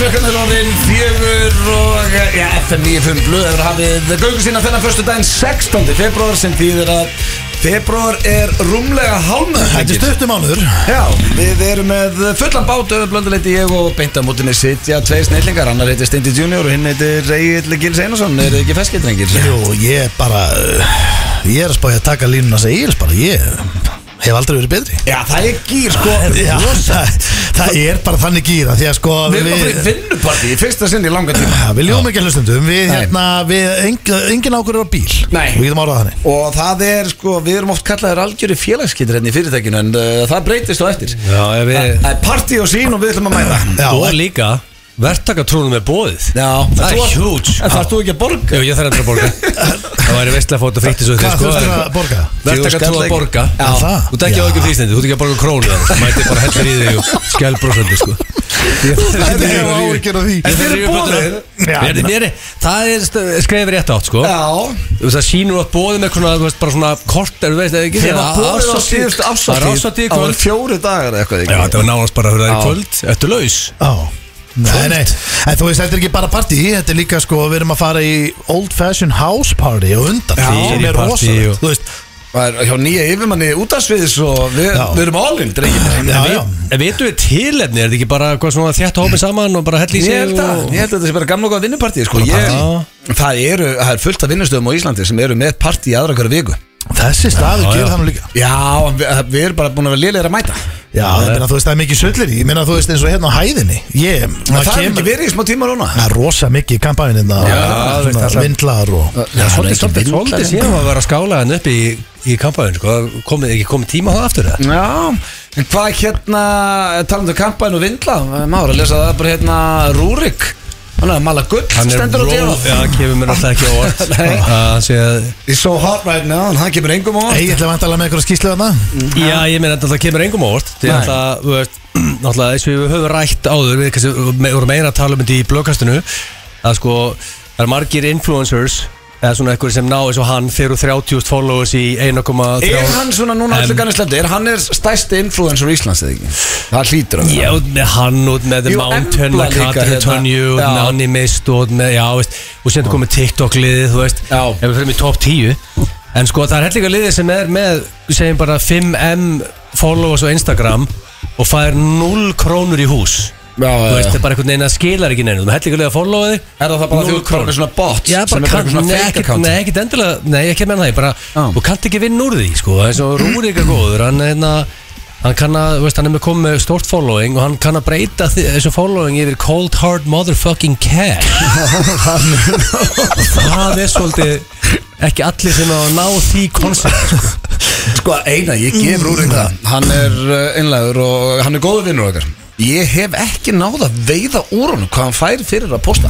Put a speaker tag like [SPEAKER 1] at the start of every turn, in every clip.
[SPEAKER 1] klukkan er orðin fjögur og eh, já, FM 95 blöð hefur hafið göngu sína þennan förstu daginn 16. februar sem þýðir að februar er rúmlega hálmöð
[SPEAKER 2] Þetta er stöttum ánur
[SPEAKER 1] Já, við erum með fullan bát blönduleiti ég og beint á mótinni sitja tveir snillingar, annar heitir Steindi Junior og hinn heitir Egil Gils Einarsson, er þið ekki feskir drengir?
[SPEAKER 2] Jú, ég er bara eh, Ég er að spája að taka línuna sem ég er bara Ég hef aldrei verið betri
[SPEAKER 1] Já, það er gýr sko
[SPEAKER 2] Já, það, það er bara þannig gýra Því að sko
[SPEAKER 1] Við erum að fyrir vinnuparti í fyrsta sinn í langa tíma
[SPEAKER 2] Við ljóum ekki að hlustundum Við,
[SPEAKER 1] Nei.
[SPEAKER 2] hérna, við engin, engin ákvörður á bíl
[SPEAKER 1] Nei.
[SPEAKER 2] Við getum árað þannig
[SPEAKER 1] Og það er sko, við erum oft kallaðir algjöri félagskyttir hérna í fyrirtækinu en uh, það breytist á eftir
[SPEAKER 3] Já, ef við-
[SPEAKER 1] Það það er partí og sín og við ætlum að mæta
[SPEAKER 2] Já,
[SPEAKER 3] og líka verktakatrúnum er bóðið
[SPEAKER 1] Já,
[SPEAKER 3] það
[SPEAKER 1] en þú-
[SPEAKER 3] er huge
[SPEAKER 1] En þarf þú ekki að borga?
[SPEAKER 3] Jú, ég þarf endur að borga Það væri veistlega að fóta frítt þessu
[SPEAKER 2] Hvað þurftir að borga?
[SPEAKER 3] Verktakatrú að borga
[SPEAKER 1] Já.
[SPEAKER 2] það?
[SPEAKER 3] Þú tekja á ekki frístendi, þú tekja að borga krónu eða. Mæti bara hellir í þig og skell brosandi sko
[SPEAKER 2] Þetta er á áhyggjur af því
[SPEAKER 1] En þið eru boðið?
[SPEAKER 2] Já,
[SPEAKER 3] Mér- mér er- Það er st- skrefið rétt átt sko
[SPEAKER 1] Já,
[SPEAKER 3] Þú veist, það sýnur að bóðið með svona, þú veist, bara svona kort er, þú veist, eða ekki
[SPEAKER 1] þið var borðið á
[SPEAKER 3] árshátíð-
[SPEAKER 1] síðust
[SPEAKER 3] Það er
[SPEAKER 1] afsáttíð
[SPEAKER 3] ásatíð í
[SPEAKER 1] Það var
[SPEAKER 3] kvöld
[SPEAKER 1] fjóri dagar eða eitthvað
[SPEAKER 3] Já,
[SPEAKER 1] ekki?
[SPEAKER 3] þetta var nánast bara að það
[SPEAKER 1] Já.
[SPEAKER 3] er í kvöld Þetta er laus
[SPEAKER 2] Já Nei, nei, en þú veist, þetta er ekki bara partí Þetta er líka, sko, við erum að fara í Old Fashion House Party og undan
[SPEAKER 3] Já.
[SPEAKER 2] sem er
[SPEAKER 3] Fyrir partí
[SPEAKER 2] rosalegt,
[SPEAKER 3] og-
[SPEAKER 2] þú veist
[SPEAKER 1] Það er hjá nýja yfirmanni út af sviðis og við,
[SPEAKER 2] Já.
[SPEAKER 1] við erum all-in drengir
[SPEAKER 2] Já,
[SPEAKER 3] Við-
[SPEAKER 2] já,
[SPEAKER 3] En veitum við tilefni, er þetta ekki bara hvað svona þjætt hópið saman og bara hell í
[SPEAKER 1] Ég
[SPEAKER 3] sig
[SPEAKER 1] held að,
[SPEAKER 3] og-
[SPEAKER 1] ég held að þetta sé bara gamla og góða vinnupartí sko. ég, það, eru, það er fullt af vinnustöðum á Íslandi sem eru með partí í aðra hverju viku
[SPEAKER 2] þessi staður
[SPEAKER 3] Já, já.
[SPEAKER 2] gerir það nú líka
[SPEAKER 1] Já, en við, við erum bara búin að vera lélegir að mæta
[SPEAKER 2] Já, ég meina, þú veist, það er mikið söllir í Ég meina, þú veist, eins og hérna á hæðinni Ég,
[SPEAKER 1] Það, það er ekki verið í smá tíma núna
[SPEAKER 2] Það er rosa mikið í kampænin
[SPEAKER 1] Já, þú veist, það-
[SPEAKER 2] Vindlar og
[SPEAKER 1] Já, það er ekki
[SPEAKER 3] Svolítið, svolítið,
[SPEAKER 1] vindlar
[SPEAKER 3] svolítið
[SPEAKER 1] hérna.
[SPEAKER 3] síðan að vera að skála hann upp í, í kampaðin sko. komið, ekki komið tíma á það aftur það
[SPEAKER 1] Já, en hvað hérna talandu kampaðin og vindla Mára lesa það bara hérna Rúrik Hann er að mala gull, stendur á
[SPEAKER 3] Já,
[SPEAKER 1] dýra
[SPEAKER 3] kemur mér alltaf ekki á orð
[SPEAKER 1] Nei.
[SPEAKER 3] Að hann sé að
[SPEAKER 1] It's so hot right now, en hann kemur engum á óvart.
[SPEAKER 2] Egil er vantalega með einhverja skýslu þarna
[SPEAKER 1] Mm.
[SPEAKER 3] Já, ég meina þetta alltaf kemur engum á orð
[SPEAKER 1] Nei.
[SPEAKER 3] Því að það, þú veist, náttúrulega eins og við höfum rætt áður Við kannski me- vorum meira að tala um þetta í blökastinu Að sko, það er margir influencers Eða svona einhverjir sem ná eins og hann Fyrir 30.000 followers í 1,3
[SPEAKER 1] Er hann svona núna
[SPEAKER 3] Em.
[SPEAKER 1] allir ganni sleppti? Er hann er stærsti influencer í Íslands eða ekki? Það hlýtur að
[SPEAKER 3] Já,
[SPEAKER 1] vera.
[SPEAKER 3] út með hann út með The
[SPEAKER 1] Jú,
[SPEAKER 3] Mountain,
[SPEAKER 1] Embla
[SPEAKER 3] með
[SPEAKER 1] líka
[SPEAKER 3] Katrin
[SPEAKER 1] hérna.
[SPEAKER 3] Tönju, út
[SPEAKER 1] Já.
[SPEAKER 3] með Animist og út með, já, veist, og sem komið TikTok-liðið, þú veist,
[SPEAKER 1] Já.
[SPEAKER 3] ef við fyrir í top 10 en sko það er hellinga liðið sem er með, við segjum bara 5M followers á Instagram og fær 0 krónur í hús
[SPEAKER 1] Já,
[SPEAKER 3] þú veist,
[SPEAKER 1] já,
[SPEAKER 3] það er bara einhvern veginn að skilar ekki neina, þú hellinga liðið að followa þig
[SPEAKER 1] Er það það bara því út bara með svona bot
[SPEAKER 3] Já,
[SPEAKER 1] sem er
[SPEAKER 3] bara
[SPEAKER 1] bara
[SPEAKER 3] kann,
[SPEAKER 1] eitthvað svona
[SPEAKER 3] nei,
[SPEAKER 1] fake
[SPEAKER 3] ekkert-
[SPEAKER 1] account?
[SPEAKER 3] nei, ekkert endilega, nei, ekki meina það, ég bara,
[SPEAKER 1] Já.
[SPEAKER 3] þú kannt ekki vinna úr því, sko, eins og Rúrik er góður, hann, hérna, hann kann að, þú veist, hann er með komið með stórt following og hann kann að breyta þi- þessu following yfir cold hard motherfucking cash. það er svolítið, ekki allir sem á að ná því koncept, sko.
[SPEAKER 1] Sko eina, ég gef Rúrik það Hann er uh, einlægur og hann er góður vinnur okkar Ég hef ekki náð að veiða úr honum hvað hann fær fyrir að posta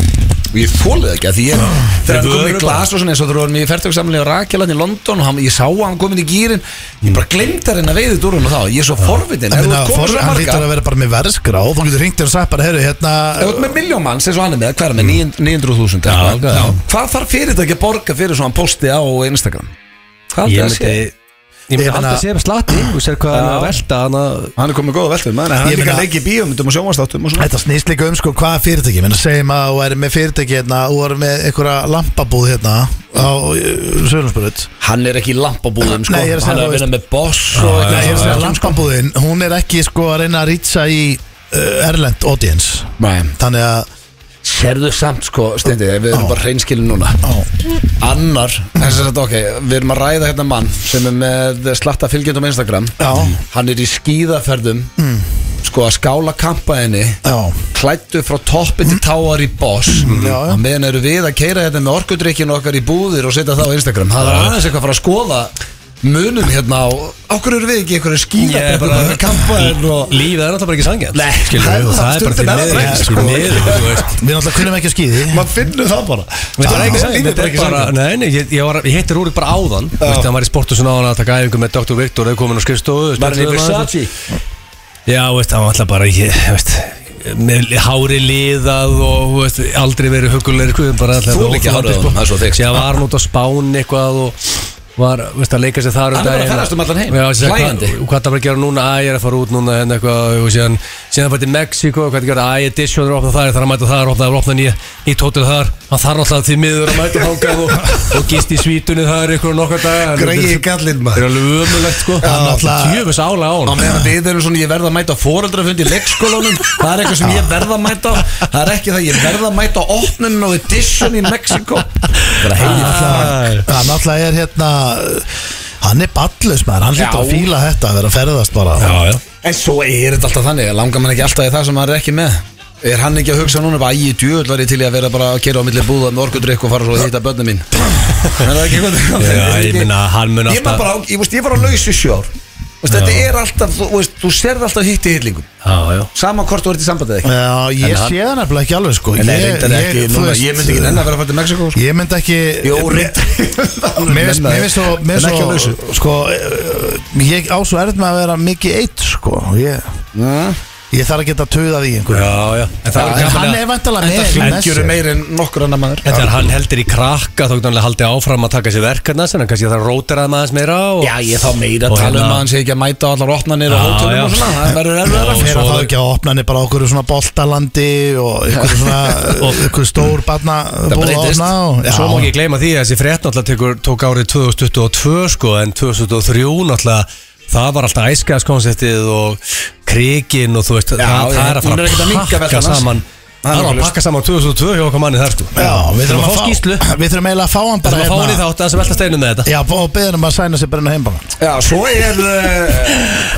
[SPEAKER 1] og ég þólið ekki að því ég þegar hann kom í
[SPEAKER 3] vöru
[SPEAKER 1] glas og svona eins og þú vorum í færtöksamli á Rakjalan í London og hann, ég sá að hann komin í gýrin ég bara glemd að reyna að veiða þetta úr honum þá ég er svo forvitin,
[SPEAKER 2] Ég
[SPEAKER 1] ef þú
[SPEAKER 2] meina,
[SPEAKER 1] ert komin
[SPEAKER 2] for-
[SPEAKER 1] svo
[SPEAKER 2] Hann
[SPEAKER 1] marga
[SPEAKER 2] hlýtur að vera bara með verðskrá Þú getur hringt þér og sagt bara, herru, hérna
[SPEAKER 1] ef þú ert með miljón manns eins og hann er með, hver er með 900.000 eitthvað.
[SPEAKER 3] já.
[SPEAKER 1] Já. hvað þarf fyrirtæki að borga fyrir svona posti á Instagram? Hvað
[SPEAKER 3] Ég
[SPEAKER 1] heldur það sé?
[SPEAKER 3] myndi, ég myndi
[SPEAKER 2] Ég meina-
[SPEAKER 3] alltaf sé með slatti, þú sér hvað hann er að velta, hann að,
[SPEAKER 1] hann er komið góða veltum, hann
[SPEAKER 2] Ég
[SPEAKER 1] er líka
[SPEAKER 2] meina-
[SPEAKER 1] að leggja í bíómyndum og sjónvastáttum og svona
[SPEAKER 2] Þetta snýst líka um sko hvað er fyrirtæki Menn segjum að þú er með fyrirtæki hérna Þú er með einhverja lampabúð hérna Á Sölunnsbörut
[SPEAKER 1] Hann er ekki í lampabúðum sko
[SPEAKER 2] Nei, ég er að segja,
[SPEAKER 1] Hann er
[SPEAKER 2] þú
[SPEAKER 1] að vinna með boss og eitthvað
[SPEAKER 2] Nei, ég er að
[SPEAKER 1] svona.
[SPEAKER 2] segja lampabúðin Hún er ekki sko að reyna að rýtsa í uh, Erlend audience
[SPEAKER 1] Nei,
[SPEAKER 2] Þannig að
[SPEAKER 1] Sérðu samt sko Stendi, við erum
[SPEAKER 2] Já.
[SPEAKER 1] bara hreinskilin núna
[SPEAKER 2] á,
[SPEAKER 1] Annar, þess að þetta ok Við erum að ræða hérna mann sem er með slatta fylgjöndum á Instagram
[SPEAKER 2] Já,
[SPEAKER 1] Hann er í skíðaferðum Sko að skála kampaðinni
[SPEAKER 2] já
[SPEAKER 1] Klættu frá toppi til táar í boss
[SPEAKER 3] Mhm.
[SPEAKER 2] Já, já.
[SPEAKER 1] Og meðan eru við að keira hérna með orkudrykkinu okkar í búðir og setja það á Instagram Það er aðeins eitthvað að fara að skoða munum hérna á Okkur eru við ekki einhverju
[SPEAKER 3] Ég er
[SPEAKER 1] skíðabrekkur
[SPEAKER 3] bara-
[SPEAKER 1] með kampaðin og
[SPEAKER 3] lífið er alltaf bara ekki sangjant,
[SPEAKER 1] Nei,
[SPEAKER 3] skilur, og það er sko. bara því
[SPEAKER 1] stundum er það
[SPEAKER 3] miður,
[SPEAKER 1] bara- sko.
[SPEAKER 3] því miður, þú veist.
[SPEAKER 2] sko. Við náttúrulega kunnum ekki að skýði
[SPEAKER 1] maður finnur það bara
[SPEAKER 3] Þetta er ekki sann,
[SPEAKER 1] Lífið
[SPEAKER 3] þetta er bara,
[SPEAKER 1] sanngjarnt.
[SPEAKER 3] nei, nei, ég, ég, var, ég heitti Rúrik bara áðan Þú veist, hann var í sportu svona áðan að taka æfingu með Dr. Viktor Þau komin á skrifstofu spjölluðu um aðeins. Já, veist, hann var alltaf bara, ég, veist með hári liðað og þú veist, aldrei verið hugulegur guðum bara alltaf
[SPEAKER 1] Þolir ekki hárið á honum, það er svo þykkt.
[SPEAKER 3] Sér var hann út á spán eitthvað og var, veist, að leika sér þar um
[SPEAKER 1] Hann er bara að
[SPEAKER 3] daginn.
[SPEAKER 1] ferðast um allan heim,
[SPEAKER 3] Já, sér,
[SPEAKER 1] hlæjandi.
[SPEAKER 3] hvað, hvað það var að gera núna, að ég er að fara út núna hérna eitthvað og síðan síðan hann fætti Mexiko hvað það gerði, æ, Edition er opnað þar ég þarf að mæta þar, opnað þar, opnað nýja nýtt hótel þar, hann þarf alltaf því miður að mæta þákað og, og gist í svítunni þar ykkur og nokkar daga
[SPEAKER 1] Greyið gallinn, maður.
[SPEAKER 3] Það er alveg ömulegt sko
[SPEAKER 2] náttúrulega-
[SPEAKER 3] Tjöfus ála á
[SPEAKER 1] Á
[SPEAKER 3] hann
[SPEAKER 1] meðan við erum svona, ég verð að mæta á foreldrafund í leikskólanum Það er eitthvað sem ég verð að mæta á Það er ekki það, ég verð að mæta á opnunin á Edition í Mexiko Bara heiði
[SPEAKER 3] Ah.
[SPEAKER 2] náttúrulega- Ah. Það náttúrulega er hérna Hann er ballus maður, hann hlýtt að
[SPEAKER 1] Já.
[SPEAKER 2] fíla þetta að vera að ferðast bara
[SPEAKER 3] Já, já
[SPEAKER 1] En svo er þetta alltaf þannig, langar mann ekki alltaf í það sem maður er ekki með Er hann ekki að hugsa núna bara ægi djöðl var ég til í að vera bara að kera á milli búða með orkudrykk og fara svo að hitta börnum mín Er það ekki hvað það
[SPEAKER 3] Já, ég meina, hann mun
[SPEAKER 1] Ég var
[SPEAKER 3] alltaf-
[SPEAKER 1] bara, á- ég, veist, ég var á lausu sjár Þú veist, Þetta
[SPEAKER 3] Já.
[SPEAKER 1] er alltaf, þú, veist, þú serð alltaf hitt í hillingum
[SPEAKER 3] Já, já
[SPEAKER 1] Sama hvort þú ert í sambandið ekki
[SPEAKER 2] Já, ég
[SPEAKER 1] En hann-
[SPEAKER 2] sé það nefnilega ekki alveg sko
[SPEAKER 1] En það er
[SPEAKER 2] Ég-
[SPEAKER 1] reyndar
[SPEAKER 2] ég-
[SPEAKER 1] ekki,
[SPEAKER 2] þú
[SPEAKER 1] núna,
[SPEAKER 2] veist,
[SPEAKER 1] ég myndi ekki nenni að vera að fara til Mexiko sko.
[SPEAKER 2] Ég myndi ekki
[SPEAKER 1] Jó, reyndar
[SPEAKER 2] Mér finnst- mér finnst svo, mér
[SPEAKER 1] En ekki á
[SPEAKER 2] finnst
[SPEAKER 1] lausu
[SPEAKER 2] svo sko, eh, ég á svo erð með að vera mikið eitt sko, ég, ég þarf að geta töðað í einhverju
[SPEAKER 3] Já, já En
[SPEAKER 2] Já,
[SPEAKER 3] það
[SPEAKER 2] en
[SPEAKER 3] er ekki
[SPEAKER 2] hann er
[SPEAKER 3] alveg
[SPEAKER 2] vantalega með í
[SPEAKER 3] flækjur
[SPEAKER 2] messu.
[SPEAKER 1] Engjur er meir en nokkur annar maður
[SPEAKER 3] En þegar hann heldur í krakka þá getur hann alveg haldið áfram að taka sér verkefna sem hann kannski þarf að rótera það maður meira og
[SPEAKER 1] Já, ég er þá meira að
[SPEAKER 3] Og
[SPEAKER 1] tala um
[SPEAKER 3] hérna-
[SPEAKER 1] að hann sé ekki að mæta á allar opnanir og
[SPEAKER 3] Já, já.
[SPEAKER 1] hótelum og svona Það verður
[SPEAKER 3] Já,
[SPEAKER 1] erfiðar
[SPEAKER 2] Fyrir
[SPEAKER 3] svo-
[SPEAKER 2] að fá ekki að opna henni bara okkur svona boltalandi og ykkur svona ykkur stór barna búið að
[SPEAKER 1] breytist.
[SPEAKER 2] opna og,
[SPEAKER 3] Svo má ekki gleyma því að þessi frétt náttúrulega tekur, tók árið 2022 sko en 2023 náttúrulega það var alltaf æskaðskonseptið og krikin og þú veist
[SPEAKER 1] Já,
[SPEAKER 3] það,
[SPEAKER 1] já,
[SPEAKER 3] það er að
[SPEAKER 1] hún er
[SPEAKER 3] fara
[SPEAKER 1] ekkert að
[SPEAKER 3] að
[SPEAKER 1] minnka
[SPEAKER 3] pakka
[SPEAKER 1] veltan hans.
[SPEAKER 3] saman
[SPEAKER 1] Það er
[SPEAKER 3] það var að
[SPEAKER 1] nokkuð
[SPEAKER 3] pakka saman 2022 hjá okkar manni þar sko
[SPEAKER 2] Já, við þurfum að fá
[SPEAKER 3] skýslu við
[SPEAKER 2] Við þurfum eiginlega að fá hann bara hérna.
[SPEAKER 3] þurfum að fá hún í þátt að sem velta steinu með þetta
[SPEAKER 2] Já, og beðin um að sæna sér bara inn á heimbana
[SPEAKER 1] Já, svo er uh,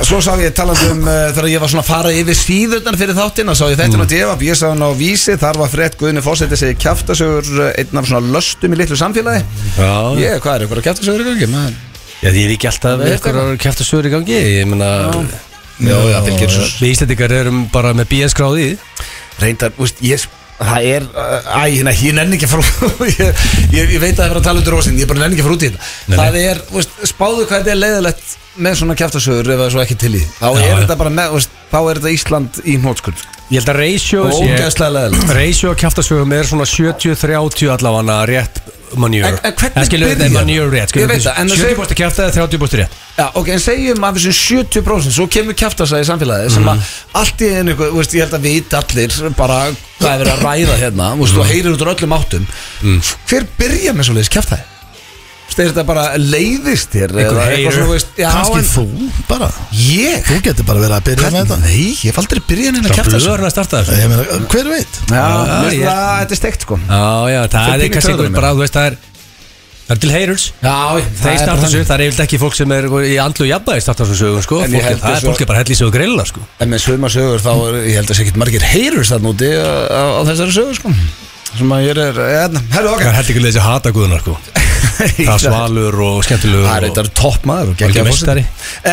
[SPEAKER 1] Svo sá ég talandi um uh, þegar ég var svona að fara yfir síðurnar fyrir þáttina sá ég þetta mm. á divab, ég sá hann á vísi þar var frett Guðni Fósetti segi kjaftasögur uh, einn af svona löstum í litlu samfélagi
[SPEAKER 3] Já,
[SPEAKER 1] Ég, hvað er, eitthvað kjaftasögur í gangi? maður?
[SPEAKER 3] Já, því er ekki alltaf
[SPEAKER 1] Veit
[SPEAKER 3] ykkur að kæfta sögur í gangi Ég meina
[SPEAKER 1] Já, já, fylgir svo
[SPEAKER 3] Við Íslandingar erum bara með BS-gráði
[SPEAKER 1] reyndar, úst, ég það er, uh, æ, hérna, ég nenni ekki að fara ég, ég, ég veit að það er að tala um drósin ég bara nenni ekki að fara út í
[SPEAKER 3] Nei,
[SPEAKER 1] þetta það er, úst, spáðu hvað þetta er leiðilegt með svona kjæftasögur ef það er svo ekki til í því. þá
[SPEAKER 3] Já,
[SPEAKER 1] er
[SPEAKER 3] já.
[SPEAKER 1] þetta bara með, úst, þá er þetta Ísland í hnótskuld
[SPEAKER 3] Ég held að ratio
[SPEAKER 1] og ógeðslega leiðilegt
[SPEAKER 3] Ratio að kæfta sögum er svona 70-30 allavega rétt manjör
[SPEAKER 1] En- en hvernig byrjar
[SPEAKER 3] byrja? Manjör rétt skilur
[SPEAKER 1] Ég veit
[SPEAKER 3] við,
[SPEAKER 1] það, en það
[SPEAKER 3] 70 búst að kæfta eða 30 búst rétt
[SPEAKER 1] Já, ok, en segjum af þessum 70% svo kemur kjæftasæði í samfélagi
[SPEAKER 3] Mhm.
[SPEAKER 1] sem að allt í einu, eitthvað, úst, ég held að vita allir bara hvað er verið að ræða hérna úst,
[SPEAKER 3] Mhm.
[SPEAKER 1] og heyrir út úr öllum áttum hver byrja með svo leiðis Er þetta bara leiðist þér
[SPEAKER 3] Einhver
[SPEAKER 1] eða eitthvað
[SPEAKER 3] heyrir.
[SPEAKER 1] svona, þú veist, já,
[SPEAKER 2] Kanski
[SPEAKER 1] en-
[SPEAKER 2] þú bara
[SPEAKER 1] Ég?
[SPEAKER 2] Þú getur bara verið að byrja með þetta
[SPEAKER 1] Nei, ég hef aldrei byrjað neina að
[SPEAKER 3] Það
[SPEAKER 1] kæfta
[SPEAKER 3] er
[SPEAKER 1] þessu
[SPEAKER 3] blöður að starta þessu
[SPEAKER 2] Ég meina, hver veit?
[SPEAKER 1] Já, mér
[SPEAKER 3] ég-
[SPEAKER 1] finnst það að þetta er steikt sko
[SPEAKER 3] Já, já,
[SPEAKER 1] Fyrir
[SPEAKER 3] það er
[SPEAKER 1] pínu
[SPEAKER 3] kannski einhver
[SPEAKER 1] töðurum,
[SPEAKER 3] bara, þú veist, það er Það er til heyrurs
[SPEAKER 1] Já,
[SPEAKER 3] Þeir starta þessu, það er eiginlega ekki fólk sem er í andlu jafnbæði starta þessu sögum, sko
[SPEAKER 1] En ég
[SPEAKER 3] Fólk er-
[SPEAKER 1] held
[SPEAKER 3] Það
[SPEAKER 1] þessu-
[SPEAKER 3] er fólk er bara hellið sögur grilla, sko
[SPEAKER 1] En með svöma sögur þá er, ég held að sé ekki margir heyrur það núti á, á á þessari sögur sko Sem að ég er, hérna, herru
[SPEAKER 3] Það
[SPEAKER 1] okkar
[SPEAKER 3] er hellið grilla þessi hata guðunar, sko Það er svalur og skemmtilegur
[SPEAKER 1] Það er
[SPEAKER 3] og-
[SPEAKER 1] þetta topp maður og
[SPEAKER 3] Algjör
[SPEAKER 1] geggjaður
[SPEAKER 3] meistari.
[SPEAKER 1] forseti.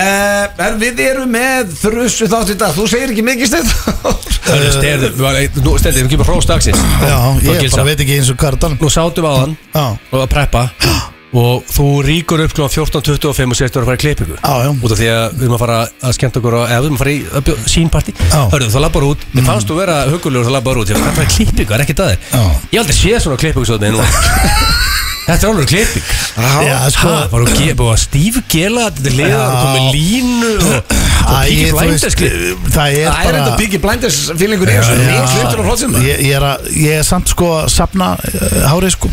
[SPEAKER 1] Eh, En við erum með þrjusu þátt í dag Þú segir ekki mikið stið
[SPEAKER 3] Hörru, Steyrðu, við var- eh, nú Steyrðu, við kemur hrós dagsins
[SPEAKER 2] Uh, Já,
[SPEAKER 3] Þá
[SPEAKER 2] ég
[SPEAKER 3] gilsa.
[SPEAKER 2] bara veit ekki eins og hvað er að tala um.
[SPEAKER 3] Nú sátum við á hann
[SPEAKER 2] Já,
[SPEAKER 3] og að preppa og þú ríkur upp klokkan 14.25 og segist þú að fara í klippingu
[SPEAKER 2] já, já
[SPEAKER 3] út af því að við erum að fara að skemmta okkur og við erum að fara í að bjó- sín
[SPEAKER 2] Já. Mm.
[SPEAKER 3] Hörru, þú labbar út, mér fannst þú vera hugulegur þú labbar út, ég var að fara í klippingu, það er ekkert að
[SPEAKER 2] Já.
[SPEAKER 3] þér Ég aldrei séð svona klippingu svo þetta Þetta er alveg klipping
[SPEAKER 2] Já, sko
[SPEAKER 3] Ha, var hún ge- búið að stífgela þetta til liðar og komið línu og, og
[SPEAKER 2] Æ,
[SPEAKER 3] píkir
[SPEAKER 2] þú veist, eh,
[SPEAKER 3] blænda skrið
[SPEAKER 2] Það er
[SPEAKER 1] Það er
[SPEAKER 2] bara
[SPEAKER 1] þetta Biggie Blinders fílingur í þessu
[SPEAKER 2] Já.
[SPEAKER 1] Ég hlutur á hrótsum það
[SPEAKER 2] Ég ég er að, ég er samt sko að sapna eh, hárið sko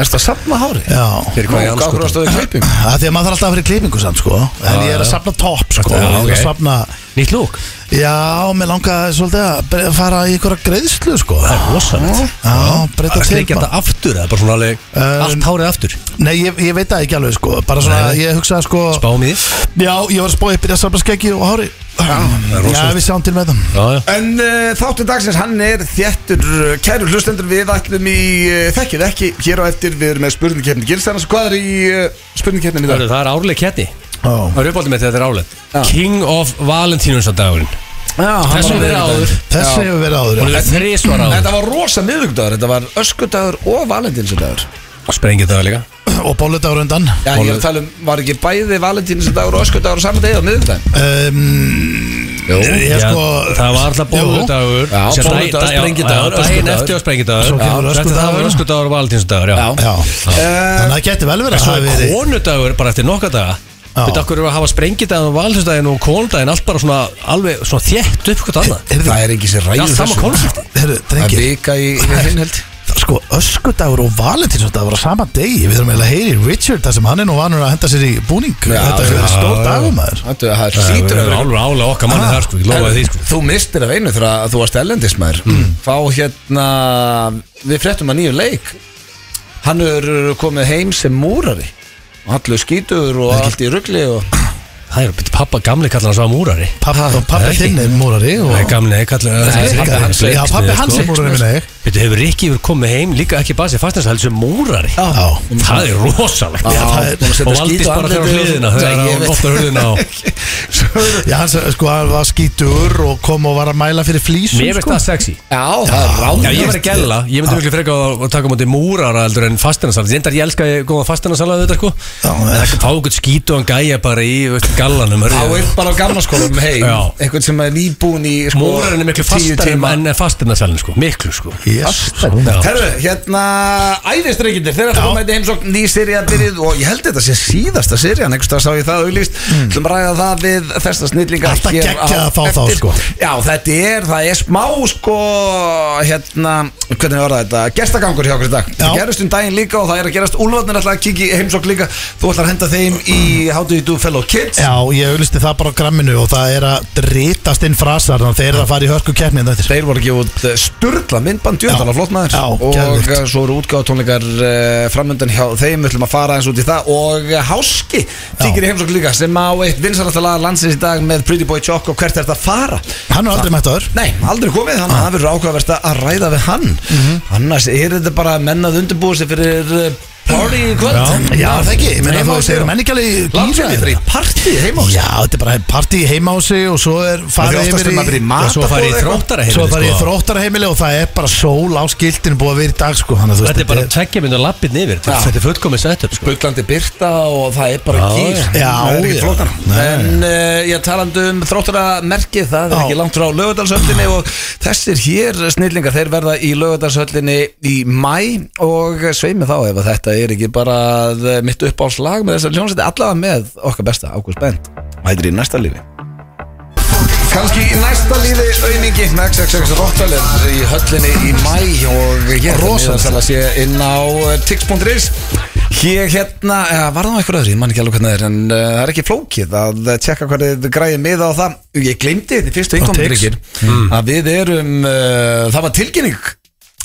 [SPEAKER 1] Er þetta safna hári?
[SPEAKER 2] Já
[SPEAKER 3] Fyrir hvað ég
[SPEAKER 1] Hvað
[SPEAKER 3] anskotum
[SPEAKER 1] hverju stöðu klipping?
[SPEAKER 2] Það því að maður þarf alltaf að fyrir klippingu samt sko En ég er að
[SPEAKER 3] já.
[SPEAKER 2] safna topp sko
[SPEAKER 3] Já,
[SPEAKER 2] Ég er
[SPEAKER 3] ok.
[SPEAKER 2] að safna
[SPEAKER 3] Nýtt lúk
[SPEAKER 2] Já, mér langaði svolítið að bre- fara í einhverja greiðslu sko
[SPEAKER 3] Það er rosalegt
[SPEAKER 2] Já, breyta
[SPEAKER 3] að
[SPEAKER 2] til
[SPEAKER 3] sleikja
[SPEAKER 2] maður.
[SPEAKER 3] þetta aftur eða bara svona alveg allt hárið aftur
[SPEAKER 2] Nei, ég, ég veit það ekki alveg sko Bara svona,
[SPEAKER 3] Nei, nei.
[SPEAKER 2] ég hugsaði sko
[SPEAKER 3] báum í því
[SPEAKER 2] Já, ég var að spáði að byrja að safna skeggi og hári
[SPEAKER 3] er
[SPEAKER 2] Já,
[SPEAKER 3] rosalegt.
[SPEAKER 2] við sjáum til með það
[SPEAKER 3] já, já.
[SPEAKER 1] En uh, þáttu dagsins, hann er þjættur uh, Kæru hlustendur, við ætlum í uh, Þekkið ekki, hér á eftir við erum með spurningkeppni Gilsarnas, hvað er í uh, spurningkeppnin í dag?
[SPEAKER 3] Hörru, það er árleg ketti
[SPEAKER 2] Já.
[SPEAKER 3] það er uppáldið með þetta er árleg
[SPEAKER 1] Já.
[SPEAKER 3] King of Valentínusdagurinn
[SPEAKER 1] Já,
[SPEAKER 3] þessum
[SPEAKER 1] var
[SPEAKER 3] verið
[SPEAKER 1] á
[SPEAKER 3] áður.
[SPEAKER 1] daginn.
[SPEAKER 2] Þessi
[SPEAKER 1] Já.
[SPEAKER 2] hefur verið áður
[SPEAKER 3] hún
[SPEAKER 2] já.
[SPEAKER 3] er þrísvar áður
[SPEAKER 1] Þetta var rosa miðvíkudagur, þetta var öskudagur og valentinsudagur
[SPEAKER 3] og sprengið það líka
[SPEAKER 2] Og bóludagur undan
[SPEAKER 1] Já, ég er að tala um, var ekki bæði valentinsudagur og öskudagur á saman degi á miðvíkudaginn?
[SPEAKER 2] um,
[SPEAKER 1] Jú
[SPEAKER 2] Ég
[SPEAKER 3] Já,
[SPEAKER 2] sko
[SPEAKER 3] það var alltaf bóludagur
[SPEAKER 1] Já,
[SPEAKER 3] Sem dag-
[SPEAKER 1] bolludagur,
[SPEAKER 3] dag-
[SPEAKER 1] sprengjudagur,
[SPEAKER 3] já, já, daginn
[SPEAKER 1] öskudagur.
[SPEAKER 3] eftir og sprengidagur
[SPEAKER 2] Svo kemur
[SPEAKER 3] það
[SPEAKER 2] öskudagur.
[SPEAKER 3] var öskudagur og Valentínusdagur já.
[SPEAKER 1] Já.
[SPEAKER 2] Já,
[SPEAKER 1] Eh,
[SPEAKER 2] þannig að það geti vel verið að
[SPEAKER 3] svo
[SPEAKER 2] hafa
[SPEAKER 3] er
[SPEAKER 2] verið
[SPEAKER 3] konudagur bara eftir nokka daga
[SPEAKER 2] Já.
[SPEAKER 3] Við okkur erum að hafa sprengidaginn og valhustaginn og kóldaginn Allt bara svona alveg svona þétt upp hvort annað
[SPEAKER 2] Heyrðu,
[SPEAKER 1] Það er engin sem
[SPEAKER 3] Það
[SPEAKER 1] ræður
[SPEAKER 3] er sama koncept
[SPEAKER 2] Herru,
[SPEAKER 1] Það er
[SPEAKER 2] drengir
[SPEAKER 1] vika í hinn held
[SPEAKER 2] Sko, öskudagur og valentínsdagur á sama degi Við þurfum eiginlega að heyri Richard þar sem hann er nú vanur að henda sér í búning
[SPEAKER 1] Já,
[SPEAKER 2] Þetta hefur verið
[SPEAKER 1] já,
[SPEAKER 2] stór
[SPEAKER 1] já.
[SPEAKER 2] dagur maður
[SPEAKER 1] Þetta það
[SPEAKER 3] Það
[SPEAKER 1] hlýtur að
[SPEAKER 3] er
[SPEAKER 1] vera-
[SPEAKER 3] alveg álega okkar manni
[SPEAKER 2] Ah.
[SPEAKER 3] þar sko Ég lofaði því sko
[SPEAKER 1] Þú mistir af einu þegar að þú varst ellendis maður Fá hérna Við fréttum að nýju leik Hann er komið heim sem múrari Og allur skítur og allt í rugli og...
[SPEAKER 3] Það er betur pappa gamli kallar hans var múrari
[SPEAKER 2] Pappi, og
[SPEAKER 3] það
[SPEAKER 2] pappi
[SPEAKER 3] er ekki.
[SPEAKER 2] þinn er múrari og
[SPEAKER 3] Nei, gamli kallar
[SPEAKER 2] Nei,
[SPEAKER 1] pabbi
[SPEAKER 2] Rikka-
[SPEAKER 1] hans er
[SPEAKER 2] Já, pappi
[SPEAKER 3] leiksmiður,
[SPEAKER 2] hans er
[SPEAKER 3] sko.
[SPEAKER 2] múrari minni ég.
[SPEAKER 3] Betur hefur Rikki verið komið heim líka ekki bara sem fastnæsthæld sem múrari
[SPEAKER 2] Já,
[SPEAKER 3] Það er rosalegt
[SPEAKER 1] Já,
[SPEAKER 2] það er-
[SPEAKER 1] búin að setja
[SPEAKER 3] Og valdís
[SPEAKER 1] skít á
[SPEAKER 3] bara þegar á
[SPEAKER 1] andlitið og-
[SPEAKER 3] hliðina
[SPEAKER 1] Já,
[SPEAKER 3] Þegar
[SPEAKER 1] ég
[SPEAKER 3] hann
[SPEAKER 1] veit.
[SPEAKER 3] opnar hurðina á
[SPEAKER 2] já hans sko, hann var skítur og kom og var að mæla fyrir flýsum
[SPEAKER 3] Mér veist
[SPEAKER 2] sko.
[SPEAKER 3] það sexy
[SPEAKER 1] Já, það er ráð
[SPEAKER 3] Já, ég var að gæla, ég myndi miklu freka að að taka á móti múrara heldur en fastinarsala Þindar ég elska ég góða fastinarsala þetta sko
[SPEAKER 2] Já,
[SPEAKER 3] En það kan fá okkur skítu og gæja bara í veist, gallanum
[SPEAKER 1] Þá
[SPEAKER 3] hörðu.
[SPEAKER 1] er bara á gamla skólanum heim
[SPEAKER 3] Já.
[SPEAKER 1] Einhvern sem er nýbúin í sko,
[SPEAKER 3] Múrarinn er miklu
[SPEAKER 1] 10
[SPEAKER 3] fastar
[SPEAKER 1] tíma.
[SPEAKER 3] en fastinarsalinn sko, miklu sko
[SPEAKER 2] Yes,
[SPEAKER 3] Já.
[SPEAKER 1] Herru, hérna æfistreikindir Þeir ætla að koma þetta í heimsókn ný sérija byrjuð Og ég held þetta sé síðasta sérian Einhvers það sá ég það auðlýst Þú mm. ræða það við þessa snillinga
[SPEAKER 2] Hmm. Alltaf geggjað að fá þá, sko.
[SPEAKER 1] Já, þetta er, það er smá sko Hérna, hvernig var það þetta Gestagangur hjá okkur í dag
[SPEAKER 2] Já.
[SPEAKER 1] Það gerist um daginn líka og það er að gerast Úlfarnir ætla að kikki heimsókn líka Þú ætla að henda þeim í How do you do fellow kids
[SPEAKER 2] Já, ég auglisti það bara á gramminu og það er að dritast inn frasar þannig að þeir eru að fara í hörku keppni þetta eftir
[SPEAKER 1] Þeir voru ekki út eh, sturla myndband djöðan á flott maður
[SPEAKER 2] Já,
[SPEAKER 1] og
[SPEAKER 2] geðvikt.
[SPEAKER 1] eh, svo eru útgáðutónleikar uh, framöndan hjá þeim, við ætlum að fara eins út í það og eh, Háski þykir í heimsókn líka sem á eitt vinsarallalaga landsins í dag með Pretty Boy Choco, hvert er þetta að fara?
[SPEAKER 2] Hann er aldrei mætt aður
[SPEAKER 1] Nei, aldrei komið, þannig
[SPEAKER 2] Ah.
[SPEAKER 1] að það verður ákveðverst að ræða við hann
[SPEAKER 2] Mhm.
[SPEAKER 1] annars er þetta bara mennað undirbúið sig fyrir eh, party í kvöld
[SPEAKER 2] Já, það ekki, ég meina
[SPEAKER 1] Heima
[SPEAKER 2] þú
[SPEAKER 1] á sig
[SPEAKER 2] segir
[SPEAKER 1] og-
[SPEAKER 2] menningali
[SPEAKER 1] Landsfjöldi fyrir partí heima á sig.
[SPEAKER 2] Já, þetta er bara partí heima á sig og svo er
[SPEAKER 1] Það
[SPEAKER 2] farið
[SPEAKER 1] er oftast
[SPEAKER 2] yfir
[SPEAKER 1] þegar maður er í mat-
[SPEAKER 3] Og svo farið í þróttaraheimili
[SPEAKER 2] Svo farið í þróttaraheimili og það er bara sól á skiltinu búið að vera í dag sko Þannig að þú veist,
[SPEAKER 3] Þetta er bara tveggja mynda lappið niður
[SPEAKER 1] Já.
[SPEAKER 3] Þetta er fullkomið setup sko
[SPEAKER 1] Bullandi byrta og það er bara
[SPEAKER 3] Já,
[SPEAKER 1] gýr
[SPEAKER 2] já.
[SPEAKER 1] Það er ekki
[SPEAKER 2] Já,
[SPEAKER 1] flóknara.
[SPEAKER 2] já. Nei.
[SPEAKER 1] En uh, ég talandi um þróttaramerkið Það er
[SPEAKER 2] Já.
[SPEAKER 1] ekki langt frá lögadalshöllinni Og þessir hér snillingar Þeir verða í lögadalshöllinni í mæ Og sveimi þá ef að þetta er ekki bara eh, Mitt uppáhalslag með þessar hljónsætti Allavega með okkar besta Ágúst Bend Mætir í næsta lífi Kanski í næsta lífi auðningi XXX Rottal er í höllinni í mæ og ég er
[SPEAKER 2] Rosalegt.
[SPEAKER 1] að sé inn á eh, tix.is Hér hérna, eh, var það á einhver öðru, ég man ekki alveg hvernig það er en eh, það er ekki flókið að tjekka hvað þið græðið miða á það Ég glemdi þetta í fyrstu
[SPEAKER 2] Tix.
[SPEAKER 1] einkomundryggir að við erum, uh, það var tilkynning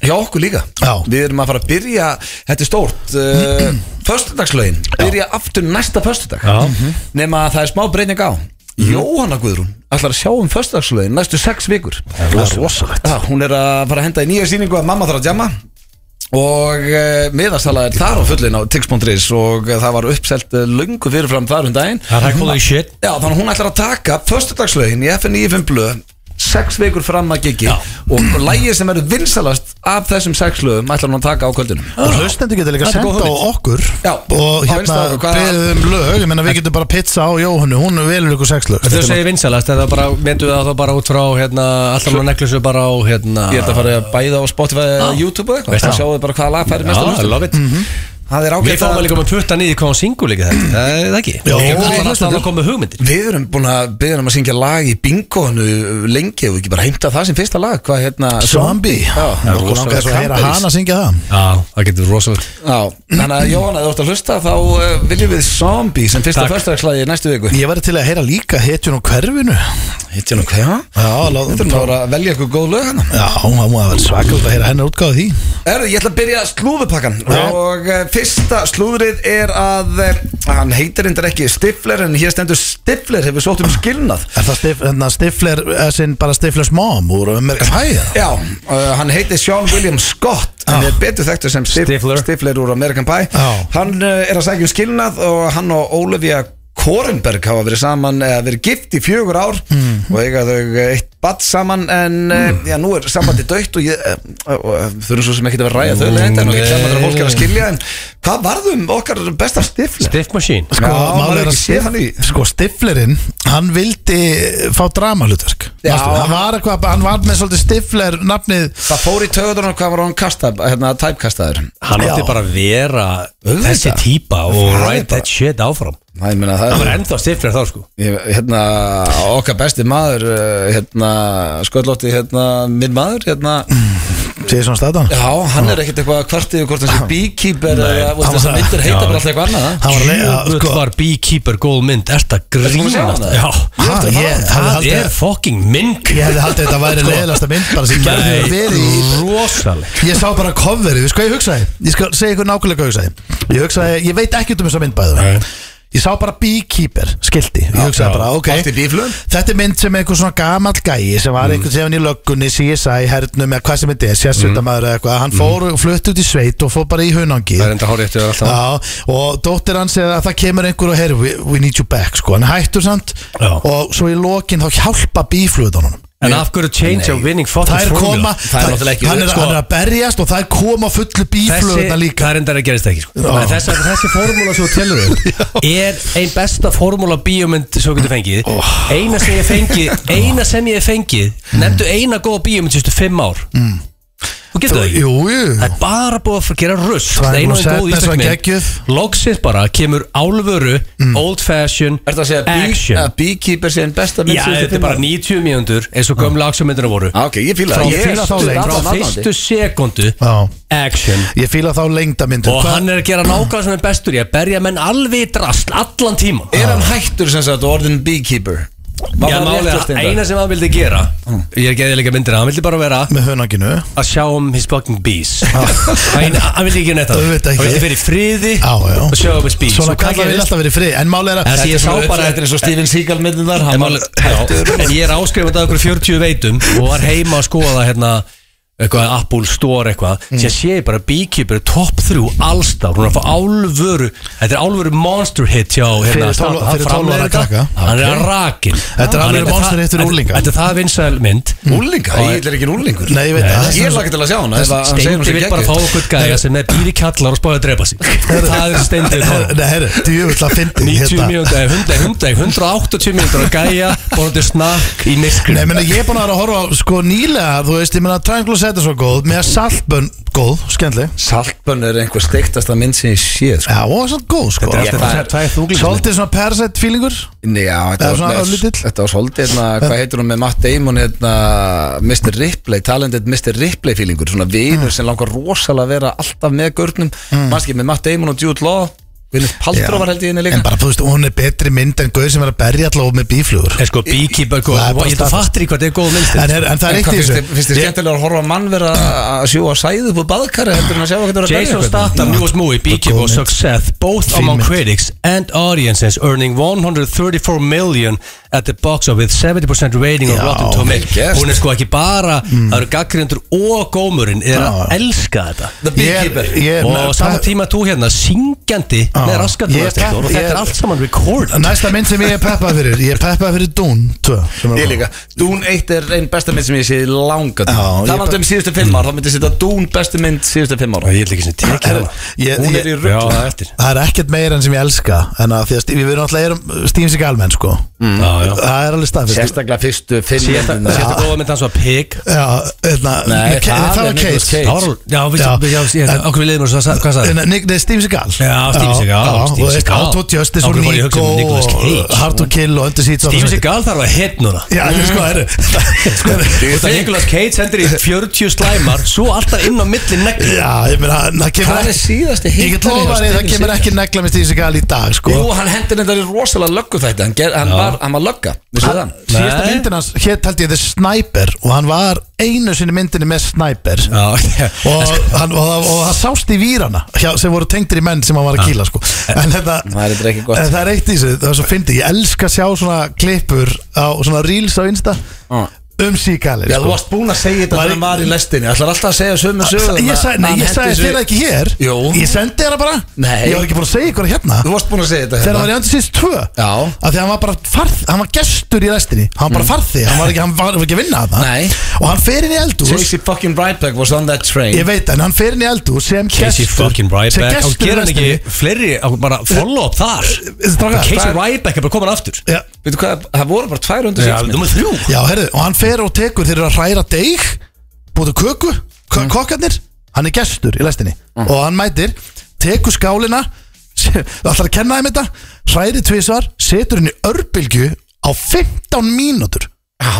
[SPEAKER 1] hjá okkur líka
[SPEAKER 2] Já.
[SPEAKER 1] Við erum að fara að byrja, þetta er stórt uh, Föstudagslögin, byrja aftur næsta föstudag
[SPEAKER 3] Já. Mhm.
[SPEAKER 1] nema að það er smá breyning á Jóhanna Guðrún ætlar að sjá um föstudagslögin næstu sex vikur
[SPEAKER 2] rosalegt
[SPEAKER 1] Já, hún er að fara að henda í nýja síningu að mamma þarf að djama og uh, miðastala er þar á fullin á tix.is og eh, það var uppselt uh, lungu fyrirfram þar um daginn
[SPEAKER 3] Það er hægt hóðið í shit
[SPEAKER 1] Já, þannig að hún ætlar að taka föstudagslögin í FN95 blöð sex vikur fram að gigi og lægið sem verður vinsalast af þessum sex lögum ætlar hún að taka á kvöldunum
[SPEAKER 2] Og hlustendur getur líka
[SPEAKER 3] Ah. Þetta er góð
[SPEAKER 2] senda á
[SPEAKER 3] hugmynd.
[SPEAKER 2] okkur
[SPEAKER 1] Já, á
[SPEAKER 2] og hérna
[SPEAKER 1] Instagram, hvað-
[SPEAKER 2] beðið um lög, ég menna við getum bara pizza á Jóhannu, hún velur ykkur sex lög
[SPEAKER 3] Þau segir vinsalast, það bara, myndu það þá bara út frá hérna, alltaf maður neklusu bara á hérna
[SPEAKER 1] Ég ætla að fara að bæða á Spotify eða YouTube og eitthvað,
[SPEAKER 3] Veist
[SPEAKER 1] það
[SPEAKER 3] það.
[SPEAKER 1] sjáðu bara hvaða lag færi mest á
[SPEAKER 3] Já, I
[SPEAKER 1] hlustum
[SPEAKER 3] love it
[SPEAKER 1] Það er
[SPEAKER 3] Við
[SPEAKER 1] ágætt
[SPEAKER 3] fáum að líka með putta niður hvað hún syngur líka þetta Það er það ekki
[SPEAKER 2] Jó,
[SPEAKER 3] Við
[SPEAKER 2] við
[SPEAKER 3] fáum alltaf
[SPEAKER 2] hlustendur.
[SPEAKER 3] að koma með hugmyndir
[SPEAKER 1] Við erum búin að byggja um að syngja lag í bingoinu lengi og ekki bara heimta það sem fyrsta lag hvað hérna
[SPEAKER 2] Zombie
[SPEAKER 1] Já,
[SPEAKER 2] Já, Okkur langar svo að heyra hana syngja það
[SPEAKER 3] Já, það getur rosalega
[SPEAKER 1] Já, þannig að Jóhanna, ef þú ert að hlusta þá uh, viljum við Zombie sem fyrsta
[SPEAKER 3] Takk.
[SPEAKER 1] fyrstagslægi næstu viku
[SPEAKER 2] Ég væri til að heyra líka hetjun á hverfinu
[SPEAKER 1] Hittjum nú hvað?
[SPEAKER 2] Já, lá-
[SPEAKER 1] Þetta er nú að velja eitthvað góð lög hérna
[SPEAKER 2] Já, hún var múið að vera svakalega að heyra hennar útgáðu því
[SPEAKER 1] Erðu, ég ætla að byrja slúðupakkan
[SPEAKER 2] Já.
[SPEAKER 1] og uh, fyrsta slúðrið er að uh, hann heitir endur ekki Stifler en hér stendur Stifler hefur sótt um skilnað
[SPEAKER 2] Er það stif, hérna, stifler, sin bara stiflers mom úr American Pie? eða?
[SPEAKER 1] Já, uh, hann heitir Sean William Scott en
[SPEAKER 2] Já.
[SPEAKER 1] er betur þekktur sem Stif
[SPEAKER 3] Stifler.
[SPEAKER 1] Stifler. úr American Pie
[SPEAKER 2] Já.
[SPEAKER 1] Hann uh, er að sækja um skilnað og hann og Olivia Korenberg hafa verið saman eða verið gift í fjögur ár og eiga þau eitt badd saman en mm. já, nú er sambandi döitt og ég eh, og, eh, þurfum svo sem ekki að vera að ræða þau leitt en ekki saman þegar fólk er að skilja en hvað varðum okkar besta Stifler?
[SPEAKER 3] Stiff Machine
[SPEAKER 1] Já, maður er ekki séð hann í
[SPEAKER 2] sko, stiflerinn, hann vildi fá dramalutverk
[SPEAKER 1] Já.
[SPEAKER 2] Hann var eitthvað, hann var með svolítið stifler nafnið
[SPEAKER 1] Það fór í töðunum hvað var hann kastað, hérna, tæpkastaður
[SPEAKER 3] Hann
[SPEAKER 2] Já.
[SPEAKER 3] átti bara að vera
[SPEAKER 1] Auðvitað.
[SPEAKER 3] þessi típa og
[SPEAKER 1] Það er
[SPEAKER 3] write
[SPEAKER 1] bara-
[SPEAKER 3] that shit áfram
[SPEAKER 1] Það, ég meina, það
[SPEAKER 3] Það var
[SPEAKER 1] er
[SPEAKER 3] ennþá stiflir þá sko
[SPEAKER 1] Ég- hérna, okkar besti maður eh, hérna, sköldlótti hérna, minn maður hérna,
[SPEAKER 2] Segir svona statan
[SPEAKER 1] já, hann er ekkert eitthvað kvartið yfir hvort hann sé beekeeper eða
[SPEAKER 3] hann
[SPEAKER 1] voru þess að
[SPEAKER 2] var-
[SPEAKER 1] myndir heita
[SPEAKER 3] já.
[SPEAKER 1] bara alltaf eitthvað annað
[SPEAKER 2] Hann var að leiða
[SPEAKER 3] Jöfull
[SPEAKER 2] sko,
[SPEAKER 3] var Beekeeper góð mynd Ertu að
[SPEAKER 1] Ertu búin að sjá
[SPEAKER 3] grínast?
[SPEAKER 1] hana?
[SPEAKER 3] Já
[SPEAKER 2] Ég eftir að fara á hana.
[SPEAKER 3] Það
[SPEAKER 2] Ég
[SPEAKER 3] er
[SPEAKER 2] hefði-
[SPEAKER 3] fucking mynd
[SPEAKER 2] Ég hefði haldið að þetta
[SPEAKER 1] Sko.
[SPEAKER 2] væri leiðilegasta mynd bara sem gerði hefur verið í
[SPEAKER 3] rosaleg
[SPEAKER 2] Ég sá bara coverið, við sko ég hugsaði Ég skal segja ykkur nákvæmlega hvað ég hugsaði Ég hugsaði, ég veit ekkert um þessa mynd bæðu
[SPEAKER 3] Nei.
[SPEAKER 2] Ég sá bara beekeeper, skilti Ég hugsaði
[SPEAKER 3] já.
[SPEAKER 2] bara, ok
[SPEAKER 1] Allt í bíflugum?
[SPEAKER 2] Þetta er mynd sem er einhver svona gamall gæi sem
[SPEAKER 3] Mm.
[SPEAKER 2] var einhvern veginn í löggunni, CSI, hernum eða hvað sem þetta er, sérsveitamæður eða eitthvað Hann fór og flutti út í sveit og fór bara í hunangi
[SPEAKER 3] Mm. Það er enda hárið eftir alltaf
[SPEAKER 2] Já, og dóttir hans er að það kemur einhver og heyri, we, we need you back sko, hann hættur samt
[SPEAKER 3] Já.
[SPEAKER 2] og svo í lokin þá hjálpa bíflutunum
[SPEAKER 3] En af hverju change of winning fucking
[SPEAKER 2] þær koma,
[SPEAKER 3] formula
[SPEAKER 1] Það er náttúrulega ekki-
[SPEAKER 2] hann, er,
[SPEAKER 1] sko-
[SPEAKER 2] hann er að berjast og þær koma fullu
[SPEAKER 3] Þessi,
[SPEAKER 2] bíflutuna líka
[SPEAKER 3] það er enda að gerist ekki sko.
[SPEAKER 2] Já.
[SPEAKER 3] En þessi, þessi formúla sem þú telur um er ein besta formúla bíómynd sem þú getur fengið eina sem ég fengið eina sem ég hef fengið nefndu eina góða bíómynd sérstu fimm ár
[SPEAKER 2] Mm.
[SPEAKER 3] þú getur það ekki
[SPEAKER 2] Jú, jú
[SPEAKER 3] Það er bara búið að gera russ
[SPEAKER 2] Svæmur
[SPEAKER 3] Það er einu
[SPEAKER 2] og
[SPEAKER 3] og einn góð
[SPEAKER 2] Sadness var geggjuð. Mm.
[SPEAKER 3] íslensmynd Logsins bara kemur álvöru Old fashion
[SPEAKER 1] Er það að segja að bee-
[SPEAKER 3] Action
[SPEAKER 1] að beekeeper sé einn besta mynd
[SPEAKER 3] Já,
[SPEAKER 1] síðustu
[SPEAKER 3] þetta er
[SPEAKER 1] fimm
[SPEAKER 3] bara
[SPEAKER 1] ára?
[SPEAKER 3] 90 mínúndur eins og gömla aksjómyndina voru
[SPEAKER 1] Ah, Ok, ég fíla
[SPEAKER 3] Frá
[SPEAKER 1] það Ég er
[SPEAKER 3] fyrstu-
[SPEAKER 1] svolítið
[SPEAKER 3] frá
[SPEAKER 1] aðdáandi.
[SPEAKER 3] fyrstu sekundu
[SPEAKER 2] Já.
[SPEAKER 3] Action
[SPEAKER 2] Ég fíla þá lengda myndir
[SPEAKER 3] Og hann er að gera nákvæmlega sem er bestur í að berja menn alveg í drast allan tíman
[SPEAKER 1] Er hann hættur sem sagt orðin beekeeper? Var
[SPEAKER 3] Já,
[SPEAKER 1] það
[SPEAKER 3] málega,
[SPEAKER 1] réttast einnig?
[SPEAKER 3] eina sem hann vildi gera
[SPEAKER 2] Mm.
[SPEAKER 3] Ég er geðið líka myndina, hann vildi bara vera
[SPEAKER 2] með hunanginu
[SPEAKER 3] að sjá um his fucking bees Hann hann vildi ekki gera neitt að
[SPEAKER 2] Ah. Auðvitað ekki.
[SPEAKER 3] Hann vildi vera í friði
[SPEAKER 2] Já, já.
[SPEAKER 3] og sjá um his bees
[SPEAKER 2] Svona
[SPEAKER 3] Og
[SPEAKER 2] kallar
[SPEAKER 3] hvað
[SPEAKER 2] vil
[SPEAKER 3] gerist?
[SPEAKER 2] alltaf verið frið En máli er að
[SPEAKER 3] En
[SPEAKER 1] Þetta
[SPEAKER 3] Ég
[SPEAKER 1] er
[SPEAKER 3] sá
[SPEAKER 1] svona-
[SPEAKER 3] bara-
[SPEAKER 1] Þetta er eins og Steven Seagal myndin þar
[SPEAKER 3] En
[SPEAKER 1] Hann var
[SPEAKER 3] málið- já, en ég er áskrifandi að okkur 40 veitum og var heima að skoða hérna eitthvað Apple Store eitthvað mm. sem sé ég bara Beekeeper er top 3 allstar, hún er að fá álvöru þetta er álvöru monster hit hjá
[SPEAKER 2] Fyrir
[SPEAKER 3] hérna,
[SPEAKER 2] tólf-
[SPEAKER 3] hann
[SPEAKER 2] fyrir tólf
[SPEAKER 3] framleiðir
[SPEAKER 2] ára
[SPEAKER 3] þetta.
[SPEAKER 2] krakka.
[SPEAKER 3] hann er að rakin
[SPEAKER 2] Þetta Mm. er
[SPEAKER 3] Hann
[SPEAKER 2] alvöru monster hit fyrir
[SPEAKER 3] það-
[SPEAKER 2] unglinga.
[SPEAKER 3] þetta er það vinsæl mynd
[SPEAKER 1] Úlinga, ég er ekki úlingur
[SPEAKER 2] Nei, ég veit það.
[SPEAKER 1] Ég er lakið til að sjá hana ef að hann segir hún
[SPEAKER 3] Steindi
[SPEAKER 1] sé
[SPEAKER 3] vil bara fá
[SPEAKER 1] geggjuð.
[SPEAKER 3] okkur gæja sem er býri kallar og spáði að drepa sig það sko. er Steindi vil fá.
[SPEAKER 2] Nei, herru, djúvill að fyndi hérna.
[SPEAKER 3] 90 mínútur, eh, 100, 100, 180 mínútur að gæja, borðandi snakk í myrkri
[SPEAKER 2] Nei, menna, ég er búin að vera að horfa á, sko nýlega, þú veist, ég menna Triangle Set er svo góð, með saltbönn góð, skemmtli
[SPEAKER 1] Saltbönn er einhver steiktasta mynd sem ég sé sko.
[SPEAKER 2] Já, og svona góð, sko
[SPEAKER 3] Þetta er alltaf
[SPEAKER 1] Ég-
[SPEAKER 3] þessar tvær þúglíkismyndir.
[SPEAKER 2] Svolítið svona Parasite feelingur
[SPEAKER 1] Nei, Já, þetta
[SPEAKER 2] Það er
[SPEAKER 1] var,
[SPEAKER 2] svona
[SPEAKER 1] svona,
[SPEAKER 2] örlítill.
[SPEAKER 1] þetta var svolítið hérna, Hvað heitir hún með Matt Damon hérna, Mr. Ripley, talendit Mr. Ripley feelingur Svona
[SPEAKER 2] Mm.
[SPEAKER 1] vinur sem langar rosalega að vera alltaf með gurnum mm. Manski með Matt Damon og Jude Law Gwyneth Paltrow var held ég henni líka
[SPEAKER 2] En bara, þú veist, hún er betri mynd en gauð sem er að berja allavega með bíflugur
[SPEAKER 3] Er sko Beekeeper góð
[SPEAKER 2] Það er bara
[SPEAKER 3] Ég þú
[SPEAKER 2] staðfest.
[SPEAKER 3] fattir í hvað þetta er góð minnst
[SPEAKER 2] En, er, en það er
[SPEAKER 1] En
[SPEAKER 2] eitt
[SPEAKER 1] hvað
[SPEAKER 2] í
[SPEAKER 1] finnst
[SPEAKER 2] þessu
[SPEAKER 1] þér- finnst þér
[SPEAKER 2] Ég-
[SPEAKER 1] skemmtilega að horfa á mann vera að sjúa sæðu upp á baðkari heldur en að sjá hvað þetta er að berja
[SPEAKER 3] Jason
[SPEAKER 1] einhvern?
[SPEAKER 3] Statham, Newest Movie, Beekeeper og
[SPEAKER 2] mynd.
[SPEAKER 3] Success Both
[SPEAKER 2] Fín
[SPEAKER 3] among
[SPEAKER 2] mynd.
[SPEAKER 3] critics and audiences Earning 134 million at the box office 70% rating on
[SPEAKER 2] Já, Mm.
[SPEAKER 3] Rotten
[SPEAKER 1] vel gert.
[SPEAKER 3] Tomatoes Hún er sko ekki bara Það eru gaggrindur og gómurinn Er að elska þetta
[SPEAKER 1] The Beekeeper
[SPEAKER 2] Ég- ég-
[SPEAKER 3] Og saman tíma þú hérna syngjandi
[SPEAKER 2] Já.
[SPEAKER 3] með raskat
[SPEAKER 2] Ég-
[SPEAKER 3] Og þetta
[SPEAKER 2] ég-
[SPEAKER 3] er allt saman record
[SPEAKER 2] Næsta mynd sem ég er peppað fyrir Ég er peppað fyrir Dune 2 sem er
[SPEAKER 1] Ég
[SPEAKER 2] góð.
[SPEAKER 1] líka, Dune 1 er einn besta mynd sem ég sé í langa tíma.
[SPEAKER 2] Já, ég
[SPEAKER 1] Það var
[SPEAKER 2] bara-
[SPEAKER 1] um síðustu fimm ár, þá myndi ég setja Dune bestu mynd síðustu fimm ára
[SPEAKER 3] Ég vil ekki sem tekið hana
[SPEAKER 2] Ég-
[SPEAKER 1] Hún er í
[SPEAKER 2] ég-
[SPEAKER 1] rugl
[SPEAKER 3] Já, það er eftir
[SPEAKER 2] Það er ekkert meira en sem ég elska En að því að Steve- við erum alltaf erum Steve Seagal menn, sko
[SPEAKER 1] Mm.
[SPEAKER 3] Já, já
[SPEAKER 2] Það er alveg staðfyrst
[SPEAKER 1] Sérstaklega fyrstu fimm
[SPEAKER 3] Sérsta
[SPEAKER 1] myndina.
[SPEAKER 3] sérsta góða mynd hans var Pig
[SPEAKER 2] Já, hérna
[SPEAKER 1] Nei,
[SPEAKER 2] Ke-
[SPEAKER 1] það er
[SPEAKER 2] það var
[SPEAKER 1] Nicolas
[SPEAKER 2] Cage
[SPEAKER 1] Cage.
[SPEAKER 3] Árl, já, við,
[SPEAKER 2] Já.
[SPEAKER 3] já, já, já,
[SPEAKER 2] En-
[SPEAKER 3] okkur við leiðum að hvað sagði
[SPEAKER 2] Nei, Nick- nei, Steve Seagal
[SPEAKER 3] Já, Steve Seagal,
[SPEAKER 2] Já,
[SPEAKER 3] Steve
[SPEAKER 2] og veist,
[SPEAKER 3] Seagal.
[SPEAKER 2] Auto Justice og
[SPEAKER 3] Okkur var ég að hugsa
[SPEAKER 2] Nico
[SPEAKER 3] um Nicolas Cage.
[SPEAKER 2] og Hard to Kill og Under Seats og
[SPEAKER 3] Steve
[SPEAKER 2] allt
[SPEAKER 3] Seagal þarf að hit núna
[SPEAKER 2] þetta. Já, þetta er sko, herru Sko,
[SPEAKER 3] Út af Nicolas Cage sendir í 40 slæmar Svo alltaf inn á milli negli
[SPEAKER 2] Já, ég meina, hann- það kemur
[SPEAKER 1] Hvað er síðasti
[SPEAKER 2] Ég get
[SPEAKER 1] hitari hjá
[SPEAKER 2] lofa því, það
[SPEAKER 1] Steven
[SPEAKER 2] kemur
[SPEAKER 1] Seagal?
[SPEAKER 2] ekki negla með Steve Seagal í dag, sko
[SPEAKER 1] Jú, hann hendur þetta í rosalega löggu þetta Hann, ger, hann, var, hann var lögga, vissu það
[SPEAKER 2] Síðasta
[SPEAKER 3] Nei.
[SPEAKER 2] myndin hans, hér held ég The Sniper og hann var einu sinni myndinni með Sniper
[SPEAKER 3] Já,
[SPEAKER 2] og, hann, og, það- og það sást í výrana hjá, sem voru tengdir í menn sem hann var að kýla sko. en þetta,
[SPEAKER 1] Það er þetta ekki gott.
[SPEAKER 2] en það er eitt í þessu það er svo fyndi, ég elska að sjá svona klippur á svona reels á Insta
[SPEAKER 1] Já.
[SPEAKER 2] um síkali
[SPEAKER 3] Sko.
[SPEAKER 1] Já, þú varst búinn að segja þetta
[SPEAKER 2] Var-
[SPEAKER 1] þegar hann var í lestinni Það er alltaf að segja sömu söguna
[SPEAKER 2] ég sagði, nei,
[SPEAKER 1] Hann
[SPEAKER 2] ég
[SPEAKER 1] henti
[SPEAKER 2] sagði
[SPEAKER 1] þessu-
[SPEAKER 2] þér ekki hér
[SPEAKER 1] Jú.
[SPEAKER 2] ég sendi þér það bara
[SPEAKER 1] Nei.
[SPEAKER 2] ég var ekki búin að segja ykkur hérna
[SPEAKER 1] Þú varst búinn að segja þetta
[SPEAKER 2] þegar
[SPEAKER 1] hérna.
[SPEAKER 2] hann var í Andersins 2
[SPEAKER 1] Já. Mm.
[SPEAKER 2] að því hann var bara farð, hann var gestur í restinni hann var bara farði, hann var ekki, hann var ekki að vinna að
[SPEAKER 1] Nei.
[SPEAKER 2] og hann fer inn í eldús
[SPEAKER 1] Casey fucking Ryback was on that train
[SPEAKER 2] ég veit en hann fer inn í eldús sem
[SPEAKER 3] Casey
[SPEAKER 2] gestur
[SPEAKER 3] fucking
[SPEAKER 2] sem
[SPEAKER 3] Ryback
[SPEAKER 2] gestur
[SPEAKER 3] Og
[SPEAKER 2] í
[SPEAKER 3] gera hann
[SPEAKER 2] restinni
[SPEAKER 3] ekki fleiri, á- bara follow up þar
[SPEAKER 2] Strákar,
[SPEAKER 3] Casey
[SPEAKER 2] það-
[SPEAKER 3] Ryback er bara komin aftur
[SPEAKER 2] já,
[SPEAKER 1] Veitu hvað, það voru bara 200
[SPEAKER 3] Já, nummer þrjú
[SPEAKER 2] já herru, og hann fer og tekur þeir eru að hræra deig búið köku,
[SPEAKER 1] Mm.
[SPEAKER 2] mm. kokkarnir hann er gestur í restinni og hann mætir, tekur skálina Það ætlar að kenna þeim þetta Hræri tvisvar, setur henni örbylgju á 15 mínútur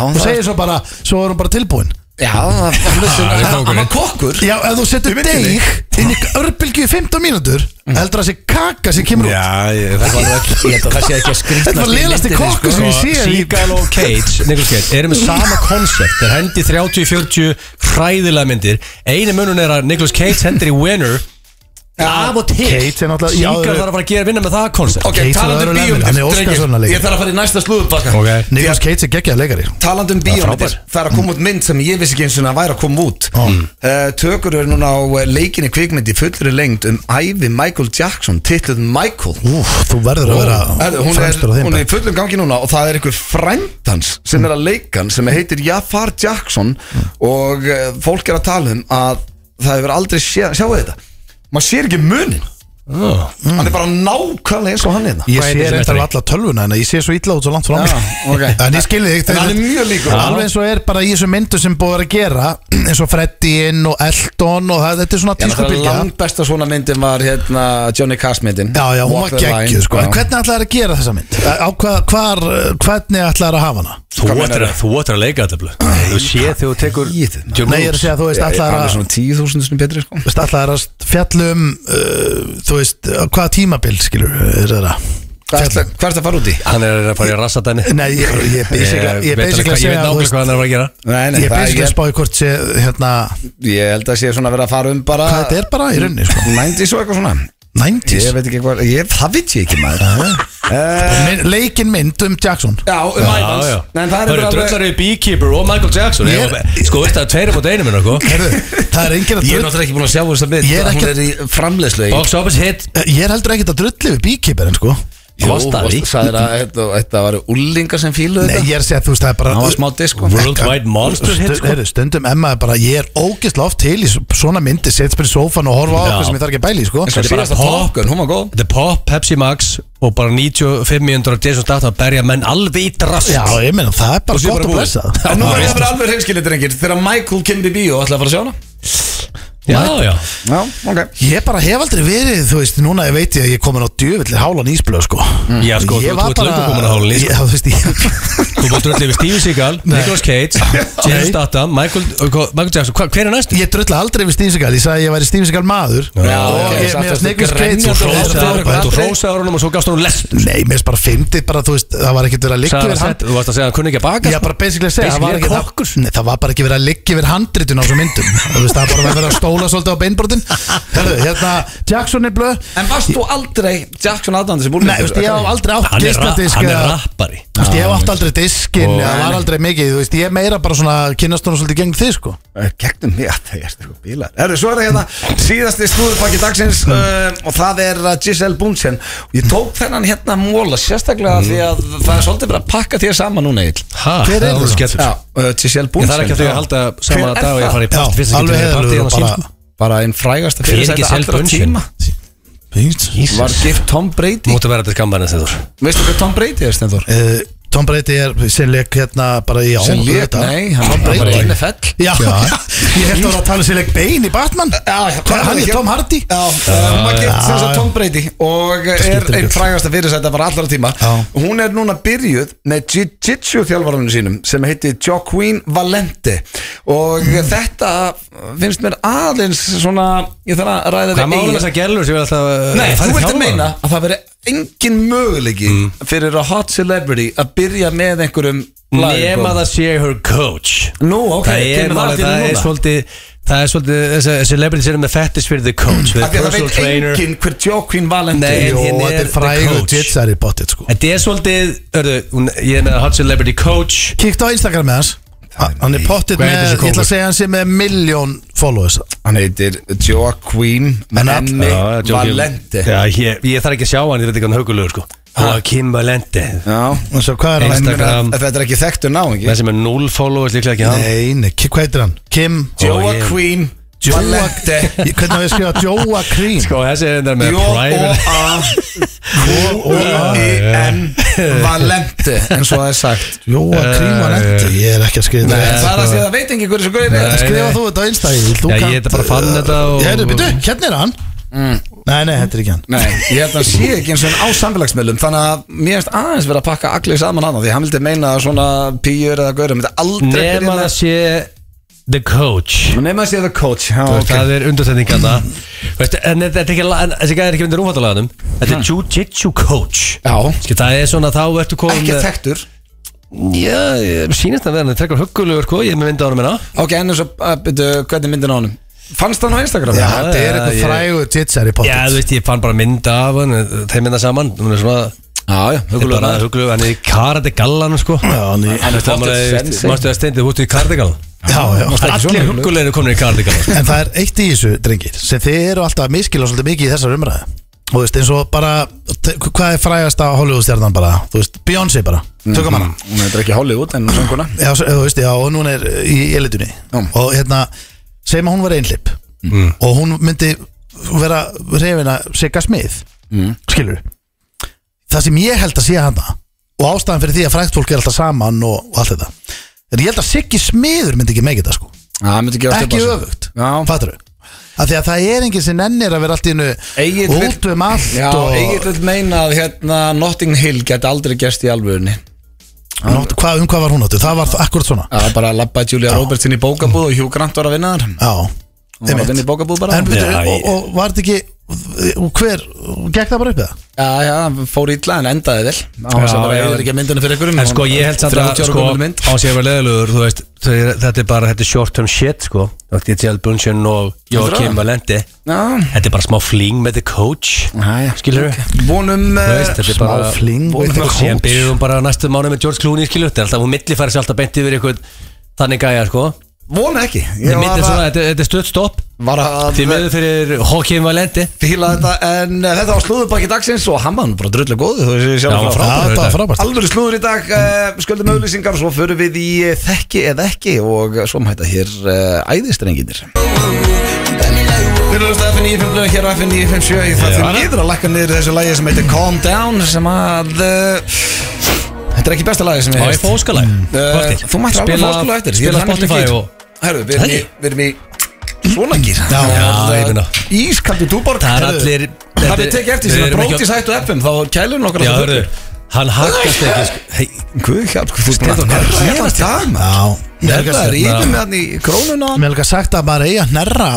[SPEAKER 2] og segir svo bara, svo er hún bara tilbúin
[SPEAKER 1] Já, það
[SPEAKER 3] það er
[SPEAKER 1] Hann
[SPEAKER 3] kóngurinn.
[SPEAKER 1] var kokkur
[SPEAKER 2] Já, ef þú setur
[SPEAKER 1] myndinni.
[SPEAKER 2] deg inn í örbylgju í 15 mínútur
[SPEAKER 1] Mm.
[SPEAKER 2] heldur það sé kaka sem kemur út
[SPEAKER 3] Já, ég- það var ekki
[SPEAKER 1] Ég held að það sé ekki að skrýtna
[SPEAKER 2] Þetta var liðlasti kokkur sem ég sé í-
[SPEAKER 3] Seagal sko. og Cage, Nicolas Cage eru með sama koncept þeir hendi 30-40 hræðilega myndir einu munun er að Nicolas Cage hendir í Winner af og til
[SPEAKER 2] Cage er náttúrulega- já,
[SPEAKER 3] Seagal
[SPEAKER 2] þeir-
[SPEAKER 3] þarf að fara að gera vinna með það koncept
[SPEAKER 1] Ok,
[SPEAKER 2] Keith
[SPEAKER 1] talandi um
[SPEAKER 2] var örugglega
[SPEAKER 1] bíómyndir,
[SPEAKER 2] með- hann er Óskarsson að
[SPEAKER 1] drengir,
[SPEAKER 2] leika.
[SPEAKER 1] Ég þarf að fara í næsta slúðupakka
[SPEAKER 3] Ok.
[SPEAKER 2] Nicholas Cage er geggjaða leikari
[SPEAKER 1] Talandi um bíómyndir, það er að koma út mynd sem ég vissi ekki eins og það væri að koma út mm. Tökur eru núna á eh, leikinni kvikmynd í fullri lengd um ævi Michael Jackson, titluð Michael
[SPEAKER 2] Úf, þú verður
[SPEAKER 1] Herðu,
[SPEAKER 2] að vera
[SPEAKER 1] hún, er,
[SPEAKER 2] fremstur á þeim Mm.
[SPEAKER 1] hún er
[SPEAKER 2] bæ.
[SPEAKER 1] í fullum gangi núna og það er einhver frændans sem er að leika hann sem heitir Jafar Jackson
[SPEAKER 2] Mm.
[SPEAKER 1] og uh, fólk er að tala um að það hefur aldrei sé, sjáu þetta maður sér ekki munin
[SPEAKER 3] Oh.
[SPEAKER 1] hann er bara nákvæmlega eins og hann hérna
[SPEAKER 2] Mm. Ég
[SPEAKER 3] Hvað
[SPEAKER 2] sé
[SPEAKER 3] heitir þessi
[SPEAKER 2] reyndar
[SPEAKER 3] meistari?
[SPEAKER 2] alla tölvuna en ég sé svo illa út svo langt frá mig
[SPEAKER 1] Já, ok.
[SPEAKER 2] En ég skilði þig
[SPEAKER 1] En hann er
[SPEAKER 2] þeir-
[SPEAKER 1] mjög líkur.
[SPEAKER 2] Alveg eins og er bara í þessu myndu sem búið að vera að gera eins og Freddy inn og Elton og það, þetta er svona
[SPEAKER 1] Já, náttúrulega
[SPEAKER 2] tískubylgja
[SPEAKER 1] langt besta svona myndin var hérna Johnny Cash myndin
[SPEAKER 2] Já, já, hún var geggjuð sko En hvernig ætlaði að gera þessa mynd? Á hvað, hvar, hvernig ætlaði að hafa hana?
[SPEAKER 3] Þú
[SPEAKER 1] Hvað
[SPEAKER 3] ættir
[SPEAKER 1] meinarðu?
[SPEAKER 3] að, þú ættir að leika þetta blöð. Þú sé þegar þú tekur
[SPEAKER 1] Ítið, maður.
[SPEAKER 3] Jim
[SPEAKER 2] Nei, ég er að
[SPEAKER 3] Rhodes.
[SPEAKER 2] segja að þú veist ætlaði
[SPEAKER 1] Það er
[SPEAKER 2] að
[SPEAKER 1] svona tíu þúsund sinni betri sko
[SPEAKER 2] Þú ætlaði að fjalla um uh, þú veist, á hvaða tímabil skilur er það að
[SPEAKER 1] Hvað
[SPEAKER 2] fjalla
[SPEAKER 1] ertu-
[SPEAKER 2] um?
[SPEAKER 1] Hvað er það fara út í?
[SPEAKER 3] Hann er að fara í rassadæni
[SPEAKER 2] Nei, ég, ég,
[SPEAKER 3] Ég
[SPEAKER 2] basically- ég,
[SPEAKER 3] veit alveg
[SPEAKER 2] basically
[SPEAKER 3] hvað- ég
[SPEAKER 2] segja
[SPEAKER 3] veit
[SPEAKER 2] að þú
[SPEAKER 3] nákvæmlega
[SPEAKER 2] veist,
[SPEAKER 3] hvað hann er að fara að gera
[SPEAKER 1] Nei, nei,
[SPEAKER 2] ég
[SPEAKER 1] það
[SPEAKER 2] basically
[SPEAKER 1] ég,
[SPEAKER 2] spáði hvort sé hérna,
[SPEAKER 1] ég held að sé svona verið að fara um bara
[SPEAKER 2] hvað þetta er bara í rauninni sko.
[SPEAKER 1] 90s og eitthvað svona
[SPEAKER 2] 90s
[SPEAKER 1] Ég veit ekki hvað, ég, það veit ég ekki maður uh,
[SPEAKER 2] Myn- Leikinn mynd um Jackson
[SPEAKER 1] Já, um æfans
[SPEAKER 3] já.
[SPEAKER 1] En það er
[SPEAKER 3] eru
[SPEAKER 1] bara
[SPEAKER 3] dröllar
[SPEAKER 1] alveg
[SPEAKER 3] í Beekeeper og Michael Jackson
[SPEAKER 2] Ég-
[SPEAKER 3] ég, Sko, veist það, tveir á sko? mót einu minn okkur
[SPEAKER 2] Heyrðu, Það er enginn að
[SPEAKER 1] Ég er
[SPEAKER 2] drull
[SPEAKER 1] náttúrulega ekki búin að sjá þess að mynd
[SPEAKER 2] Ég er ekki-
[SPEAKER 1] Hún er í framleiðslu
[SPEAKER 3] sko. Box office hit
[SPEAKER 2] Ég er heldur ekkert að drulli við bíkipirinn sko
[SPEAKER 3] Kostaði
[SPEAKER 1] Sæðir að þetta- þetta var úlingar sem fíluðu
[SPEAKER 2] Nei,
[SPEAKER 1] þetta
[SPEAKER 2] ég er að segja, þú veist, það er bara
[SPEAKER 1] Það var smá sko.
[SPEAKER 3] sko.
[SPEAKER 1] disko
[SPEAKER 3] Worldwide monster hit
[SPEAKER 2] Stu-
[SPEAKER 3] sko.
[SPEAKER 2] heyrðu, Stundum Emma er bara, ég er ógeðslega oft til í svo- svona myndi, setst bara í sófan og horfa á
[SPEAKER 3] Já.
[SPEAKER 2] okkur sem ég þarf ekki að bæli, sko
[SPEAKER 1] Þetta er bara
[SPEAKER 3] Síðasta Top
[SPEAKER 1] tókun, hún var góð
[SPEAKER 3] The Pop, Pepsi Max og bara 9500 Jason Statham að berja menn alveg í drast
[SPEAKER 2] Já, ég meina, það er
[SPEAKER 3] Og
[SPEAKER 2] bara
[SPEAKER 3] sé bara
[SPEAKER 2] gott að
[SPEAKER 3] búið.
[SPEAKER 2] blessa
[SPEAKER 1] En nú verður það bara alveg hreinskilið drengir Þegar Michael kemdi í bíó ætlaði að fara að sjá hana
[SPEAKER 3] já, já.
[SPEAKER 1] Já, ok
[SPEAKER 2] Ég bara hef aldrei verið, þú veist, núna ég veit ég að ég er komin á djöfullir hálan ísblöð, sko
[SPEAKER 3] já sko, þú
[SPEAKER 2] Ég
[SPEAKER 3] þú
[SPEAKER 2] var
[SPEAKER 3] ert
[SPEAKER 2] bara-
[SPEAKER 3] löngu komin að hálun í
[SPEAKER 2] Já, þú veist, ég
[SPEAKER 3] Þú búið drullið við Steve Seagal, Nicolas Cage Jason
[SPEAKER 2] Nei.
[SPEAKER 3] Statham, Michael, uh, Michael Jackson Hva, Hver er næstu?
[SPEAKER 2] Ég drulla aldrei við Stífisakal, ég sagði að ég væri Stífisakal maður
[SPEAKER 1] Já,
[SPEAKER 2] Og
[SPEAKER 1] ok.
[SPEAKER 2] ég- mér
[SPEAKER 1] Samt
[SPEAKER 2] finnst
[SPEAKER 1] ertu
[SPEAKER 2] Nicolas Cage
[SPEAKER 1] grenjandi
[SPEAKER 2] og
[SPEAKER 1] og
[SPEAKER 2] Sylvester
[SPEAKER 1] rósaður
[SPEAKER 2] Stallone.
[SPEAKER 1] eitthvað.
[SPEAKER 3] Þú rósaður honum og svo gafst honum lest
[SPEAKER 2] Nei, mér finnst bara fyndið bara, þú veist, það var ekkert verið að liggja
[SPEAKER 3] Sagði
[SPEAKER 2] yfir
[SPEAKER 3] hann
[SPEAKER 2] hand
[SPEAKER 3] að- Þú varst að segja að hann kunni ekki að baka sko.
[SPEAKER 2] Já, bara basically að segja það var
[SPEAKER 3] Basically
[SPEAKER 2] ekki,
[SPEAKER 3] er
[SPEAKER 2] það, nei, það var bara ekki verið að liggja yfir handritun á þessum myndum Þú veist, Það var bara verið að stóla svolítið á beinbrotin Herðu, hérna, Jackson er blöð
[SPEAKER 1] En varst þú aldrei Jackson Adams í búinu?
[SPEAKER 2] Nei, þú veist, ég hef aldrei átt
[SPEAKER 3] Hann er, ra
[SPEAKER 2] geisladisk
[SPEAKER 3] hann er
[SPEAKER 2] eða-
[SPEAKER 3] rappari
[SPEAKER 2] Þú veist, ég hef átt aldrei diskin
[SPEAKER 3] Og-
[SPEAKER 2] eða var aldrei mikið, þú veist, ég er meira bara svona kynast hún svolítið gegn þig, sko
[SPEAKER 1] Eh, Gegnum mig að það er eitthvað bílar Erðu, svo er það hérna síðasti slúðupakki dagsins uh, og það er uh, Giselle Bunchen og ég tók þennan hérna móla sérstaklega því að það er svolítið bara að pakka þér saman núna Egil
[SPEAKER 3] Ha,
[SPEAKER 2] Hver er
[SPEAKER 3] það
[SPEAKER 2] það?
[SPEAKER 3] skellur.
[SPEAKER 1] Já, uh, Giselle
[SPEAKER 3] Ég
[SPEAKER 1] Bunchen
[SPEAKER 3] þarf ekki að þau að halda sama
[SPEAKER 1] Hver er
[SPEAKER 3] dag og ég
[SPEAKER 1] það?
[SPEAKER 3] fari í
[SPEAKER 2] Já,
[SPEAKER 3] part fyrsta
[SPEAKER 2] alveg
[SPEAKER 3] skipti fyrir partí
[SPEAKER 2] heiðalur
[SPEAKER 3] hann
[SPEAKER 2] og bara
[SPEAKER 3] á sín
[SPEAKER 1] Bara einn frægasta
[SPEAKER 3] Hver er Giselle
[SPEAKER 1] allra
[SPEAKER 3] Bundchen?
[SPEAKER 1] tíma
[SPEAKER 2] Fínt.
[SPEAKER 1] Var gift Tom Brady
[SPEAKER 3] Móta vera til skambarnið þegar
[SPEAKER 1] Veistu hvað Tom Brady er, Stenþór?
[SPEAKER 2] Eh, Tom Brady er sem leik hérna bara í án
[SPEAKER 1] Sem lék, nei, hann
[SPEAKER 2] Tom
[SPEAKER 1] var bara í
[SPEAKER 2] Brady
[SPEAKER 1] NFL
[SPEAKER 2] Já, ég held að vera að tala sér leik bein í Batman
[SPEAKER 1] Já,
[SPEAKER 2] Hvað, hann er Tom Hardy
[SPEAKER 1] Já, uh, hún var gift sem sagt Tom Brady og er
[SPEAKER 2] skiptir
[SPEAKER 1] einn
[SPEAKER 2] ekki.
[SPEAKER 1] frægasta fyrirsæta bara allra tíma
[SPEAKER 2] Já.
[SPEAKER 1] Hún er núna byrjuð með jiu-jitsu þjálfarunum sínum sem heitir Joaquin Valente og þetta finnst mér aðeins svona, ég þarf að ræða
[SPEAKER 3] Hvað mála
[SPEAKER 1] Egil.
[SPEAKER 3] þess að gerlur sem ég ætla að eh,
[SPEAKER 1] Nei, þú
[SPEAKER 3] fara í
[SPEAKER 1] ert að
[SPEAKER 3] þjálfara?
[SPEAKER 1] meina að það veri engin möguleiki
[SPEAKER 3] Mm.
[SPEAKER 1] fyrir að hot celebrity að byrja með einhverjum sko.
[SPEAKER 3] Nema um það sé her coach
[SPEAKER 1] Nú, ok,
[SPEAKER 3] Það er
[SPEAKER 1] kemur
[SPEAKER 3] málið,
[SPEAKER 1] allt í
[SPEAKER 3] það er
[SPEAKER 1] núna
[SPEAKER 3] svolítið Það er svolítið, þessi celebrities eru með fettis fyrir the coach
[SPEAKER 1] Af því
[SPEAKER 3] the
[SPEAKER 1] að það
[SPEAKER 3] personal
[SPEAKER 1] veit
[SPEAKER 3] trainer
[SPEAKER 1] enginn hver Joaquin Valente
[SPEAKER 3] Nei,
[SPEAKER 1] er.
[SPEAKER 2] Jó,
[SPEAKER 3] hérna
[SPEAKER 2] þetta
[SPEAKER 3] er
[SPEAKER 2] er
[SPEAKER 3] the
[SPEAKER 2] frægur
[SPEAKER 3] coach.
[SPEAKER 2] jitsar í botið, sko
[SPEAKER 3] Þetta er svolítið, örðu, hún- ég er með hot celebrity coach
[SPEAKER 2] Kíkt á Instagram með hans Hann er potið með,
[SPEAKER 3] Hvað heitir þessi
[SPEAKER 2] ég
[SPEAKER 3] kókur?
[SPEAKER 2] ætla að segja hann sé með miljón followers
[SPEAKER 1] Hann heitir Joaquin
[SPEAKER 2] all-
[SPEAKER 1] Menni
[SPEAKER 3] Já, Joaquin-
[SPEAKER 1] Valente
[SPEAKER 3] Já, ég, ég þarf ekki að sjá hann, ég veit ekki hann haugulegur sko Joaquin Valente
[SPEAKER 1] Já
[SPEAKER 2] Og svo hvað er
[SPEAKER 1] En
[SPEAKER 2] hann?
[SPEAKER 3] Insta- Instagram.
[SPEAKER 1] meina, Þetta er ekki þekktur náingi
[SPEAKER 3] Það sem er 0 followers líklega ekki hann
[SPEAKER 2] Nei, nei, ki- hvað heitir hann? Kim
[SPEAKER 1] Joaquin Valente
[SPEAKER 2] Ég- Hvernig á ég að skrifa Joa Cream?
[SPEAKER 3] Sko, þessi er þetta með private
[SPEAKER 1] J-O-A-Q-U-I-N Valente En svo það er sagt
[SPEAKER 2] Joa
[SPEAKER 3] eh,
[SPEAKER 2] Cream var endi Ég er ekki að skrifa
[SPEAKER 1] En
[SPEAKER 2] þetta
[SPEAKER 1] Það er að því að það veit engin hverju svo gauðir
[SPEAKER 3] sko. Nei.
[SPEAKER 1] er
[SPEAKER 2] Skrifa þú þetta á Instagram
[SPEAKER 3] Já, ég er bara fann þetta og-
[SPEAKER 2] Ég er, byrju, hérna er hann Nei, nei, þetta er ekki hann
[SPEAKER 1] Nei, ég held að hann sé ekki eins og hann á samfélagsmiðlum Þannig að mér finnst aðeins verið að pakka allir saman hana Því hann vildi meina að svona pýjur eða gaurum Þetta aldrei
[SPEAKER 3] Nefn að það sé The Coach
[SPEAKER 1] Nefn að sé the coach Já,
[SPEAKER 3] Þú veist,
[SPEAKER 1] ok
[SPEAKER 3] Það er undarsetning að það En þetta er ekki, en þessi gæði er ekki undir umfattalaganum Þetta er Jiu-Jitsu Coach
[SPEAKER 1] Já,
[SPEAKER 3] Skil, Það er svona, þá ertu komin
[SPEAKER 1] ekki
[SPEAKER 3] með-
[SPEAKER 1] þekktur
[SPEAKER 3] Já, ég- sýnist að vera hann Trekkar huggulegur, sko, ég er með myndi á hann minna
[SPEAKER 1] Ok, en þess að, byrju, hvernig er myndin á honum? Fannst hann á Instagram?
[SPEAKER 2] Já, þetta er eitthvað
[SPEAKER 3] ég-
[SPEAKER 2] frægur titsar í
[SPEAKER 3] Já, þú
[SPEAKER 2] pottet
[SPEAKER 3] veist, ég fann bara mynda af hann Þeim mynda saman, hún er svona
[SPEAKER 1] já, já
[SPEAKER 3] Huggulegur, bara
[SPEAKER 1] huggulegur
[SPEAKER 3] huggulegur, hann er í karate gallan, sko
[SPEAKER 2] Já, hann í-
[SPEAKER 1] Hann er pottet sensei.
[SPEAKER 3] Mástu að steindi, þú ertu í karate gallan
[SPEAKER 2] já, já
[SPEAKER 1] svona
[SPEAKER 3] Allir
[SPEAKER 1] huggulegur.
[SPEAKER 3] huggulegur er komin í karate gallan sko.
[SPEAKER 2] En það er eitt í þessu, drengir sem þið eru alltaf að miskila svolítið mikið í þessar umræðu og þú veist, eins og bara te- hvað er frægasta Hollywoodstjarnan bara þú veist, Beyoncé bara,
[SPEAKER 1] Mm.
[SPEAKER 2] tökum hana
[SPEAKER 1] Hún heitir ekki Hollywood en sönguna
[SPEAKER 2] já, s- þú veist, já, og núna er eh, í elitunni og hérna, segjum að hún var einhlipp og hún myndi vera reyfina Sigga Smith mm. skilur það sem ég held að sé hana og ástæðan fyrir því að frægt fólk er alltaf saman og, og allt þetta en ég held að Siggi Smiður myndi ekki meikið það sko
[SPEAKER 1] Já, hann myndi gefast upp á
[SPEAKER 2] ekki
[SPEAKER 1] sig.
[SPEAKER 2] öfugt
[SPEAKER 1] Já,
[SPEAKER 2] fattur þau af því að það er enginn sem ennir að vera allt í hennu
[SPEAKER 1] Egill vill-
[SPEAKER 2] út um allt
[SPEAKER 1] Já,
[SPEAKER 2] og
[SPEAKER 1] Egil vil meina að hérna Notting Hill geti aldrei gerst í alvöðunni
[SPEAKER 2] Nótt, hvað, um hvað var hún áttu, það var akkurat svona
[SPEAKER 1] Það var bara að labba Julia Roberts inn í bókabúð og Hugh Grant var að vinna þar
[SPEAKER 2] já,
[SPEAKER 1] Hún var að vinna í bókabúð bara
[SPEAKER 2] en,
[SPEAKER 3] Já,
[SPEAKER 2] já,
[SPEAKER 3] ég-
[SPEAKER 2] og, og var þetta ekki og hver, gekk það bara upp eða
[SPEAKER 1] Já, já, hann fór illa en endaði vel Það var
[SPEAKER 3] Já,
[SPEAKER 1] sem bara
[SPEAKER 3] já.
[SPEAKER 1] eða ekki að myndinu fyrir ykkur
[SPEAKER 3] En sko ég held samt að sko, á sig að vera leðilegur þú veist, þau- þetta er bara þetta er short term shit sko Daniel Bunchen og
[SPEAKER 1] Heldurðu
[SPEAKER 3] Joakim
[SPEAKER 1] það?
[SPEAKER 3] Valenti
[SPEAKER 1] Já,
[SPEAKER 3] Þetta er bara smá fling með the coach
[SPEAKER 1] já, já
[SPEAKER 3] Skilurðu?
[SPEAKER 1] Vonum eh,
[SPEAKER 3] Þú veist, þetta er
[SPEAKER 2] smá
[SPEAKER 3] bara
[SPEAKER 2] fling
[SPEAKER 1] búin
[SPEAKER 2] veit
[SPEAKER 1] með
[SPEAKER 2] ekki
[SPEAKER 1] coach.
[SPEAKER 3] Síðan
[SPEAKER 2] hvað.
[SPEAKER 3] byrjum við bara næstu mánu með George Clooney skilur Þetta er alltaf, hún millifæri sér alltaf beint yfir ykkur Þannig gæja sko
[SPEAKER 1] Vonum ekki
[SPEAKER 3] Þetta
[SPEAKER 1] Ég
[SPEAKER 3] er
[SPEAKER 1] var
[SPEAKER 3] svona,
[SPEAKER 1] að-
[SPEAKER 3] þetta þetta er stöðt stopp
[SPEAKER 1] var að
[SPEAKER 3] Því meður fyrir Joakim Valenti
[SPEAKER 1] fíla þetta En eh, þetta var slúðurbakki dagsins og hann var nú bara drullu góðu Þú veist,
[SPEAKER 3] Já, hann var
[SPEAKER 1] sjálf
[SPEAKER 3] frábær.
[SPEAKER 2] Já, þetta var frábært
[SPEAKER 1] Alvöru slúður í dag, uh, sköldum auðlýsingar Svo förum við í eh, þekki eða ekki Og svo mæta hér uh, æðistrenginir Við erum að FN957 hér á FN957 Það
[SPEAKER 3] Já.
[SPEAKER 1] fyrir niður að lakka niður í þessu lægi sem heitir Calm Down Sem að uh, Þetta er ekki besta lægi sem
[SPEAKER 3] Á
[SPEAKER 1] ég
[SPEAKER 3] ég fá óskalag
[SPEAKER 1] Eh, Þú mættir alveg fá óskalag eftir
[SPEAKER 3] Spila Spotify og
[SPEAKER 1] Herru, við erum í,
[SPEAKER 3] Nei.
[SPEAKER 1] við erum í svona gýr
[SPEAKER 2] Já,
[SPEAKER 3] já, ég meina.
[SPEAKER 1] Ískaldu túborg
[SPEAKER 3] Það er allir
[SPEAKER 1] Það við tekið eftir
[SPEAKER 3] Við
[SPEAKER 1] sem að
[SPEAKER 3] erum ekki á-
[SPEAKER 1] bróti sættu FM Þá kælum við okkur
[SPEAKER 3] Já,
[SPEAKER 1] alltaf
[SPEAKER 3] hörðu
[SPEAKER 1] fullir.
[SPEAKER 3] Hann haggast ekki sko. Hey,
[SPEAKER 1] Guð hjálp, hvað þú ert búin að
[SPEAKER 3] Steindór, hvað
[SPEAKER 1] nerra í
[SPEAKER 3] er að
[SPEAKER 1] allan
[SPEAKER 3] gerast
[SPEAKER 1] dag, maður?
[SPEAKER 2] já,
[SPEAKER 1] Nerra
[SPEAKER 2] mér
[SPEAKER 1] er
[SPEAKER 2] hefði
[SPEAKER 1] yfir með hann í krónuna
[SPEAKER 2] ekki sagt að maður eigi að nærra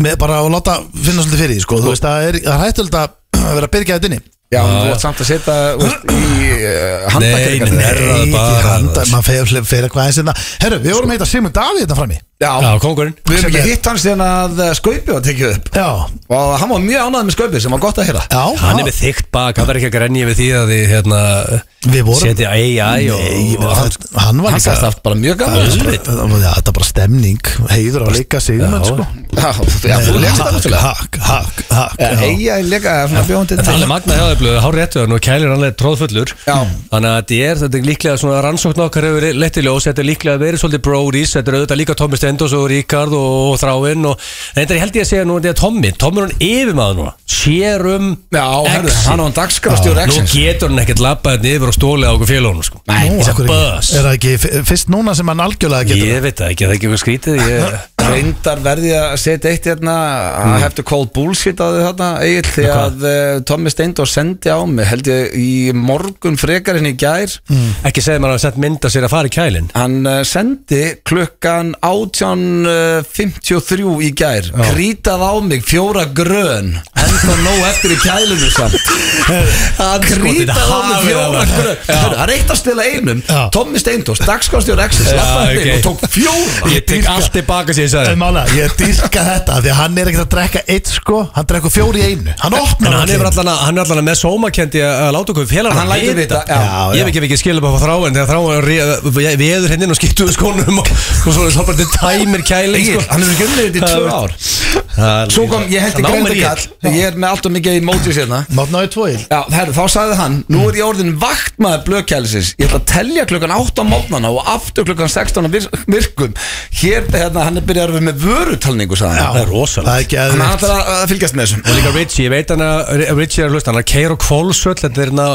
[SPEAKER 2] með bara að láta finna svolítið fyrir því sko. þú veist, það er, það er hættilegt að vera að byrgja þetta inni
[SPEAKER 1] Já, en þú ert samt að setja þú veist, í eh,
[SPEAKER 3] Nei,
[SPEAKER 1] handakirkar
[SPEAKER 3] nei, nei. Herraðu
[SPEAKER 2] Nei,
[SPEAKER 3] bara,
[SPEAKER 2] ekki handa,
[SPEAKER 3] maður.
[SPEAKER 2] maður fer, fer eitthvað aðeins hérna Herru, við vorum að heita Sigmund Davíð þetta frammi
[SPEAKER 3] Já,
[SPEAKER 1] Já,
[SPEAKER 3] kongurinn
[SPEAKER 1] við hefum
[SPEAKER 2] sem
[SPEAKER 1] ekki
[SPEAKER 2] er-
[SPEAKER 1] hitt hann síðan að eh, Skaupi var tekið upp
[SPEAKER 2] Já,
[SPEAKER 1] Og hann var mjög ánægð með Skaupi sem var gott að heyra
[SPEAKER 2] já
[SPEAKER 3] Hann er með þygt bak, hann verður ekki að grenja við því að því hérna
[SPEAKER 2] Við vorum-
[SPEAKER 3] Setja AI og
[SPEAKER 2] Nei,
[SPEAKER 3] og-
[SPEAKER 2] hann, hann var
[SPEAKER 1] Hann
[SPEAKER 2] líka
[SPEAKER 1] sagðist haft bara mjög
[SPEAKER 2] Það
[SPEAKER 1] gaman
[SPEAKER 2] var bara- það var- já, þetta er bara stemning Heiður að leika Sigmund
[SPEAKER 3] Já.
[SPEAKER 2] sko Eh,
[SPEAKER 1] Já, þú- já, þú lefst það
[SPEAKER 2] Hakk,
[SPEAKER 1] náttúrulega
[SPEAKER 2] hakk, hakk, hakk
[SPEAKER 1] Eh,
[SPEAKER 2] já.
[SPEAKER 1] Eyja er líka svona bjóndið
[SPEAKER 3] En það er alveg magnað hjá þau blöðu, hár réttu hann og kælir hann leið tróðfullur
[SPEAKER 1] Já.
[SPEAKER 3] Þannig að þetta er, þetta er líklega svona rannsókn okkar hefur leitt í ljós Þetta er líklega verið svolítið Brody's, þetta er auðvitað líka Tommi Stendos og Ríkard og, og Þráinn og En þetta er held ég að segja nú, þetta er Tommi, Tommi er hann yfirmaður núna Sér um
[SPEAKER 1] Já, herðu,
[SPEAKER 3] Exit.
[SPEAKER 1] hann var dagskrafstjóri
[SPEAKER 3] Nú
[SPEAKER 1] Exins
[SPEAKER 3] getur hann ekkert labbað hérna yfir og stólið á okkur félagunum sko
[SPEAKER 2] Nú,
[SPEAKER 3] It's a
[SPEAKER 2] akkur ekki.
[SPEAKER 3] buzz.
[SPEAKER 2] Er það ekki f- fyrst núna sem hann algjörlega getur
[SPEAKER 3] Ég veit það ekki, það er ekki eitthvað skrítið ég...
[SPEAKER 1] Reyndar verði ég að setja eitt hérna I
[SPEAKER 3] Mm.
[SPEAKER 1] have to call bullshit á því þarna Egil, því að uh, Tommy Steindor sendi á mig held ég í morgun frekarinn í gær
[SPEAKER 3] Ekki segja maður að sett mynda sér að fara í kælin
[SPEAKER 1] Hann uh, sendi klukkan eh, 18.53 í gær Krítað á mig fjóra grön Enda nóg eftir í kælinu samt Hann Krítað á mig
[SPEAKER 3] hafið
[SPEAKER 1] fjóra
[SPEAKER 3] alveg.
[SPEAKER 1] grön Hörru, Það er eitt að stela einum
[SPEAKER 2] Já.
[SPEAKER 1] Tommi Steindors, dagskostjór Exis
[SPEAKER 3] Já,
[SPEAKER 1] Lappaði
[SPEAKER 3] ok.
[SPEAKER 1] inn og tók fjóra
[SPEAKER 3] Ég tek allt tilbaka sér ég sagði
[SPEAKER 2] En mála, ég dýrka þetta af Því að hann er ekkert að drekka eitt sko Hann drekku fjóri í einu Hann
[SPEAKER 3] En
[SPEAKER 2] opnar
[SPEAKER 3] hann
[SPEAKER 2] öll
[SPEAKER 3] er
[SPEAKER 2] einu.
[SPEAKER 3] allan, að- hann er allan að með sómakendi að að láta okkur félagar
[SPEAKER 1] Hann lætur vita, já.
[SPEAKER 2] Já,
[SPEAKER 3] Ég hef ekki ekki skilum á þráin þegar þráin ré- veður hennin og skiptu við skónum og, og svo er það bara þetta tæmir kælin
[SPEAKER 1] Egil,
[SPEAKER 3] sko.
[SPEAKER 1] hann hefur ekki unnið þetta í tvö ár
[SPEAKER 3] Það er-
[SPEAKER 1] Svo kom, ég hendi
[SPEAKER 3] Það námið ég.
[SPEAKER 1] grendakall Ég er með allt og mikið í mótis hérna
[SPEAKER 2] Mátt náðu tvo í
[SPEAKER 1] Já, herru, þá sagði hann Nú er ég orðin vaktmaður blökkjælisins Ég ætla að telja klukkan 8 á mótnana og aftur klukkan 16 á vir- virkum Hér, hérna, hann er byrjar við með vörutalningu, sagði hann
[SPEAKER 3] Það er rosalegt.
[SPEAKER 2] Það er ekki
[SPEAKER 1] Þannig að hann
[SPEAKER 2] eðvikt
[SPEAKER 1] þarf að- að fylgjast með þessum
[SPEAKER 3] Og líka Richie, ég veit hann að Richie er að hlusta hann að keira og kvólsöll Þetta er hérna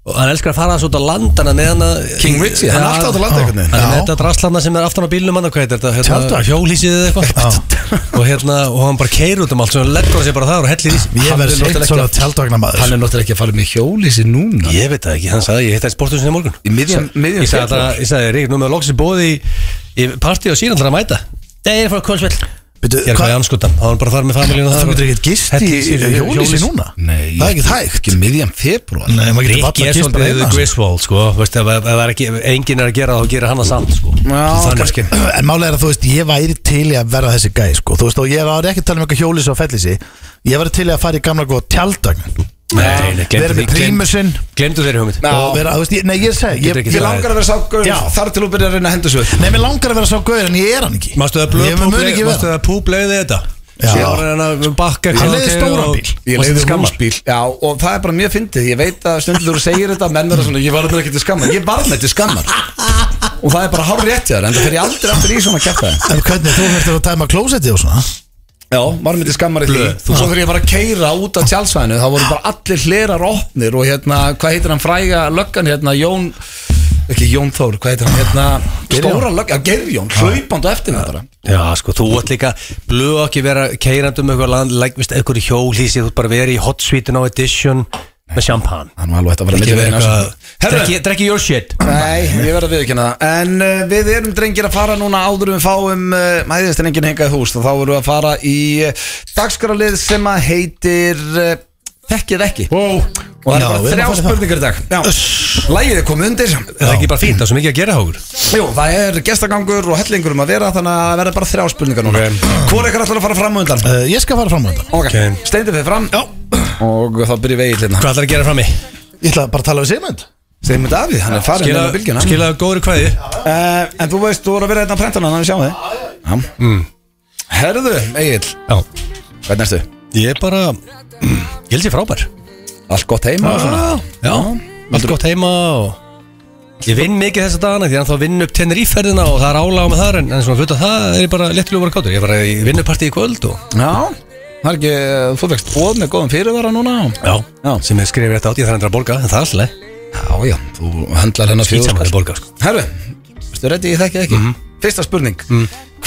[SPEAKER 3] og hann elskar að fara þessu út á landana meðan að
[SPEAKER 1] King Richie, hann er
[SPEAKER 3] Já,
[SPEAKER 1] alltaf út á landa einhvern veginn.
[SPEAKER 3] hann er með
[SPEAKER 2] Já.
[SPEAKER 3] þetta draslana sem er aftan á bílnum hann og hvað heitir þetta, hérna,
[SPEAKER 2] Tjaldvagn.
[SPEAKER 3] hjólísið eða eitthvað og hérna, og hann bara keir út um allt sem hann leggur á sig bara þar og hellir í sig.
[SPEAKER 2] Ég
[SPEAKER 1] Hann
[SPEAKER 2] verð
[SPEAKER 1] er náttúrulega
[SPEAKER 2] sveitt svona
[SPEAKER 1] ekki-
[SPEAKER 2] tjaldvagnar
[SPEAKER 1] Hann
[SPEAKER 2] maður
[SPEAKER 1] er náttúrulega ekki að fara með hjólísi núna
[SPEAKER 3] ég veit það ekki, hann sagði, ég hitt einn sporthúsin í morgun
[SPEAKER 1] Í miðjum- miðjum
[SPEAKER 3] ég sagði,
[SPEAKER 1] fjall.
[SPEAKER 3] það- ég sagði, Rík, nú með loksins bóði í, í partí og síðan þarf að mæta Nei, ég er frá Kólsvell
[SPEAKER 2] Bíddu,
[SPEAKER 3] Ég er hvað í
[SPEAKER 2] hvað-
[SPEAKER 3] anskutan, þá var hann bara þar með familínu
[SPEAKER 2] Þú getur ekkert gist í
[SPEAKER 3] Hellir sér í hjólhýsi.
[SPEAKER 2] hjólísi núna
[SPEAKER 1] Nei,
[SPEAKER 2] Það er ekkert hægt
[SPEAKER 1] ekki miðjan februar
[SPEAKER 2] Nei, maður getur
[SPEAKER 3] Rikki
[SPEAKER 2] bara
[SPEAKER 3] er
[SPEAKER 2] gist bara
[SPEAKER 3] svolítið the
[SPEAKER 2] eina
[SPEAKER 3] Griswold sko, veist, ef, ef, ef, er ekki, ef enginn er að gera það þá gerir hann það samt sko. Þannig skil.
[SPEAKER 2] En málega er að þú veist, ég væri til í að verða þessi gæ sko. Þú veist, og ég var ekki að tala um eitthvað hjólísi og fellísi Ég væri til í að fara í gamla góða tjaldvagn
[SPEAKER 3] Nei, nei,
[SPEAKER 2] Verið með prímusinn
[SPEAKER 3] Glemdu þeirri hugmynd
[SPEAKER 1] Já.
[SPEAKER 2] og vera, þú veist, ég, nei, ég segi
[SPEAKER 3] Getur
[SPEAKER 2] ég,
[SPEAKER 3] ekki
[SPEAKER 2] ég
[SPEAKER 1] Ég
[SPEAKER 2] lang,
[SPEAKER 1] langar að vera sá gaur
[SPEAKER 2] Já.
[SPEAKER 1] Þar til þú byrjar að reyna að henda svo
[SPEAKER 2] Nei, mér langar að vera sá gauður en ég er hann ekki
[SPEAKER 3] Mástu það blöð
[SPEAKER 2] Ég mun ekki
[SPEAKER 3] Mástu
[SPEAKER 2] vera
[SPEAKER 3] það públeiði þetta
[SPEAKER 2] Já.
[SPEAKER 3] Sér var hann að bakka
[SPEAKER 2] Hann leiði stóran bíl.
[SPEAKER 1] Ég leiði húsbíl Já, og það er bara mjög fyndið Ég veit að stundur þú segir þetta Menn verða svona, ég var þetta ekki til skammar Ég var þetta til skammar Og það er bara hár rétt hjá þér En það fer ég aldrei aftur í svona kæfta
[SPEAKER 2] En hvernig, þú verður að tæma klósettið og svona
[SPEAKER 1] Já, var mér til skammar í því
[SPEAKER 3] Blöð,
[SPEAKER 1] Svo þegar ég var að keira út á tjálsvæðinu Þá voru bara allir hlerar opnir Og hérna, hvað heitir hann fræga löggan hérna Jón, ekki Jón Þór Hvað heitir hann hérna,
[SPEAKER 2] Geirjón.
[SPEAKER 1] stóra löggan Gerjón, hlaupandi á eftir mér bara
[SPEAKER 3] Já, sko, þú ert líka Blöð ekki vera keirandi um eitthvað land like, veist, Eitthvað í hjólísi, þú ert bara verið í hot suite á edition með champagne
[SPEAKER 1] Hann var alveg hægt að vera
[SPEAKER 3] Ekki
[SPEAKER 1] milli
[SPEAKER 3] vera
[SPEAKER 1] vegna,
[SPEAKER 3] eitthvað
[SPEAKER 1] sko. Herðu,
[SPEAKER 3] drekki- Drekki your shit
[SPEAKER 1] Nei, ég verð að viðkynna það En uh, við erum drengir að fara núna áður en við fáum uh, Mæðistrengin hengað í hús og Þá erum við að fara í uh, dagskrálið sem að heitir uh, Þekkið ekki
[SPEAKER 2] wow.
[SPEAKER 1] Og það er bara þrjá spurningar í dag Já. Lægið er komið undir
[SPEAKER 3] Er það ekki bara fínt, það er svo mikið að gera hágur
[SPEAKER 1] Jú, það er gestagangur og hellingur um að vera Þannig að það verða bara þrjá spurningar núna okay. Hvor ekkert ætlar að fara fram á undan?
[SPEAKER 2] uh, Ég skal fara fram á þetta
[SPEAKER 1] Ok,
[SPEAKER 3] Ok.
[SPEAKER 1] steindum við fram Já. Og þá byrjum við hérna. eiginlega
[SPEAKER 3] Hvað ætlar að gera fram í?
[SPEAKER 2] Ég ætla bara að tala við Sigmund
[SPEAKER 1] Steindum við Davíð, hann er farin með bylgjuna
[SPEAKER 3] Skilaðu góður kvæði
[SPEAKER 1] Uh, en þú veist, þú voru að vera hérna á prentana þannig að við sjáum þig Já. Herðu, Egil,
[SPEAKER 3] Já,
[SPEAKER 1] hvernig erstu?
[SPEAKER 3] ég er bara Ég held ég frábær
[SPEAKER 1] Allt gott heima og svona
[SPEAKER 3] Já, allt gott heima og Ég vinn mikið þessa dagana því að þá vinn upp tenniríferðina og það er áláð með þar en, en svona hluta það er ég bara léttilega bara kátur Ég er bara í vinnupartí í kvöld og
[SPEAKER 1] Já, það er ekki, eh, þú fegst bóð með góðum fyrirvara núna
[SPEAKER 3] Já,
[SPEAKER 1] Já.
[SPEAKER 3] sem er skrifið rétt átt, ég þarf endur að borga en það er alltaf leið.
[SPEAKER 1] Já, já, þú höndlar hennar
[SPEAKER 3] Skýt saman
[SPEAKER 1] fjögur
[SPEAKER 3] að borga sko.
[SPEAKER 1] Herðu, veistu reddi ég þekki ekki Fyrsta spurning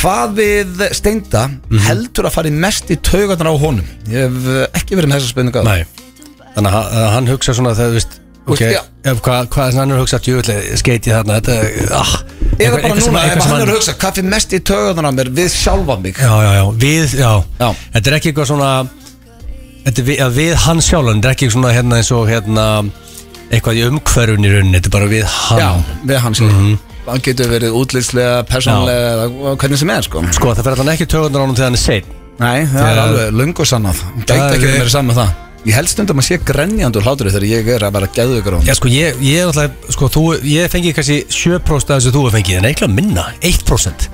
[SPEAKER 1] Hvað við Steinda heldur að fari mest í taugarnar á honum? Ég hef eh, ekki verið með þessa spurninga
[SPEAKER 3] Nei, þannig að hann- að hann hugsa svona þegar þú veist
[SPEAKER 1] Þú
[SPEAKER 3] Ok,
[SPEAKER 1] veist, já.
[SPEAKER 3] ef hvað hva, hann er að hugsa djöfulega skeit ég þarna þetta, ah,
[SPEAKER 1] Eða bara
[SPEAKER 3] sem-
[SPEAKER 1] núna, ef
[SPEAKER 3] sem
[SPEAKER 1] hann er að hugsa Hvað fyrir mest í taugarnar á mér við sjálfa mig?
[SPEAKER 3] Já, já, já, við, já,
[SPEAKER 1] Já.
[SPEAKER 3] Þetta er ekki eitthvað svona Þetta er við, að við hann sjálfan Þetta er ekki svona hérna eins og hérna Eitthvað í umhverfun í rauninni Þetta er bara við hann
[SPEAKER 1] Já, við hans mm
[SPEAKER 3] Mhm.
[SPEAKER 1] Hann getur verið útlýslega, persónlega eða Hvernig sem er sko
[SPEAKER 3] Sko það fer allan ekki tögundar ánum þegar hann er sein
[SPEAKER 1] Nei, það er
[SPEAKER 3] Þegar-
[SPEAKER 1] alveg lungu sannað Gæti
[SPEAKER 3] Það
[SPEAKER 1] ekki
[SPEAKER 3] er-
[SPEAKER 1] verið meira saman með um það Ég held stundum að sé grenjandi úr hlátur þegar ég er að vera geðugur á hann
[SPEAKER 3] Já sko ég, ég alltaf Sko þú, ég fengi kannski 7% af þessu þú hefur fengið En eitthvað minna, 1%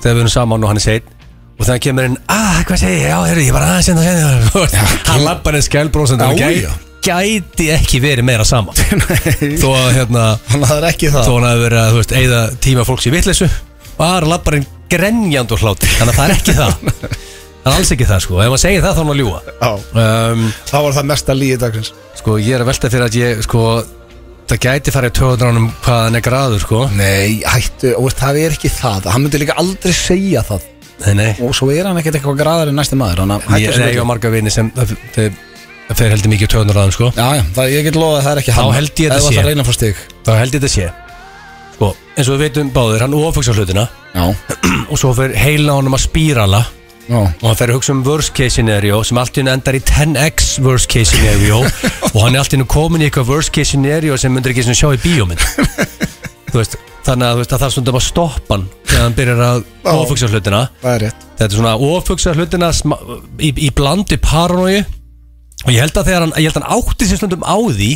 [SPEAKER 3] Þegar við erum saman og hann er sein Og þegar kemur inn, að hvað segi ég, já heyrðu ég var aðeins hérna að segja Hann lappar einn skælbrósend
[SPEAKER 1] Já,
[SPEAKER 3] gæti,
[SPEAKER 1] já.
[SPEAKER 3] gæti ekki verið meira saman Þó að hérna
[SPEAKER 1] Þannig að það er ekki
[SPEAKER 3] þó hann hafi verið að, þú veist, eigða tíma fólks í vitleysu var labbarinn grenjand og hlátt þannig að það er ekki það það er alls ekki það, sko, ef maður segir það þá er maður að
[SPEAKER 1] Já,
[SPEAKER 3] ljúa um,
[SPEAKER 1] það var það mesta líi dagsins
[SPEAKER 3] sko, ég er að velta fyrir að ég, sko það gæti farið töðunránum hvað hann er graður, sko
[SPEAKER 1] Nei, hættu, og veist, það er ekki það Hann myndi líka aldrei segja það
[SPEAKER 3] nei, nei,
[SPEAKER 1] Og svo er hann ekkert eitthvað graðar en næsti maður Þannig að
[SPEAKER 3] ég
[SPEAKER 1] hættu
[SPEAKER 3] er eiga
[SPEAKER 1] þessu
[SPEAKER 3] marga vini sem það þeir- það fer heldur mikið töðunránum, sko
[SPEAKER 1] Já, já, það, ég get loðið að það er ekki hann
[SPEAKER 3] held ég þetta
[SPEAKER 1] Ef
[SPEAKER 3] sé.
[SPEAKER 1] það reyna frá stig
[SPEAKER 3] þá held ég þetta sé sko, eins og við veitum báðir, hann ofugsa hlutina
[SPEAKER 1] Já,
[SPEAKER 3] og svo fer heila honum að spírala
[SPEAKER 1] já
[SPEAKER 3] og hann fer að hugsa um worst case scenario sem allt í hennu endar í 10x worst case scenario og hann er allt í hennu komin í eitthvað worst case scenario sem myndir ekki svona sjá í bíómynd þú veist, þannig að þú veist, það þarf svona bara að stoppa hann þegar hann byrjar að
[SPEAKER 1] Já.
[SPEAKER 3] ofugsa hlutina
[SPEAKER 1] Það er rétt
[SPEAKER 3] þetta er svona ofugsa hlutina sma- í, í blandi paranói og ég held að þegar hann, ég held að hann átti sér stundum á því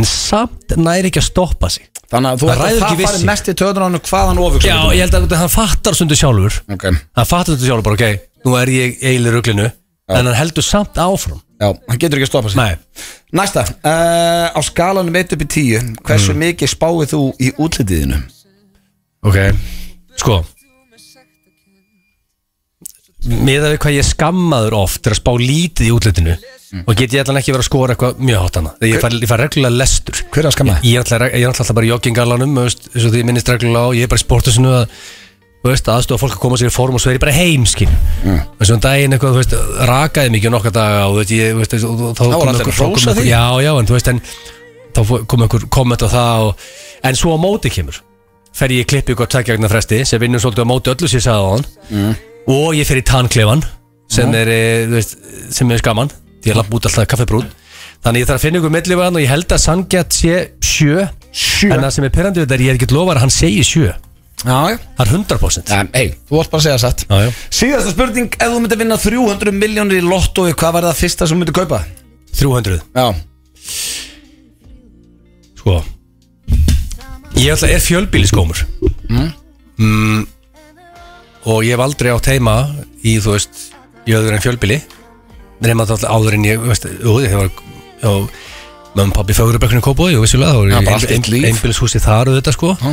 [SPEAKER 3] en samt næri ekki að stoppa sig
[SPEAKER 1] Þannig að þú
[SPEAKER 3] Það
[SPEAKER 1] ætlar
[SPEAKER 3] ræður
[SPEAKER 1] að
[SPEAKER 3] ekki
[SPEAKER 1] það
[SPEAKER 3] við sig.
[SPEAKER 1] fari mest í töður á hann hvað hann ofur
[SPEAKER 3] já, ég held að hann fattar stundu sjálfur
[SPEAKER 1] Ok,
[SPEAKER 3] hann fattar stundu sjálfur bara, ok, nú er ég eilir ruglinu, en hann heldur samt áfram
[SPEAKER 1] já, hann getur ekki að stoppa sig
[SPEAKER 3] Nei,
[SPEAKER 1] Næsta, uh, á skalanum 1 upp í 10 Hversu mikið spáið þú í útlitiðinu?
[SPEAKER 3] Ok Sko Miðað við hvað ég er skammaður oft er að spá lítið í útlitinu og get ég allan ekki verið að skora eitthvað mjög hátt hana ég fær, ég fær reglulega lestur
[SPEAKER 1] Hver er að skamma?
[SPEAKER 3] ég er alltaf, ég er alltaf bara í joggingalanum þú veist, eins og því ég minnist reglulega á, ég er bara í sportusinu að þú veist, aðstofa fólk að koma sér í form og svo er ég bara heimskinn mm. eins og um daginn eitthvað, þú veist, rakaði mikið nokkar daga og þú veist, ég, þú veist, og, og, og, þá
[SPEAKER 1] var
[SPEAKER 3] kom
[SPEAKER 1] allir
[SPEAKER 3] einhver-
[SPEAKER 1] að hrósa
[SPEAKER 3] kom einhver-
[SPEAKER 1] því.
[SPEAKER 3] já, já, en þú veist, en þá fó- kom einhver komment á það og, en svo á móti kemur fer ég í klippi ykkur tækjagnar fresti sem vinnur svolítið á móti öllu sér sagði á hann
[SPEAKER 1] Mm.
[SPEAKER 3] og ég fer í tanklefan sem er, eh, þú veist, sem er skaman því ég lapp út alltaf kaffibrún þannig ég þarf að finna ykkur millifagan og ég held að sangjart sé sjö,
[SPEAKER 1] Sjö?
[SPEAKER 3] en það sem er perandi þetta er ég er ekki lofar að hann segi sjö
[SPEAKER 1] Já, já
[SPEAKER 3] það er 100%
[SPEAKER 1] En, hey, þú varst bara að segja satt
[SPEAKER 3] Já, já.
[SPEAKER 1] Síðasta spurning, ef þú myndir vinna 300 miljónir í lottói, hvað var það fyrsta sem þú myndir kaupa?
[SPEAKER 3] 300
[SPEAKER 1] Já,
[SPEAKER 3] sko ég ætla, er fjölbíliskómur mm. og ég hef aldrei átt heima í þú veist, í öðru en fjölbíli nema þá alltaf áður en ég þú veist, jú, ég var já, mömmu pabbi fögrubökkinu kópaði og vissulega þá
[SPEAKER 1] Já, bara
[SPEAKER 3] var
[SPEAKER 1] allt eitt líf.
[SPEAKER 3] einbílishúsi þar og þetta sko
[SPEAKER 1] Já.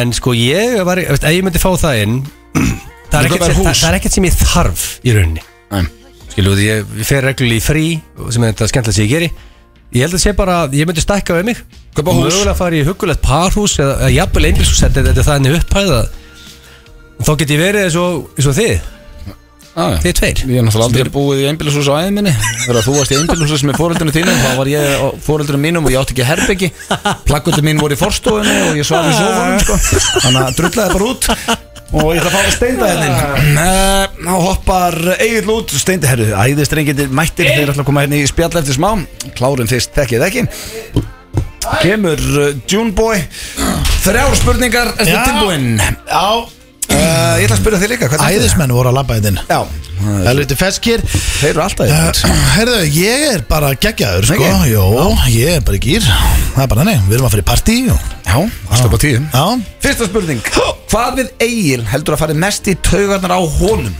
[SPEAKER 3] en sko ég var, veist, ef ég myndi fá það inn það er,
[SPEAKER 1] Þú
[SPEAKER 3] ekkert
[SPEAKER 1] kaupir
[SPEAKER 3] sem,
[SPEAKER 1] hús.
[SPEAKER 3] það, það er ekkert sem ég þarf í rauninni
[SPEAKER 1] Nei.
[SPEAKER 3] skilu, því ég, ég fer reglulega í frí sem er þetta skemmtilega sem ég geri ég held að sé bara, ég myndi stækka við mig
[SPEAKER 1] Kaupa hús.
[SPEAKER 3] mögulega fara í huggulegt parhús eða, eða jafnvel einbilshús, þetta, þetta er þannig upphæð að þá get ég verið eins og, eins og þið,
[SPEAKER 1] já, já.
[SPEAKER 3] þið tveir
[SPEAKER 1] Ég er náttúrulega aldrei búið í einbílishús á æðin minni Þegar þú varst í einbílishús með fóreldrinu þínum Þá var ég á fóreldrinu mínum og ég átti ekki herbyggi Plaggötu mín voru í forstofunni og ég svaf í sofunum sko. Þannig að drullaði bara út Og ég ætla að fá að steinda hennin Ná hoppar Egil út Steindi, herru, æðistrengindi mættir Þeir ætla að koma hérna í spjall eftir smá Klárum fyrst, þekkið ekki Kemur uh, Juneboy Þrjár spurningar, ertu
[SPEAKER 2] Já.
[SPEAKER 1] tilbúinn? Uh, ég ætla að spyrja þig líka, hvernig er þetta?
[SPEAKER 2] Æðismenn voru að labba þetta inn
[SPEAKER 1] Já,
[SPEAKER 2] Helviti feskir
[SPEAKER 1] þeir eru alltaf í þetta
[SPEAKER 2] Herðu, Eh, ég er bara geggjaður sko
[SPEAKER 1] Ekki?
[SPEAKER 2] Jó, ég er bara í gýr Það er bara þannig, við erum að fara í partí og...
[SPEAKER 1] Já, alltaf á tíu
[SPEAKER 2] Já,
[SPEAKER 1] Fyrsta spurning Hvað við Egil heldur að fari mest í taugarnar á honum?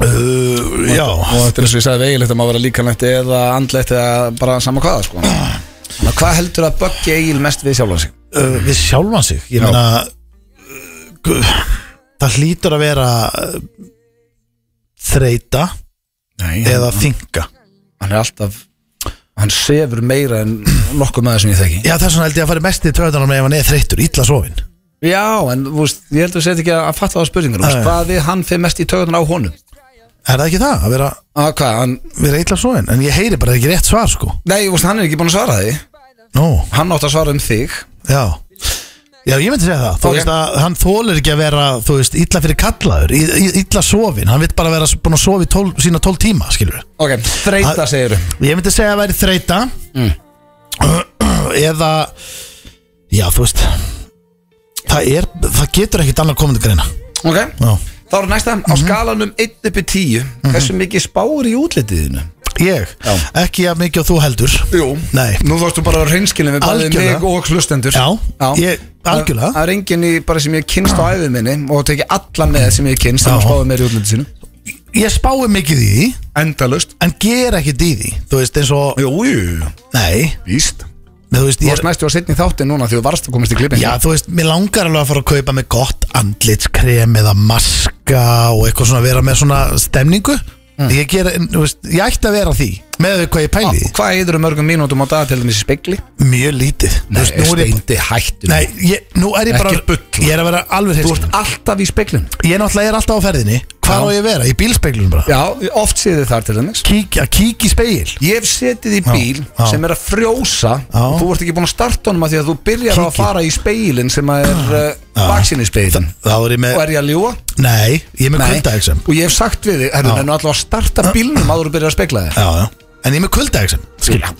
[SPEAKER 2] uh, já
[SPEAKER 1] Og þetta er eins og ég sagði við Egil Þetta má vera líkanlegt eða andlegt eða bara sama hvaða sko Þannig að Hvað heldur að böggi Egil mest við sjálfan sig?
[SPEAKER 2] uh, Við sjálfan sig Ég
[SPEAKER 1] Já.
[SPEAKER 2] meina uh, gu- Það hlýtur að vera uh, Þreita
[SPEAKER 1] Nei,
[SPEAKER 2] Eða þinga
[SPEAKER 1] hann er alltaf Hann sefur meira en nokkuð maður sem ég þekki
[SPEAKER 2] Já, þess vegna held ég að fara mest í töðanum ef hann er þreyttur, illa sofin
[SPEAKER 1] Já, en þú veist, ég heldur að setja ekki að fatta á spurningunum
[SPEAKER 2] Nei.
[SPEAKER 1] veist, Hvað við hann fyrir mest í taugarnar á honum?
[SPEAKER 2] Er það ekki það, að vera,
[SPEAKER 1] Að hvað, hann
[SPEAKER 2] vera illa sofin En ég heyri bara ekki rétt svar, sko
[SPEAKER 1] Nei, þú veist, hann er ekki búin að svara því
[SPEAKER 2] Nú,
[SPEAKER 1] Hann átt að svara um þig
[SPEAKER 2] já Já, ég myndi segja það, þú
[SPEAKER 1] Ok.
[SPEAKER 2] veist að hann þólir ekki að vera, þú veist, illa fyrir kallaður, í- í- illa sofin, hann vill bara vera búin að sofi tól, sína tól tíma, skilur við.
[SPEAKER 1] Ok, þreita segir
[SPEAKER 2] Ég myndi segja að væri þreita,
[SPEAKER 1] Mm.
[SPEAKER 2] eða, já, þú veist, það er, það getur ekkit annað komandi greina.
[SPEAKER 1] Ok,
[SPEAKER 2] Já.
[SPEAKER 1] Þá er næsta, á skalanum 1 uppi 10 Hversu mikið spáir í útlitiðinu?
[SPEAKER 2] Ég,
[SPEAKER 1] Já.
[SPEAKER 2] ekki að mikið og þú heldur.
[SPEAKER 1] Jú,
[SPEAKER 2] Nei.
[SPEAKER 1] nú þarfstu bara að reynskilin við bæði
[SPEAKER 2] Algjörlega.
[SPEAKER 1] mig og hlustendur
[SPEAKER 2] Já, ég- algjörlega.
[SPEAKER 1] Það það er enginn í bara sem ég kynst á æfið minni og teki alla með sem ég kynst sem
[SPEAKER 2] Já.
[SPEAKER 1] spáði mér í útlitið sínu
[SPEAKER 2] Ég spái mikið í því,
[SPEAKER 1] Endalust
[SPEAKER 2] en ger ekkit í því, þú veist, eins og,
[SPEAKER 1] Jú, jú,
[SPEAKER 2] nei,
[SPEAKER 1] víst
[SPEAKER 2] þú veist,
[SPEAKER 1] Þú
[SPEAKER 2] ég
[SPEAKER 1] varst næstu að setja í þáttin núna því þú varst að komast í klippin
[SPEAKER 2] Já, þú veist, mér langar alveg að fara að kaupa með gott andlitskrem eða maska og eitthvað svona vera með svona stemningu
[SPEAKER 1] Mm.
[SPEAKER 2] ég, ger, en, þú veist, ég ætti að vera að því með því hvað ég pæli í.
[SPEAKER 1] Hvað eður mörgum mínútum á dag til dæmis í spegli?
[SPEAKER 2] Mjög lítið Þú veist, nú er ég,
[SPEAKER 1] steindi hættu
[SPEAKER 2] nei, ég, nú er ég bara
[SPEAKER 1] Ekki bulla.
[SPEAKER 2] Ég er að vera alveg
[SPEAKER 1] Þú
[SPEAKER 2] hreist
[SPEAKER 1] ert alltaf í speglin
[SPEAKER 2] Ég náttúrulega er alltaf á ferðinni Hvað á
[SPEAKER 1] Já.
[SPEAKER 2] ég að vera? Í bílspeglunum bara
[SPEAKER 1] Já, oft séð þið þar til dæmis
[SPEAKER 2] Kík, Að kík í spegil
[SPEAKER 1] Ég hef setið í bíl
[SPEAKER 2] já.
[SPEAKER 1] sem er að frjósa
[SPEAKER 2] Já.
[SPEAKER 1] og þú ert ekki búin að starta honum að því að þú byrjar á að
[SPEAKER 2] Kíkir. Ah,
[SPEAKER 1] fara í speilin sem að er uh, baksinni speilin
[SPEAKER 2] Þá er ég
[SPEAKER 1] og
[SPEAKER 2] með
[SPEAKER 1] er ég að ljúa
[SPEAKER 2] Nei, ég er með kuldaeksem
[SPEAKER 1] og ég hef sagt við þig, herru,
[SPEAKER 2] Já. Eh,
[SPEAKER 1] en alltaf að starta bílnum að þú byrjar að spegla þér
[SPEAKER 2] Já, já En ég er með kuldaeksem Skilja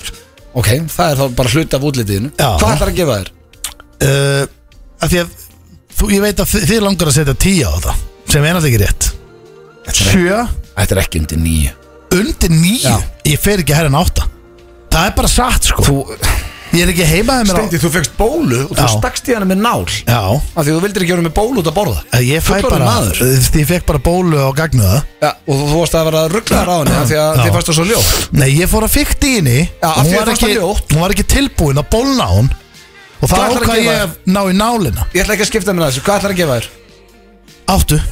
[SPEAKER 1] Ok, það er þá bara hluti af útlitiðinu
[SPEAKER 2] Já.
[SPEAKER 1] Hvað ætlar að gefa þér?
[SPEAKER 2] uh, að því að þú, ég veit að þi- þið langar að setja tíu á þetta sem er alltaf ekki rétt sjö,
[SPEAKER 1] Þetta er ekki undir nýju
[SPEAKER 2] undir níu
[SPEAKER 1] Já.
[SPEAKER 2] ég fer ekki herra en átta það er bara satt sko
[SPEAKER 1] Þú,
[SPEAKER 2] ég er ekki heima þeim
[SPEAKER 1] Steindi, þú fegst bólu og þú
[SPEAKER 2] Já.
[SPEAKER 1] stakst í hana með nál af
[SPEAKER 2] já,
[SPEAKER 1] því að þú vildir ekki vera með bólu út að borða
[SPEAKER 2] að ég fæ
[SPEAKER 1] Fullorðinn
[SPEAKER 2] bara
[SPEAKER 1] maður.
[SPEAKER 2] þú veist, ég fekk bara bólu á gagnuða
[SPEAKER 1] ja, og þú, þú varst að vera rugglaðar á henni af því að
[SPEAKER 2] Já.
[SPEAKER 1] þið fannst það svo ljótt
[SPEAKER 2] nei, ég fór að fikta í henni
[SPEAKER 1] Já, af
[SPEAKER 2] hún,
[SPEAKER 1] því að
[SPEAKER 2] var
[SPEAKER 1] fannst
[SPEAKER 2] ekki,
[SPEAKER 1] það ljótt.
[SPEAKER 2] hún var ekki tilbúin að bólna á hún og
[SPEAKER 1] Hvað
[SPEAKER 2] það
[SPEAKER 1] ætlarðu að
[SPEAKER 2] ákvað
[SPEAKER 1] gefa
[SPEAKER 2] ég að ná í nálina
[SPEAKER 1] Ég ætla ekki að skipta mér að þessu, hvað ætlar að gefa þér?
[SPEAKER 2] áttu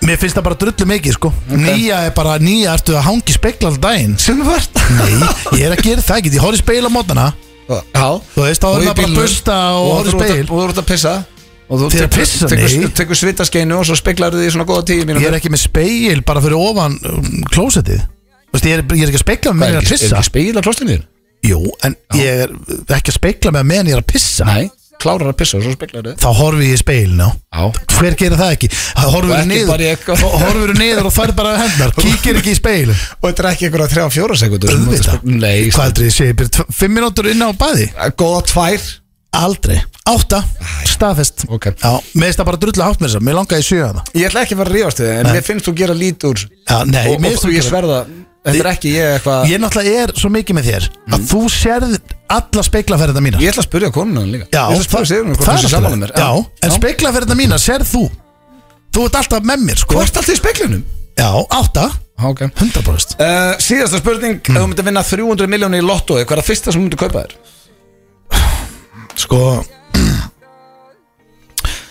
[SPEAKER 2] Mér finnst það bara drullu mikið sko Nýja er bara, nýja ertu að hangi spekla alltaf daginn
[SPEAKER 1] Sem þú ert
[SPEAKER 2] Nei, ég er að gera það ekki, ég horf í speil á mótana
[SPEAKER 1] Já
[SPEAKER 2] Þú veist, þá er
[SPEAKER 1] Og í
[SPEAKER 2] maður bara að
[SPEAKER 1] bílnum.
[SPEAKER 2] busta og horfa í
[SPEAKER 1] þú ert að-
[SPEAKER 2] spegil.
[SPEAKER 1] Og þú ert að pissa Og þú
[SPEAKER 2] Þið er að
[SPEAKER 1] tekur-
[SPEAKER 2] pissa?
[SPEAKER 1] tekur-
[SPEAKER 2] Nei.
[SPEAKER 1] Tekur svitaskeinu og svo speglar þið í svona góða tíu mínútur
[SPEAKER 2] Ég er ekki með speil bara fyrir ofan um, klósettið Þú veist, ég er, ég er ekki að spekla með
[SPEAKER 1] Er
[SPEAKER 2] meðan ég er að
[SPEAKER 1] ekki- er
[SPEAKER 2] pissa
[SPEAKER 1] ekki spegil á klostinu þín?
[SPEAKER 2] Jú, en ég er ekki að spekla með meðan ég er að pissa
[SPEAKER 1] Nei Klárar að pissa og svo speglar þið
[SPEAKER 2] Þá horfi ég í speilin á
[SPEAKER 1] Já
[SPEAKER 2] Hver gerir það ekki? Horfur
[SPEAKER 1] Og ekki bara í
[SPEAKER 2] niður
[SPEAKER 1] eitthvað.
[SPEAKER 2] Horfur niður og fær bara hendar Kíkir ekki í speilin
[SPEAKER 1] Og þetta er ekki einhverja þrjá fjóra sekundur
[SPEAKER 2] Auðvitað. sko.
[SPEAKER 1] Nei
[SPEAKER 2] Hvað heldur ég sé? Ég byrja tv- Fimm mínútur inn á baði?
[SPEAKER 1] Góða tvær
[SPEAKER 2] Aldrei Átta Staðfest
[SPEAKER 1] Ok.
[SPEAKER 2] Já, mér finnst það bara drull átt með þess að Mér langaði í sjö hérna. að það
[SPEAKER 1] Ég ætla ekki að fara að rífast við þig, En mér finnst þú gera lít úr
[SPEAKER 2] Já, nei,
[SPEAKER 1] Og,
[SPEAKER 2] mér
[SPEAKER 1] og
[SPEAKER 2] finnst
[SPEAKER 1] þú
[SPEAKER 2] þú
[SPEAKER 1] ég
[SPEAKER 2] gera-
[SPEAKER 1] sverða Þetta er ekki ég eitthvað Ég,
[SPEAKER 2] Ég náttúrulega er svo mikið með þér
[SPEAKER 1] Mm.
[SPEAKER 2] Að þú sérð alla speiklaferðina mína
[SPEAKER 1] ætla að spyrja konuna þín líka
[SPEAKER 2] Já,
[SPEAKER 1] Ég ætla að spyrja Sigrúnu hvort
[SPEAKER 2] það
[SPEAKER 1] hún sé
[SPEAKER 2] er
[SPEAKER 1] sammála
[SPEAKER 2] alltaf
[SPEAKER 1] mér.
[SPEAKER 2] Já, en speiklaferðina mína sérð þú Þú ert alltaf með mér, sko
[SPEAKER 1] Hvort allt í speklinum?
[SPEAKER 2] Já, átta
[SPEAKER 1] Ok
[SPEAKER 2] 100%
[SPEAKER 1] Uh, síðasta spurning, ef þú myndir vinna 300 miljónu í lottói, hvað er það fyrsta sem þú myndir kaupa þér?
[SPEAKER 2] Sko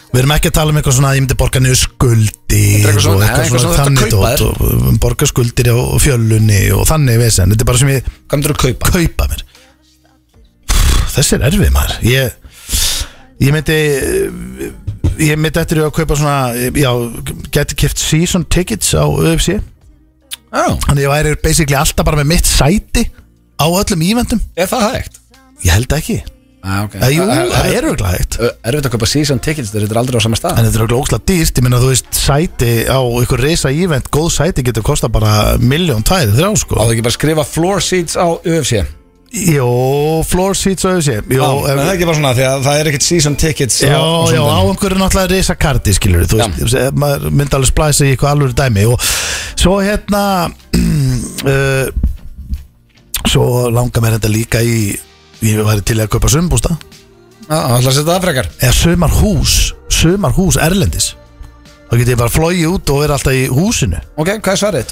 [SPEAKER 2] Við erum ekki að tala um eitthvað svona að ég myndi borga niður skuldir
[SPEAKER 1] Þetta er eitthvað svona-
[SPEAKER 2] og
[SPEAKER 1] nei, eitthvað svona þú
[SPEAKER 2] þannig
[SPEAKER 1] ert að kaupa
[SPEAKER 2] dót og um, borga skuldir á fjölunni og þannig vesen Þetta er bara sem ég
[SPEAKER 1] Hvað myndir þú kaupa?
[SPEAKER 2] kaupa mér Pff, Þessi er erfið maður Ég, ég myndi ég myndi eftir að kaupa svona já, geti kift season tickets á UFC
[SPEAKER 1] Já,
[SPEAKER 2] Þannig ég væri basically alltaf bara með mitt sæti á öllum ívendum
[SPEAKER 1] er það hægt?
[SPEAKER 2] Ég held ekki
[SPEAKER 1] Ah, okay.
[SPEAKER 2] Eða, Jú,
[SPEAKER 1] er,
[SPEAKER 2] það
[SPEAKER 1] er,
[SPEAKER 2] er auðvitað hægt
[SPEAKER 1] er, erfitt að kaupa season tickets þegar þetta er aldrei á sama stað
[SPEAKER 2] En þetta er okkur óslega dýrt, ég meina þú veist sæti á ykkur reysa ívent, góð sæti getur kosta bara miljón tæri, þrjá
[SPEAKER 1] Á
[SPEAKER 2] sko
[SPEAKER 1] það ekki bara að skrifa floor seats á UFC
[SPEAKER 2] Jó, floor seats og þessi Jó,
[SPEAKER 1] en Ah,
[SPEAKER 2] ef,
[SPEAKER 1] það er ekki bara svona því að það er ekkert season tickets
[SPEAKER 2] já, já, á einhverju náttúrulega reysa karti skilur þú veist, ef maður myndi alveg splæsa í eitthvað alveg dæmi og svo hérna uh, svo langar mér þetta líka í ég væri til að kaupa sumbústa
[SPEAKER 1] Það ætla Ah, að setja það frekar
[SPEAKER 2] eða sumarhús, sumarhús erlendis þá get ég bara flogið út og vera alltaf í húsinu
[SPEAKER 1] Ok, hvað er svarið?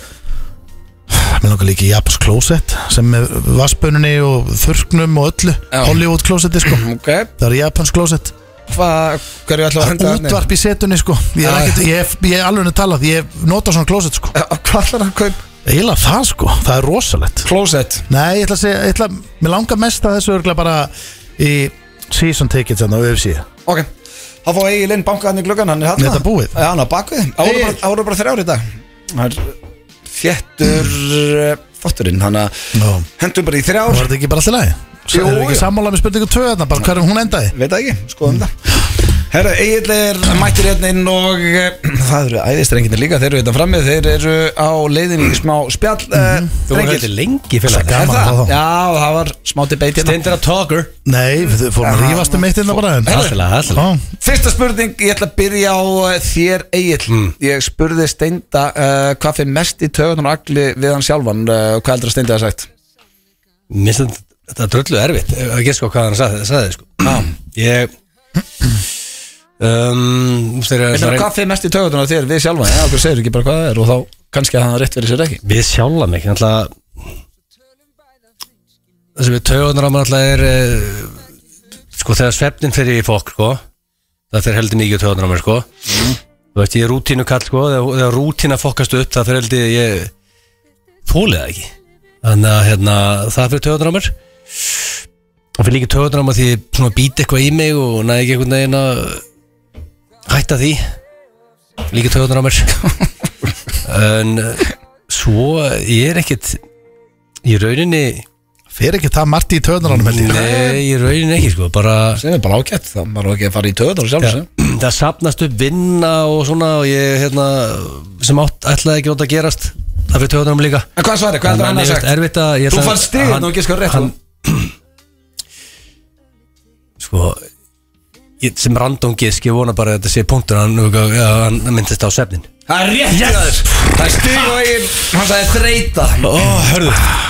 [SPEAKER 2] Mér langar líka í Japans klósett sem með vaspunni og þurknum og öllu
[SPEAKER 1] Já.
[SPEAKER 2] Hollywood klósetti sko
[SPEAKER 1] Ok,
[SPEAKER 2] Það er Japans klósett
[SPEAKER 1] hvað, hverju ætla að henda
[SPEAKER 2] Útvarp í setunni sko Ég er,
[SPEAKER 1] Já.
[SPEAKER 2] ekkert, ég, ég er alveg að tala því ég nota svona klósett sko
[SPEAKER 1] Eh, Hvað ætlar að kaupa?
[SPEAKER 2] Eila það sko, það er rosalegt
[SPEAKER 1] Closet
[SPEAKER 2] Nei, ég ætla að segja, ég ætla, mér langar mest að þessu örgla bara í season tickets hann á UFC
[SPEAKER 1] Ok, þá fóðu Egil inn bankaðan í gluggan, hann er hann
[SPEAKER 2] Er þetta búið?
[SPEAKER 1] Já, hann er bakvið, ára bara,
[SPEAKER 2] Egill.
[SPEAKER 1] ára bara þrjár í dag Það er uh, þéttur eh, þátturinn, hann að
[SPEAKER 2] Nó,
[SPEAKER 1] hendum bara í þrjár
[SPEAKER 2] var þetta ekki bara alltaf lægi?
[SPEAKER 1] Jú,
[SPEAKER 2] Svo er ekki
[SPEAKER 1] jú.
[SPEAKER 2] sammála með spurningu 2 þarna, bara hverjum hún endaði
[SPEAKER 1] Veit það ekki, skoðum það Herra, Egil er mættur hérna inn og eh, það eru æðistrenginir líka, þeir eru hérna frammi, þeir eru á leiðinni í smá spjall
[SPEAKER 2] Mhm.
[SPEAKER 1] mm
[SPEAKER 3] Þú voru hætti lengi fyrir
[SPEAKER 2] Sækka.
[SPEAKER 3] það
[SPEAKER 1] Er
[SPEAKER 2] Gaman að
[SPEAKER 1] það?
[SPEAKER 2] fá þá.
[SPEAKER 1] Já, það var smá debate hérna
[SPEAKER 3] Stendur að talker
[SPEAKER 2] Nei, við fórum að rífast um eitt inn bara en-
[SPEAKER 3] Alltilega, alltilega
[SPEAKER 2] Já.
[SPEAKER 1] Fyrsta spurning, ég ætla að byrja á eh, þér Egil Ég spurði Steinda uh, hvað fyrir mest í töðunum agli við hann sjálfan uh, Hvað heldur að Steindi hafi sagt?
[SPEAKER 3] Mér finnst þetta dröllu erfitt Ef Ég gett sko hvað hann sagði, sagði sko. Ég um, þegar,
[SPEAKER 1] Ég meina,
[SPEAKER 3] þegar,
[SPEAKER 1] Hvað fyrir mest í töðunum af þér við sjálfan? Já, okkur segir ekki bara hvað það er og þá kannski að hann hafi rétt fyrir sér ekki
[SPEAKER 3] Við sjálfa mig alltaf, Það sem við taugunar á mér alltaf er eh, Sko þegar svefnin fyrir í fólk sko, Það fyrir heldur mikið taugunar á mér sko. Þú veist ég er rútínu kall sko, Þegar, þegar rútína fokkast upp Það fyrir heldur ég Þólið það ekki Þannig að hérna, það fyrir taugunar á mér Það fyrir líka taugunar á mér Því ég svona býti eitthvað í mig Og næði ekki einhvern veginn að Hætta því Líka taugunar á mér En eh, svo ég er ekkit í rauninni
[SPEAKER 2] Fer ekki það margt í töðunarunum held ég
[SPEAKER 3] nei, í rauninni ekki sko bara,
[SPEAKER 1] Sem er bara ágætt, það var ekki að fara í töðunum sjálfan
[SPEAKER 3] ja,
[SPEAKER 1] ja.
[SPEAKER 3] það sapnast upp vinna og svona og ég hérna sem átt ætlaði ekki átt að gerast það fyrir töðunum líka
[SPEAKER 1] En hvað er svarið? Hvað heldur hann
[SPEAKER 3] ég
[SPEAKER 1] hafi
[SPEAKER 3] veist
[SPEAKER 1] sagt?
[SPEAKER 3] erfitt að ég
[SPEAKER 1] Þú
[SPEAKER 3] ætla-
[SPEAKER 1] fannst stigin
[SPEAKER 3] hann-
[SPEAKER 1] og giskar rétt
[SPEAKER 3] hann- sko ég, sem random gisk, ég vona bara að þetta sé punktur hann, hann myndist á svefnin
[SPEAKER 1] Það er rétt yes. aður Það er stig og Egil, hann sagði þreita
[SPEAKER 3] Ó, hörðu,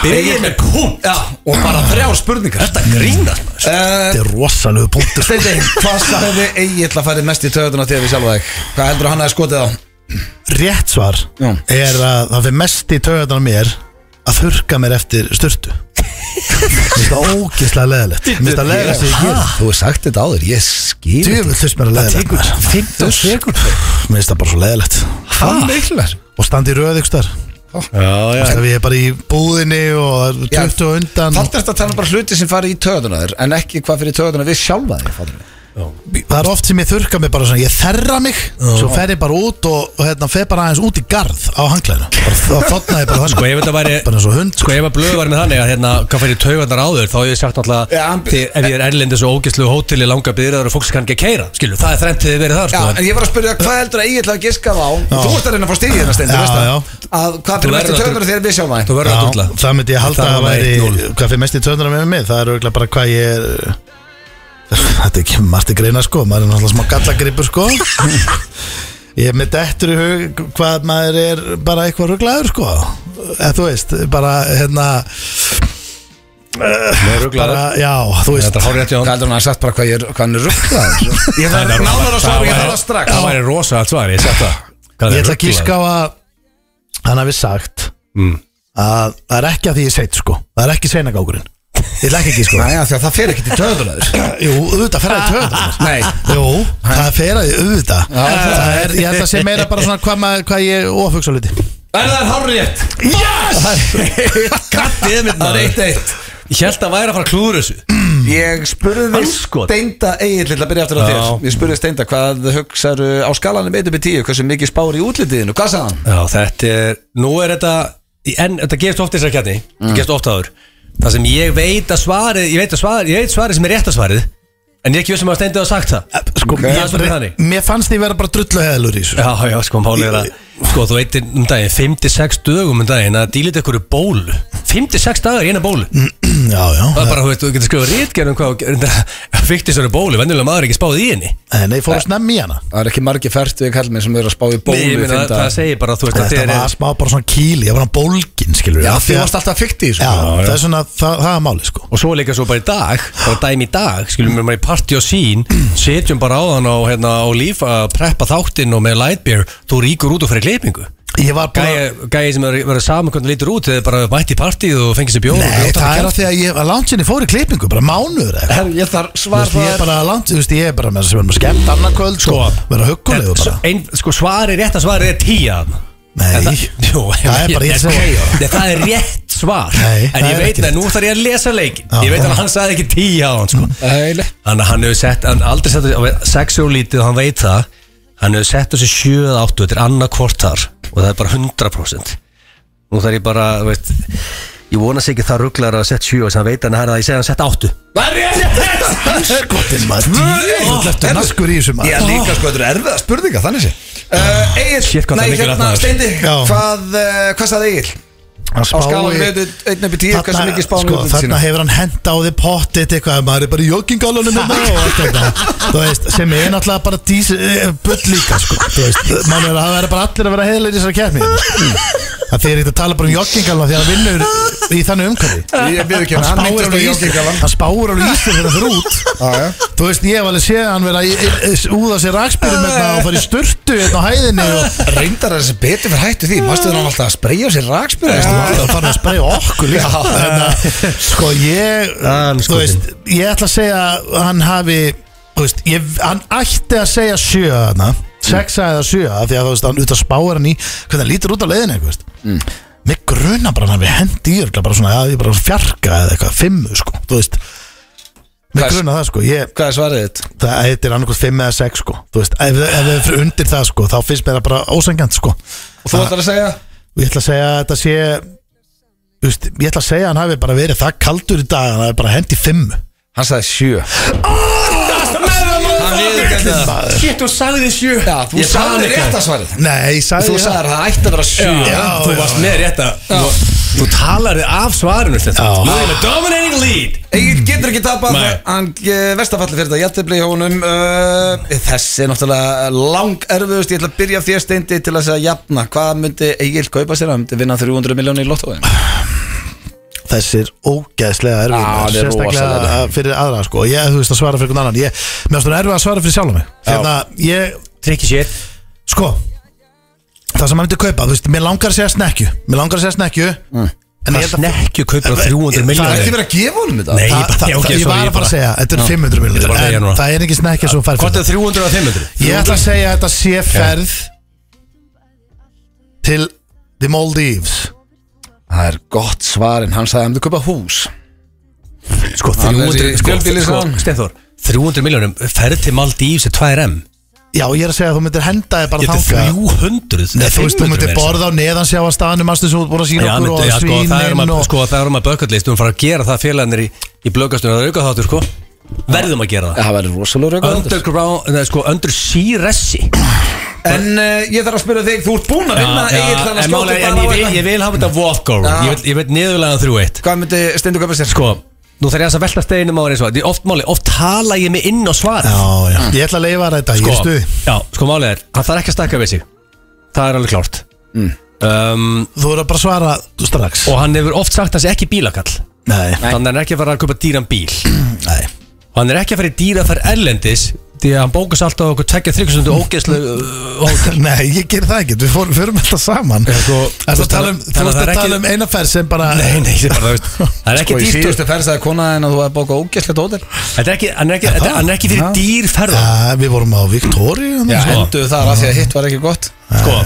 [SPEAKER 1] Egil með punkt Já, og bara þrjár spurningar Þetta grínast maður uh,
[SPEAKER 2] Þetta er rosalegu punktur
[SPEAKER 1] Steindi, hvað sagði Egil að færi mest í töðuna þegar við sjálfa þig? Hvað heldur hann að skotið á?
[SPEAKER 2] rétt svar
[SPEAKER 1] Já.
[SPEAKER 2] er að það fyrir mest í taugarnar á mér að þurka mér eftir styrtu Mér finnst það ógeðslega leðilegt Mér finnst það leðilegt sem ég ger
[SPEAKER 1] Þú hefur sagt þetta áður, ég skil
[SPEAKER 2] Djöfull þurft mér að leðilegt
[SPEAKER 3] 15 sekund
[SPEAKER 2] Mér finnst það bara svo leðilegt
[SPEAKER 1] Hvað miklar?
[SPEAKER 2] og standi í röð ykkur starf
[SPEAKER 3] Já, já,
[SPEAKER 2] við erum bara í búðinni og það er 20 undan
[SPEAKER 1] Þannig að tala um bara hluti sem fari í töðuna þér En ekki hvað fyrir töðuna við sjálfa þér fattar við.
[SPEAKER 2] það er oft sem ég þurka mig bara svona, ég þerra mig svo fer ég bara út og, og hérna, fer bara aðeins út í garð á hanglæðina þá þotna ég bara þannig
[SPEAKER 3] Sko ef þetta væri
[SPEAKER 2] bara eins og hund
[SPEAKER 3] Sko ef að blöð var með þannig að hérna Hvað fyrir taugarnar á þau Þá hef ég sagt náttúrulega
[SPEAKER 1] Já, hann-
[SPEAKER 3] þið, Ef ég er erlendis og ógæslu hótel Í langa byrðar og fólk sem kann ekki að keira Skilju, það er þremt til þið verið þar
[SPEAKER 1] Já, en
[SPEAKER 3] sko.
[SPEAKER 1] ég var að spyrja hvað heldur að ég ætla að giska þá Þú ert að reyna að fá stíði hérna stendi
[SPEAKER 2] Já,
[SPEAKER 1] veist það?
[SPEAKER 2] já.
[SPEAKER 1] Að hvað
[SPEAKER 3] Þú
[SPEAKER 1] fyrir mest í
[SPEAKER 3] verður að-
[SPEAKER 1] töðuna þegar við sjálfa
[SPEAKER 3] Þú
[SPEAKER 1] þér
[SPEAKER 3] verður að
[SPEAKER 2] Já,
[SPEAKER 3] dúlla
[SPEAKER 2] það myndi ég halda
[SPEAKER 3] Það
[SPEAKER 2] að
[SPEAKER 3] var
[SPEAKER 2] væri
[SPEAKER 3] 1-0.
[SPEAKER 2] hvað fyrir mest í töndurum með mig það er auðvitað bara hvað ég er eh, þetta er ekki margt í greina sko maður er náttúrulega smá gallagripur sko ég er með dettur í hug hvað maður er bara eitthvað rugglaður sko eða þú veist bara hérna
[SPEAKER 3] Með ruglaður.
[SPEAKER 2] bara, já þú veist
[SPEAKER 3] Þetta er hárið rétt
[SPEAKER 1] Hvað
[SPEAKER 3] hjá hann
[SPEAKER 1] heldur hann að sagt bara hvað ég er, hvað hann er ruglaður Ég þarf
[SPEAKER 3] Það
[SPEAKER 1] náður að svara, ég
[SPEAKER 3] væri-
[SPEAKER 1] þarf það strax
[SPEAKER 3] Það væri rosa allt svar Ég sagt það
[SPEAKER 2] ég
[SPEAKER 3] Hvað er
[SPEAKER 2] ætla að
[SPEAKER 3] ruglaður?
[SPEAKER 2] gíska á að hann hafi sagt
[SPEAKER 3] Mm.
[SPEAKER 2] að það er ekki að því ég seit sko það er ekki sveinagákurinn ég ætla ekki að gíska á það.
[SPEAKER 1] Næja, því að það fyrir ekki til töðuna þér
[SPEAKER 2] jú, auðvitað fer það í töðunar
[SPEAKER 1] Nei,
[SPEAKER 2] Jú, það fer að auðvitað
[SPEAKER 1] Já,
[SPEAKER 2] Það er, ég held að segja meira bara svona hvað, maður, hvað ég ofugsa hluti
[SPEAKER 3] En það er hárið Yes! Kattið mitt Það er eitt eitt Ég held að væri að fara að klúður þessu
[SPEAKER 1] ég spurði
[SPEAKER 3] Andskot.
[SPEAKER 1] Steinda Egil til að byrja aftur á
[SPEAKER 3] Já.
[SPEAKER 1] þér Ég spurði Steinda hvað hugsaðu á skalanum 1-10 Hversu mikið spári í útlitiðinu, hvað sagði hann?
[SPEAKER 3] Já, þetta er, nú er þetta en þetta gerst ofta í þessari kjarni mm. gerst ofta áður, það sem ég veit að svarið ég veit, að svarið, ég veit svarið sem er rétt að svarið en ég er ekki vissum að steindið að hafa sagt það
[SPEAKER 2] Sko,
[SPEAKER 3] Það er svolítið
[SPEAKER 2] mér,
[SPEAKER 3] þannig.
[SPEAKER 2] mér fannst því vera bara drullu heðalur í þessu
[SPEAKER 3] Já, já, sko, Páli er að sko, þú veitir um daginn, 5-6 dögum um daginn að dílit ykkur bólu 5-6 dagar í eina bólu
[SPEAKER 2] Já, já
[SPEAKER 3] það er bara, þú veit, þú getur skrifað rítgerð um hvað fyrst þessari bólu, venjulega maður er ekki spáð í henni
[SPEAKER 2] En ég fór að snemma í hana
[SPEAKER 1] Það er ekki margir fært við kallmenn sem eru að spá í
[SPEAKER 3] Nei, ég
[SPEAKER 1] bólu
[SPEAKER 3] meina, það, það segir bara, þú veist, að
[SPEAKER 2] Þetta
[SPEAKER 3] þér
[SPEAKER 2] var
[SPEAKER 3] er
[SPEAKER 2] smá bara svona kýli, ég var hann bólgin skilur
[SPEAKER 1] Já, því varst alltaf fikti í
[SPEAKER 2] Já,
[SPEAKER 1] þessu
[SPEAKER 2] sko. það er svona, það, það er máli sko
[SPEAKER 3] og svo líka svo bara í dag bara dæmi í dag, skilum við bara í party og sín setjum bara á þann og hérna á líf að preppa þáttinn og með lightbeer þú ríkur út og fyrir klippingu
[SPEAKER 2] Ég var bara
[SPEAKER 3] gæi gæi sem er- verður saman hvernig lítur út þegar bara mætti í partíð og fengið sér bjóð
[SPEAKER 2] Nei, það er að því að ég var langt sinni fór í klippingu Bara mánuður eða
[SPEAKER 1] Herru, ég þarf
[SPEAKER 2] Þú
[SPEAKER 1] svar
[SPEAKER 2] veist, Ég er bara langt, þú veist, ég er bara með sem verðum að skemmt annað kvöld sko Verða huggulegur bara
[SPEAKER 3] ein, sko svari rétt að svari er tíja
[SPEAKER 2] Nei,
[SPEAKER 3] það, jú,
[SPEAKER 2] það er bara ég sem
[SPEAKER 3] Nei, það er rétt svar
[SPEAKER 2] Nei,
[SPEAKER 3] en
[SPEAKER 2] það
[SPEAKER 3] ég
[SPEAKER 2] er
[SPEAKER 3] veit
[SPEAKER 2] ekki
[SPEAKER 3] að
[SPEAKER 2] rétt.
[SPEAKER 3] nú þarf ég að lesa leikin
[SPEAKER 2] Já. Mm.
[SPEAKER 3] ég veit að hann sagði ekki tíja á hann sko.
[SPEAKER 1] Æli
[SPEAKER 3] Þannig að hann hefur sett, hann aldrei sett þessi- sex og lítið og hann veit það hann hefur sett þessi 7 eða 8 þetta er annað hvort þar og það er bara 100% nú þarf ég bara, þú veist ég vona sér ekki það rugglar að sett 7 og þess að hann veit hann að það er það ég segja hann sett 8
[SPEAKER 1] Var ég þetta?
[SPEAKER 2] Skotin maður,
[SPEAKER 1] Ó,
[SPEAKER 2] dýrlega eftir
[SPEAKER 1] herru.
[SPEAKER 2] naskur í þessu maður
[SPEAKER 1] Já, líka sko, þetta er erfiða spurninga, þannig sé uh, Egil,
[SPEAKER 3] Shit, hvað það
[SPEAKER 1] nei,
[SPEAKER 3] er mikil
[SPEAKER 1] hérna,
[SPEAKER 3] aðnaður.
[SPEAKER 1] Steindi
[SPEAKER 2] Já.
[SPEAKER 1] Hvað, uh, hvað sagði Egil?
[SPEAKER 2] Hann
[SPEAKER 1] Á skalanum
[SPEAKER 2] spái-
[SPEAKER 1] 1-10, hversu
[SPEAKER 2] Þarna-
[SPEAKER 1] mikið spáni
[SPEAKER 2] sko,
[SPEAKER 1] sko,
[SPEAKER 2] þarna hefur hann henda á því pottit eitthvað, maður er bara í joggingalunum hérna og allt þetta, þú veist, sem er náttúrulega bara dís, eh, bull líka, sko, þú veist, maður er, það verður bara allir að vera heilir í þessari kefni, það þeir ekkert að tala bara um joggingaluna því að hann vinnur í þannig umhverfi.
[SPEAKER 1] Ég byrði ekki hann,
[SPEAKER 2] Hann
[SPEAKER 1] hann
[SPEAKER 2] spáir
[SPEAKER 1] myndir
[SPEAKER 2] alveg
[SPEAKER 1] alveg
[SPEAKER 2] í
[SPEAKER 1] jókingalan
[SPEAKER 2] Ísland Hann spáir alveg í Ísland þegar það er út
[SPEAKER 1] já.
[SPEAKER 2] Þú veist, ég hef alveg séð hann vera í- í- í- úða sér rakspyrum hérna og fara í sturtu hérna á hæðinni og
[SPEAKER 1] Reyndar þessi betur fyrir hættu því Mástu þannig alltaf að spreyja á sér rakspyrir
[SPEAKER 2] Þú veist, Það fann að spreyja okkur líka Þannig að, Sko ég
[SPEAKER 3] Hann
[SPEAKER 2] Þú
[SPEAKER 3] skotin.
[SPEAKER 2] veist, ég ætla að segja að Hann hafi, þú veist ég, Hann ætti að segja sjö þarna Sexa eða sjö, af því að þú veist Hann út að spáir hann í, hvernig hann lítur út á leiðinu eitthvað, veist. Mig gruna bara að hann við hendi í örugglega Bara svona, já, ég bara fjarka eða eitthvað Fimmu, sko, þú veist Mig
[SPEAKER 1] Hvað-
[SPEAKER 2] gruna það, sko, ég
[SPEAKER 1] Hvað er svarið þitt?
[SPEAKER 2] Það heitir annarkoð fimm eða sex, sko Þú veist, ef, ef við fyrir undir það, sko Þá finnst mér það bara ósengjant, sko
[SPEAKER 1] Og þú ætlar að segja?
[SPEAKER 2] og ég ætla að segja að þetta sé þú veist, ég ætla að segja að hann hafi bara verið það kaldur í dag, hann hafi bara hendi fimm
[SPEAKER 1] Hann sagði sjö Hann viðurkenndi það.
[SPEAKER 3] Shit, þú sagði 7
[SPEAKER 1] Já, þú sagði rétt að svarið
[SPEAKER 2] Nei, ég sagði
[SPEAKER 1] Þú sagði að það ætti að vera sjö
[SPEAKER 3] Já, þú
[SPEAKER 2] já,
[SPEAKER 3] varst með rétt að þú- Þú talar þig af svarinu Stefán.
[SPEAKER 2] Já.
[SPEAKER 3] Nú er ég með dominating lead
[SPEAKER 1] Egil getur ekki tapað
[SPEAKER 3] Nei.
[SPEAKER 1] Hann vestafalli fyrir þetta Jættibli húnum uh, Þessi er náttúrulega lang erfiðust Ég ætla að byrja á þér steindi til að segja jafna Hvað myndi Egil kaupa sér? Hann myndi vinna 300 miljónu í lottói
[SPEAKER 2] Þessir
[SPEAKER 1] Já,
[SPEAKER 2] ógeðslega erfið
[SPEAKER 1] hann er
[SPEAKER 2] Sérstaklega
[SPEAKER 1] rosalega.
[SPEAKER 2] fyrir aðra sko. Ég, þú veist, að svara fyrir einhvern annan Ég, mér finnst það erfið að svara fyrir sjálf mig Þannig að ég,
[SPEAKER 3] Trikki shit
[SPEAKER 2] sko Það sem hann myndi kaupa, þú veist, mér langar að segja snekju Mér langar að segja snekju
[SPEAKER 1] Mm.
[SPEAKER 2] En
[SPEAKER 3] Það
[SPEAKER 2] ég held að
[SPEAKER 3] snekju kaupir á 300
[SPEAKER 1] Það er
[SPEAKER 3] miljónir
[SPEAKER 1] ekki verið að gefa honum þetta
[SPEAKER 2] Þa,
[SPEAKER 3] Nei, ég
[SPEAKER 2] það,
[SPEAKER 3] bara-
[SPEAKER 2] það,
[SPEAKER 3] já, ok,
[SPEAKER 2] ég
[SPEAKER 3] sorry,
[SPEAKER 2] var
[SPEAKER 3] ég
[SPEAKER 2] að fara
[SPEAKER 3] bara-
[SPEAKER 2] að segja, þetta eru 500
[SPEAKER 3] Ég bara
[SPEAKER 2] miljonir
[SPEAKER 3] segja
[SPEAKER 2] En
[SPEAKER 3] núna.
[SPEAKER 2] það er ekki snekkja sem hún fær fyrir
[SPEAKER 3] Hvort er 300 að 500?
[SPEAKER 2] Ég ætla að segja að þetta sé ferð til The Maldives
[SPEAKER 1] Það er gott svar en hann sagði að hann myndi kaupa hús
[SPEAKER 3] Sko,
[SPEAKER 1] Hann er í
[SPEAKER 3] 300 sko,
[SPEAKER 1] fjölbýli,
[SPEAKER 3] sko,
[SPEAKER 1] sagði hann.
[SPEAKER 3] Steinþór, 300 miljónum Ferð til Maldífs er 2M
[SPEAKER 2] Já, ég er að segja að þú myndir henda þér bara
[SPEAKER 3] Þetta er
[SPEAKER 2] þanga Nei,
[SPEAKER 3] 300
[SPEAKER 2] þú veist, þú
[SPEAKER 3] 500
[SPEAKER 2] myndir
[SPEAKER 3] meira.
[SPEAKER 2] borða á neðansjáastanum Astu sem þú ert búin að sína
[SPEAKER 3] Já,
[SPEAKER 2] okkur
[SPEAKER 3] myndi,
[SPEAKER 2] og
[SPEAKER 3] já, sko, það er um
[SPEAKER 2] svínin
[SPEAKER 3] að,
[SPEAKER 2] og
[SPEAKER 3] sko, það er um að bökallist, við erum fara að gera það félagarnir í, í blöggastunum, það er auka þáttur, sko verðum að gera það
[SPEAKER 1] Það væri rosalega raugur
[SPEAKER 3] Underground, neða, sko, under sea ressi
[SPEAKER 1] En uh, ég þarf að spyrja þig, þú ert búinn að vinna Egil þannig að
[SPEAKER 3] en
[SPEAKER 1] skjóta
[SPEAKER 3] málega, en
[SPEAKER 1] bara á
[SPEAKER 3] ég vil,
[SPEAKER 1] þetta.
[SPEAKER 3] ég vil hafa þetta walk over,
[SPEAKER 1] Já.
[SPEAKER 3] ég vil, ég vil niðurlega 3-1
[SPEAKER 1] Hvað myndi Stendur kaupa sér?
[SPEAKER 3] sko, nú þarf ég aðeins að velta steinum á það eins og það, Því oft máli, oft tala ég mig inn á svar
[SPEAKER 2] Já, já Ég ætla að leifa þér þetta, ég er
[SPEAKER 3] Mm. sko,
[SPEAKER 2] stuð
[SPEAKER 3] já, sko málega er, hann þarf ekki að stakka við sig það er alveg klárt
[SPEAKER 1] Mm.
[SPEAKER 3] um,
[SPEAKER 2] Þú verður bara að svara strax
[SPEAKER 3] og hann hefur oft sagt að það sé ekki bílakall
[SPEAKER 2] Nei,
[SPEAKER 3] þannig að hann er ekki að fara að köpa dýran bíl
[SPEAKER 2] nei
[SPEAKER 3] og hann er ekki að fara í dýraferð erlendis því að hann bókast alltaf á okkur tveggja þryggstundu ógeðslu hótel
[SPEAKER 2] Nei, ég ger það ekki, við fórum- förum alltaf saman
[SPEAKER 3] Já, sko,
[SPEAKER 2] Ertu að tala um- Þú
[SPEAKER 3] þannig að
[SPEAKER 2] veist að
[SPEAKER 3] það er ekki-
[SPEAKER 2] tala um eina ferð sem bara
[SPEAKER 3] Nei, nei, það er bara, þú veist, það er ekki
[SPEAKER 1] Sko, í
[SPEAKER 3] dýrt
[SPEAKER 1] síðustu ferð sagði kona en að þú hefði bókað ógæslegt hótel
[SPEAKER 3] Þetta er ekki, hann er ekki, þetta, hann er ekki
[SPEAKER 1] Já.
[SPEAKER 3] fyrir dýrferða
[SPEAKER 2] Já, Ah, Við vorum á Victoria
[SPEAKER 1] Já,
[SPEAKER 2] sko.
[SPEAKER 1] enduðu þar af því að hitt var ekki gott
[SPEAKER 3] Sko,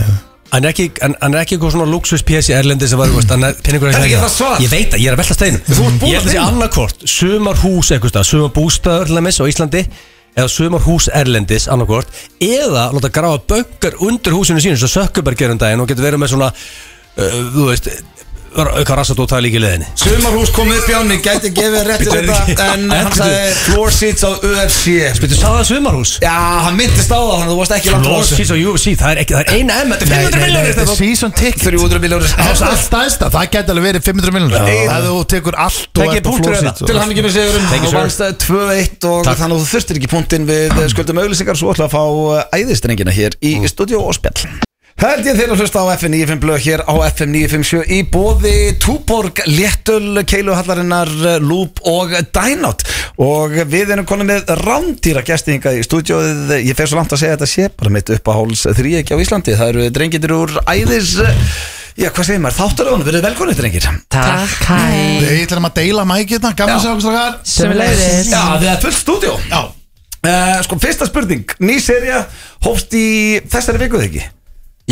[SPEAKER 3] hann er ekki, hann, hann er ekki eitthvað svona luxus PS í erlendis sem var, þú veist, hann er peningur
[SPEAKER 1] Er ekki það svar?
[SPEAKER 3] Ég veit það, ég er að velta steinu
[SPEAKER 1] Þú ert búinn
[SPEAKER 3] Ég
[SPEAKER 1] að
[SPEAKER 3] held þessi
[SPEAKER 1] vinna.
[SPEAKER 3] annarkvort, sumar hús eitthvað, sumar bústaður á Íslandi eða sumar hús erlendis annarkvort eða láta grafa böngar undir húsinu sínu svo sökkubar gerum daginn og getur verið með svona uh, þú veist, auka rassat og tala líka í leðinni
[SPEAKER 1] Sumarhús kom upp í hann, ég gæti gefið rétt
[SPEAKER 3] Bíddu,
[SPEAKER 1] til
[SPEAKER 3] er ekki-
[SPEAKER 1] þetta En hann
[SPEAKER 3] Bíddu.
[SPEAKER 1] sagði floor seats á UFC
[SPEAKER 3] Spytu, sagði það sumarhús?
[SPEAKER 1] Já, hann myndist á það, þannig að þú varst ekki langt frá
[SPEAKER 3] Lost
[SPEAKER 1] þessu.
[SPEAKER 3] Seas og UFC, það er ekki, það er eina M, þetta
[SPEAKER 2] Nei,
[SPEAKER 3] er
[SPEAKER 2] nei,
[SPEAKER 3] 500
[SPEAKER 2] nei,
[SPEAKER 3] miljónir
[SPEAKER 2] þetta er season ticket
[SPEAKER 1] 300 miljónir
[SPEAKER 2] Það er allt aðeins það, það gæti alveg verið 500 miljonar
[SPEAKER 1] Já.
[SPEAKER 2] Það þú tekur allt
[SPEAKER 3] Tekið punktur eða?
[SPEAKER 1] Til hann ekki með sigurum og
[SPEAKER 3] Thank you, sir.
[SPEAKER 1] hérna. vannst það 2-1 og
[SPEAKER 3] Takk.
[SPEAKER 1] þannig að þú þurftir ekki punktinn við eh, skuldum auðlýsingar svo ætla að fá eh, æðistrengina hér í
[SPEAKER 3] Mm.
[SPEAKER 1] stúdíu og spjall Held ég þeirra hlusta á FM 95 blöð hér á FM 957 í bóði Túborg, Léttul, Keiluhallarinnar, eh, Loop og Dynout og við erum konum með rándýra gestinga í stúdíóið ég fer svo langt að segja að þetta sé bara mitt upp að háls þrýekja á Íslandi, það eru drengindir úr æðis, eh, já hvað segir maður, þáttaröðunum, verið velkonir drengir
[SPEAKER 4] Takk, hæ
[SPEAKER 2] Ég ætla um að deila mækirna, gaman að sjá okkur strákar
[SPEAKER 4] Sömulegðis
[SPEAKER 1] Já, það er fullt stúdíó
[SPEAKER 2] Já,
[SPEAKER 1] Uh, sko, fyrsta spurning, ný serja hófst í þessari vikuð ekki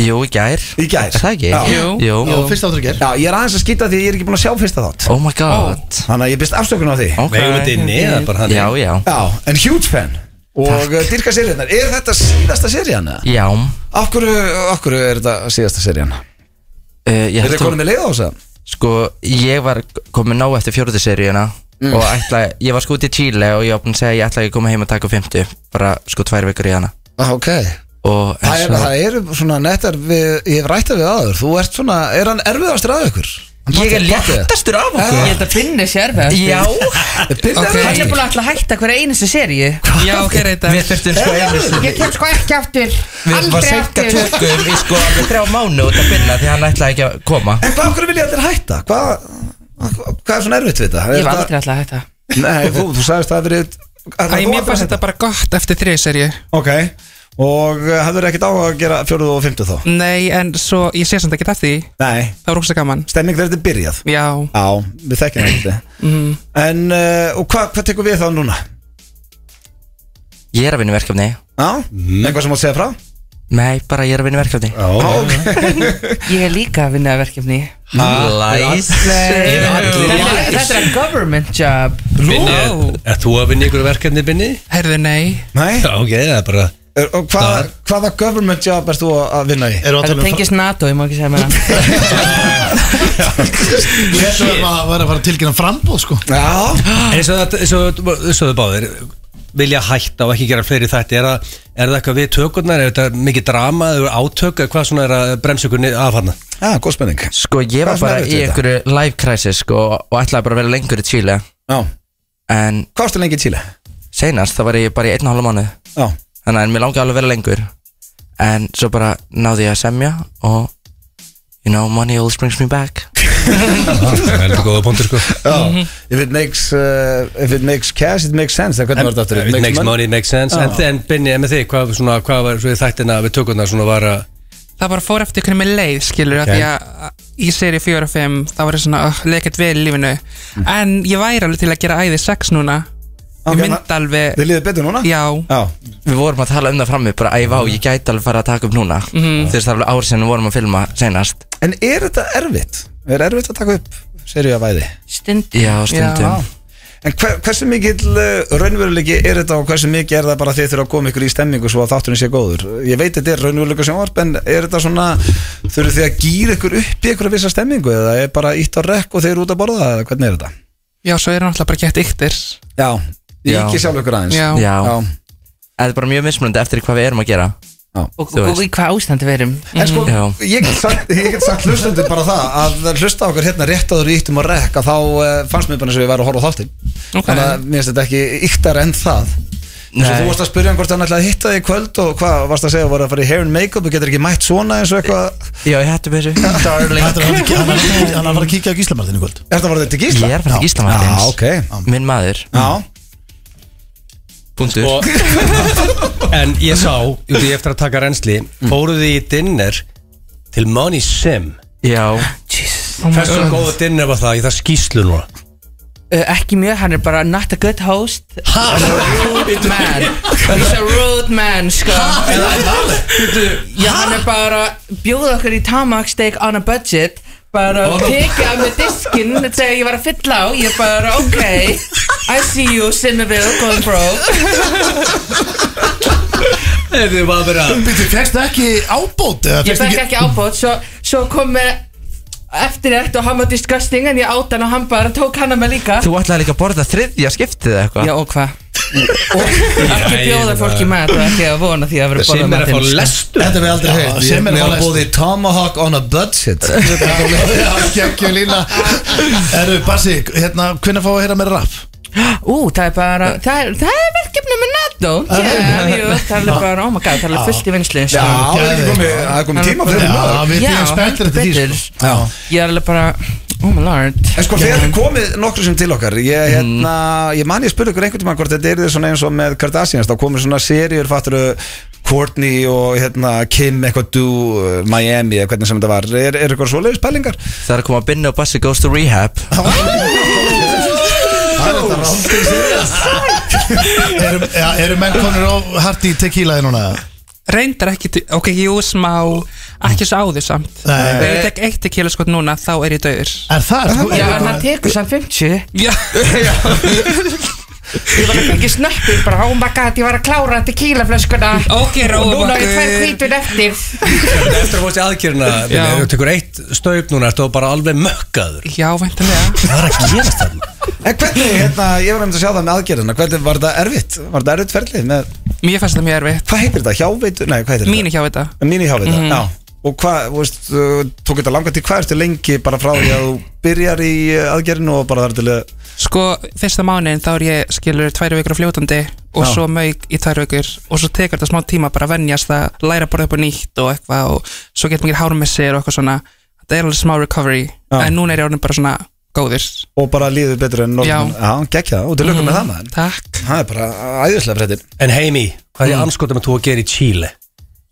[SPEAKER 4] Jú, í gær
[SPEAKER 1] Í gær.
[SPEAKER 4] Er Það ekki?
[SPEAKER 1] Já.
[SPEAKER 4] Jú,
[SPEAKER 2] já fyrst áttur ger
[SPEAKER 1] Já, ég er aðeins að skýta því að ég er ekki búin að sjá fyrsta þátt
[SPEAKER 4] Oh my god
[SPEAKER 1] Þannig að ég byrst afsökun á því
[SPEAKER 4] Ok.
[SPEAKER 3] Megum við þetta inni,
[SPEAKER 4] ok.
[SPEAKER 3] það er bara þannig.
[SPEAKER 4] Já, já
[SPEAKER 1] Já, en huge fan Og uh, dyrka seríunar, er þetta síðasta serían? eða?
[SPEAKER 4] Já
[SPEAKER 1] Af hverju, af hverju er þetta síðasta serían?
[SPEAKER 4] uh, ég
[SPEAKER 1] Er
[SPEAKER 4] held
[SPEAKER 1] þetta
[SPEAKER 4] að-
[SPEAKER 1] konum með leið á þessu?
[SPEAKER 4] Sko, ég var komin nóg eftir fjóruðu seríuna
[SPEAKER 1] Mm.
[SPEAKER 4] Og ætla, ég var sko út í Chile Og ég var búin að segja að ég ætla að ég koma heim og taka 50 Bara sko tvær vikur í hana
[SPEAKER 1] Ah, ok
[SPEAKER 4] Og
[SPEAKER 1] Það er, það eru svona nettar við, ég hef rætt það við aður Þú ert svona, er hann erfiðastur að ykkur?
[SPEAKER 5] Ég er léttastur af okkur Ég held að finna sérfæðast
[SPEAKER 4] Já
[SPEAKER 5] Hann er
[SPEAKER 1] okay.
[SPEAKER 5] búin að ætla að hætta hverja einustu seríu
[SPEAKER 4] Já, ok, reyta Við þurftum sko einu
[SPEAKER 5] Ég kem sko ekki aftur
[SPEAKER 4] Við var
[SPEAKER 5] Aldrei
[SPEAKER 4] senka
[SPEAKER 5] aftur
[SPEAKER 4] tökum í sko alveg þrjá mánu út að byrna Því hann ætlaði ekki að koma
[SPEAKER 1] En hvað, af hverju vilja allir hætta? Hvað, hvað er svona erfitt við þetta? Er
[SPEAKER 5] Ég var
[SPEAKER 1] þetta-
[SPEAKER 5] aldrei alltaf að hætta
[SPEAKER 1] Nei, þú, þú sagðist það að verið að
[SPEAKER 6] Æ,
[SPEAKER 1] þú
[SPEAKER 6] mér
[SPEAKER 1] ætlar
[SPEAKER 6] fannst
[SPEAKER 1] að-
[SPEAKER 6] þetta bara gott eftir þriði serju
[SPEAKER 1] Ok, og uh, hafður ekkert á að gera fjóruð og fymtu þá?
[SPEAKER 6] Nei, en svo ég sé samt ekki það því
[SPEAKER 1] Nei
[SPEAKER 6] Það var rosa gaman
[SPEAKER 1] Stemning þegar þetta er byrjað
[SPEAKER 6] Já,
[SPEAKER 1] Já, við þekkjum það ekki
[SPEAKER 6] Mhm.
[SPEAKER 1] mm. En, uh, og hva, hvað tekur við þá núna?
[SPEAKER 4] Ég er að vinna í verkefni
[SPEAKER 1] Já, eitthvað sem átt að segja frá?
[SPEAKER 4] Nei, bara ég er að vinna í verkefni
[SPEAKER 1] Mhm. Já, ok
[SPEAKER 5] Ég er líka að vinna að verkefni Eh,
[SPEAKER 4] Læs
[SPEAKER 5] Þetta er- þetta er a government job
[SPEAKER 3] Binni, er, er þú að vinna ykkur verkefni, Binni?
[SPEAKER 6] herðu nei
[SPEAKER 1] Nei,
[SPEAKER 3] Já, ok, það er bara
[SPEAKER 1] Er- og hvaða, hvaða government job erst þú að vinna í?
[SPEAKER 2] Erum við að
[SPEAKER 5] Þetta
[SPEAKER 2] tala um
[SPEAKER 5] tengist NATO, ég má ekki segja með það
[SPEAKER 2] Ég ætla um að vera að fara að tilkynna frambóð sko
[SPEAKER 1] Já,
[SPEAKER 3] En eins og það- eins og eins og þau báðir vilja hætta og ekki gera fleiri þætti er, að, er það eitthvað við tökurnar, er þetta mikið drama eða átök, eða hvað svona er að bremsa ykkur niður af hana?
[SPEAKER 1] já, góð spenning
[SPEAKER 4] Sko ég
[SPEAKER 1] Hvað er
[SPEAKER 4] var
[SPEAKER 1] svona
[SPEAKER 4] bara
[SPEAKER 1] erfitt
[SPEAKER 4] í
[SPEAKER 1] við þetta?
[SPEAKER 4] einhverju life crisis sko, og ætlaði bara að vera lengur í Chile
[SPEAKER 1] Já,
[SPEAKER 4] en
[SPEAKER 1] hvað ástu lengi í Chile?
[SPEAKER 4] seinast þá var ég bara í einn og halva mánu
[SPEAKER 1] Já,
[SPEAKER 4] þannig að mér langaði alveg að vera lengur en svo bara náði ég að semja og you know money always brings me back
[SPEAKER 3] Það er eitthvað góða punktur, sko
[SPEAKER 1] já If it makes, uh, if it makes cash, it makes sense Það hvernig var þetta aftur?
[SPEAKER 3] It makes money, it makes sense En, en Binni, en með þig, hvað, svona, hvað var svo í þættina við tökurnar svona var að
[SPEAKER 6] Það bara fór eftir hvernig mér leið, skilur
[SPEAKER 3] Ok.
[SPEAKER 6] okay. Því að í serju 4 og 5 Það var ég svona, uh, leikert vel í lífinu En ég væri alveg til að gera æði 6 núna
[SPEAKER 1] Ok,
[SPEAKER 6] Ég myndi
[SPEAKER 1] na-
[SPEAKER 6] alveg
[SPEAKER 1] Þið líður betur núna?
[SPEAKER 6] Já,
[SPEAKER 1] Já,
[SPEAKER 4] Við vorum að tala um það frammi, bara æ, vá, ég gæti alveg fara að taka upp núna
[SPEAKER 6] Mhm.
[SPEAKER 4] Þú veist, það er alveg ár sinni vorum að filma senast
[SPEAKER 1] en er þetta erfitt? Er erfitt að taka upp seriðavæði?
[SPEAKER 5] Stundum
[SPEAKER 4] Já,
[SPEAKER 1] Já.
[SPEAKER 4] stundum
[SPEAKER 1] En hver, hversu mikill uh, raunveruleiki er þetta og hversu mikið er það bara þið þurfa að koma ykkur í stemmingu svo að þátturinn sé góður? Ég veit þetta er raunveruleika sjónvarp en er þetta svona, þurfið þið að gýra ykkur upp í ykkur að vissa stemmingu eða er bara ítt á rekk og þeir eru út að borða eða hvernig er þetta?
[SPEAKER 6] já, svo er hann alltaf bara gett yktir
[SPEAKER 1] Já, ég
[SPEAKER 4] Já.
[SPEAKER 1] ekki sjálf ykkur aðeins
[SPEAKER 6] Já.
[SPEAKER 4] Já,
[SPEAKER 1] Já.
[SPEAKER 4] það er bara mjög mismunandi eftir hvað við erum að gera
[SPEAKER 5] Og, og,
[SPEAKER 4] Þú
[SPEAKER 5] og
[SPEAKER 4] veist.
[SPEAKER 5] í hvað ástand við erum
[SPEAKER 1] En sko,
[SPEAKER 4] Já.
[SPEAKER 1] ég get sagt, ég get sagt hlustundur bara það að hlusta á okkur hérna rétt áður í íttum og rekk að þá uh, fannst mér bara eins og ég væri að horfa á þáttinn
[SPEAKER 6] Ok.
[SPEAKER 1] Þannig að mér finnst þetta ekki yktar en það Eins og
[SPEAKER 4] Nei.
[SPEAKER 1] þú varst að spyrja hann hvort hann ætlaði að hitta þig í kvöld og hvað varst að segja, voru að fara í hair and make-up og getur ekki mætt svona eins og eitthvað
[SPEAKER 4] Já, ég hættu byrju Darling
[SPEAKER 2] Þetta er hann ekki- hann er hann er að fara að kíkja á gíslamartinu í kvöld
[SPEAKER 1] Er þetta bara þetta til
[SPEAKER 4] Ég
[SPEAKER 1] gísla?
[SPEAKER 4] er fyrir Gísla
[SPEAKER 1] Já,
[SPEAKER 4] Martins
[SPEAKER 1] ok
[SPEAKER 4] Minn maður,
[SPEAKER 1] Já,
[SPEAKER 4] punktur
[SPEAKER 3] Og- En ég sá, jú, því eftir að taka reynsli
[SPEAKER 1] Mm.
[SPEAKER 3] Fóruð þið í dinner Til Money Sim
[SPEAKER 4] Já,
[SPEAKER 6] Oh
[SPEAKER 3] Hversu góða dinner var það, ég það skýslu núna
[SPEAKER 5] uh, Ekki mjög, hann er bara not a good host Hann er a rude man He's a rude man, sko Bíddu, Já, hann er bara Bjóð okkur í tamak steak on a budget Bara tekið af með diskinn Þegar ég var að fylla á Ég bara, ok I see you, Cineville, going broke
[SPEAKER 3] Þið var að vera
[SPEAKER 2] Þú fegst ekki ábót eða
[SPEAKER 5] Ég
[SPEAKER 2] fékkstu
[SPEAKER 5] fekk ekki ábót Svo, svo kom með eftirrætt og hann var disgusting en ég átt hann og hann bara tók hana með líka
[SPEAKER 4] þú ætlaði líka að borða þriðja skiptið eða eitthvað
[SPEAKER 5] Já og hvað? ekki bjóða fólki mat og ekki að vona því að vera borða
[SPEAKER 3] Sim er að fá
[SPEAKER 5] matinn
[SPEAKER 3] lestu
[SPEAKER 2] Þetta er við
[SPEAKER 1] Já,
[SPEAKER 2] aldrei heilt
[SPEAKER 1] sem er bara búið í Tomahawk on a budget
[SPEAKER 2] Kekki lína Erðu, Bassi, hérna, hvernig fá að heyra með rap?
[SPEAKER 5] Ú, það er bara, það er, það er verkefni með NATO yeah, jú, Það er bara, oh my god, það er alveg fullt í vinsli
[SPEAKER 1] Já, það er ekki
[SPEAKER 2] geðveikt.
[SPEAKER 1] komið, það er komið tíma fyrir maður
[SPEAKER 2] Já, við byggjum spenntir eftir því sko.
[SPEAKER 1] Já
[SPEAKER 5] Ég er alveg bara, oh my lord
[SPEAKER 1] En sko þið hefði komið nokkru sem til okkar Ég, hérna, ég man ég spurði ykkur einhvern tímann hvort þetta er þið svona eins og með Kardashians þá komið svona seríur fatturu Courtney og hérna, Kim eitthvað du, uh, Miami eða hvernig sem þetta var Er, er eitthvað svoleiðis pælingar?
[SPEAKER 4] Það er að koma að binna og Bassi goes to rehab
[SPEAKER 2] Það er þetta rándið síðast Eru menn konur á harti tequilaði núna?
[SPEAKER 6] Reyndar ekki, til- ok, jú, smá Ekki svo áður samt
[SPEAKER 2] Nei.
[SPEAKER 6] Ef ég tek eitt tequila skot núna, þá er ég döður
[SPEAKER 2] Er það? sko? þú-
[SPEAKER 5] Sko, Já, en hann tekur samt 50
[SPEAKER 6] Já,
[SPEAKER 5] Ég var ekki snöppur, bara, oh my god, ég var að klára tequila flöskuna
[SPEAKER 6] ok,
[SPEAKER 5] Og
[SPEAKER 6] róa
[SPEAKER 5] núna er ég tvær hvítun eftir
[SPEAKER 3] Eftir að fórst í aðgerina
[SPEAKER 6] Já.
[SPEAKER 3] Ef þú tekur eitt staup núna Ertu bara alveg mökkaður
[SPEAKER 6] Já, væntanlega
[SPEAKER 3] Það er að gerast það
[SPEAKER 1] En hvernig, hérna, ég var nefnd að sjá það með aðgerðina Hvernig var þetta erfitt? Var þetta erfitt ferlið? Með,
[SPEAKER 6] Mér fannst þetta mjög erfitt
[SPEAKER 1] hvað heitir þetta? Hjáveitu? Nei, hvað heitir þetta?
[SPEAKER 6] Mínu hjá þetta
[SPEAKER 1] Mínu hjáveitu, já Og hvað, þú veist, uh, tók þetta langa til hvað ertu lengi bara frá því að þú byrjar í uh, aðgerðinu og bara þar til að
[SPEAKER 6] Sko, fyrsta mánuðin þá er ég skilur tværi vikur á fljótandi og
[SPEAKER 1] Já.
[SPEAKER 6] svo mauk í tværi vikur og svo tekur þetta smá tíma bara að venjast að læra að borða upp á nýtt og eitthvað og svo getur maður hármessir og eitthvað svona þetta er alveg smá recovery
[SPEAKER 1] Já.
[SPEAKER 6] en núna er ég orðin bara svona góðir
[SPEAKER 1] og bara líður betur en norðmenn Já, geggja það og til lökum með það maður
[SPEAKER 6] Takk
[SPEAKER 1] Það er bara æðislega breytin
[SPEAKER 3] En heimi, hvað
[SPEAKER 1] Mm.
[SPEAKER 3] er ég anskotum að þú að gera í Chile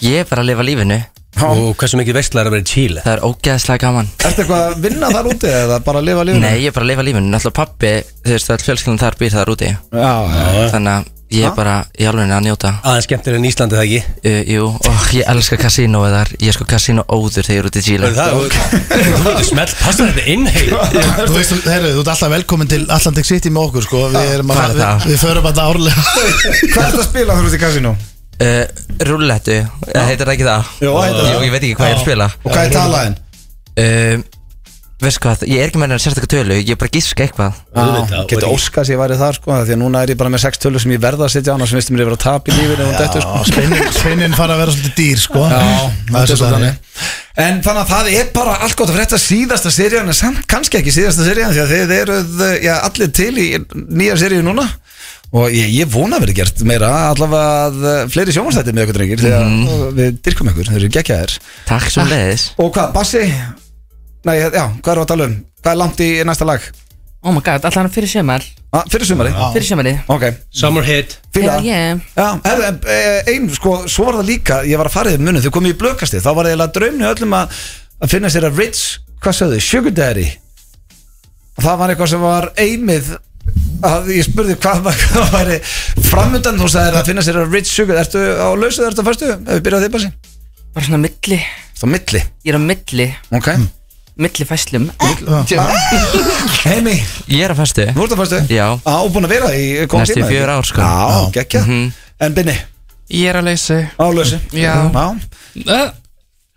[SPEAKER 4] Ég er bara að lifa lífinu
[SPEAKER 3] Og hversu mikið veistla er að vera í Chile
[SPEAKER 4] Það er ógeðslega gaman
[SPEAKER 1] Ertu eitthvað að vinna þar úti eða bara að lifa lífum?
[SPEAKER 4] Nei, ég er bara að lifa lífinu Náttúrulega pappi, þú veist, all fjölskyldan þar býr þar úti
[SPEAKER 1] Já, já,
[SPEAKER 4] Þannig að ég er bara í alveg að njóta
[SPEAKER 3] Aðeins skemmtir en Íslandi það ekki
[SPEAKER 4] uh, Jú, og ég elska kasínóið þar Ég er sko kasínó óður þegar ég er út í Chile
[SPEAKER 3] Það er það, þú- þú verður smelt Passa þetta inn heim
[SPEAKER 2] Þú veist, herru, þú ert alltaf velkomin til Atlantic City með okkur sko Við, erum að,
[SPEAKER 4] hvað er
[SPEAKER 2] við,
[SPEAKER 4] það?
[SPEAKER 2] við förum alltaf árlega
[SPEAKER 1] Hvað er þetta að spila þar út í kasinu?
[SPEAKER 4] uh, Rullettu, Eh, heitir það ekki það?
[SPEAKER 1] Jú, heitir það.
[SPEAKER 4] Jú, ég veit ekki hvað ég er að spila
[SPEAKER 1] Og hvað er talaðin?
[SPEAKER 4] um, Veist hvað, ég er ekki með hennar sérstaklega tölu Ég er bara að giska eitthvað
[SPEAKER 3] Auðvitað, og
[SPEAKER 1] Getur
[SPEAKER 3] ekki-
[SPEAKER 1] óskast ég væri þar sko af Því að núna er ég bara með sex tölur sem ég verða að setja annars finnst mér ég vera að tapa í lífinu og dættu sko
[SPEAKER 2] Spennin, spennin fara að vera svolítið dýr sko það er
[SPEAKER 1] þetta er
[SPEAKER 2] svolítið
[SPEAKER 1] svolítið.
[SPEAKER 2] þannig
[SPEAKER 1] En þannig að það er bara allt gott að frétta síðasta serían en samt kannski ekki síðasta serían því að þið eruð já, allir til í nýja seríu núna og ég, ég vona að vera gert meira allavega að, eh, fleiri sjómanstætti með ykkur drengir þegar
[SPEAKER 2] Mhm.
[SPEAKER 1] mm. við dyrkum ykkur, þeir eru geggjaðir
[SPEAKER 4] Takk sem leiðis
[SPEAKER 1] Og hvað, Bassi? Nei, já, hvað er að tala um? Hvað er langt í næsta lag?
[SPEAKER 5] Oh my god, allan fyrir sömar
[SPEAKER 1] Ah, fyrir sumari?
[SPEAKER 5] Fyrir sömarið
[SPEAKER 1] Ok,
[SPEAKER 3] Summer hit
[SPEAKER 1] fíla
[SPEAKER 5] Já, ég-
[SPEAKER 1] Já, herðu, eh, ein, sko, svo var það líka Ég var að fara yfir munum, þau komið í blökasti Þá var það eiginlega draumni öllum að, að finna sér að Rich, hvað sagði, Sugar Daddy Og það var eitthvað sem var einmið að ég spurði hvað var- hvað væri framöndan þú sagðir að finna sér að rich sugar ertu á lausu eða ertu að fæstu ef við byrjaði þig bara sín
[SPEAKER 5] Bara svona milli
[SPEAKER 1] þá milli
[SPEAKER 5] Ég er á milli
[SPEAKER 1] ok
[SPEAKER 4] Hmm.
[SPEAKER 5] Milli fæslum
[SPEAKER 1] heimi
[SPEAKER 4] Ég er að fæstu
[SPEAKER 1] þú ert að fæstu
[SPEAKER 4] Já.
[SPEAKER 1] á búin að vera í góðan
[SPEAKER 4] Næstu
[SPEAKER 1] tíma, ekki?
[SPEAKER 4] fjögur ár, sko.
[SPEAKER 1] já gekkja
[SPEAKER 4] Mhm.
[SPEAKER 1] en Binni
[SPEAKER 6] Ég er að leysi
[SPEAKER 1] á lausu
[SPEAKER 6] Já. uh,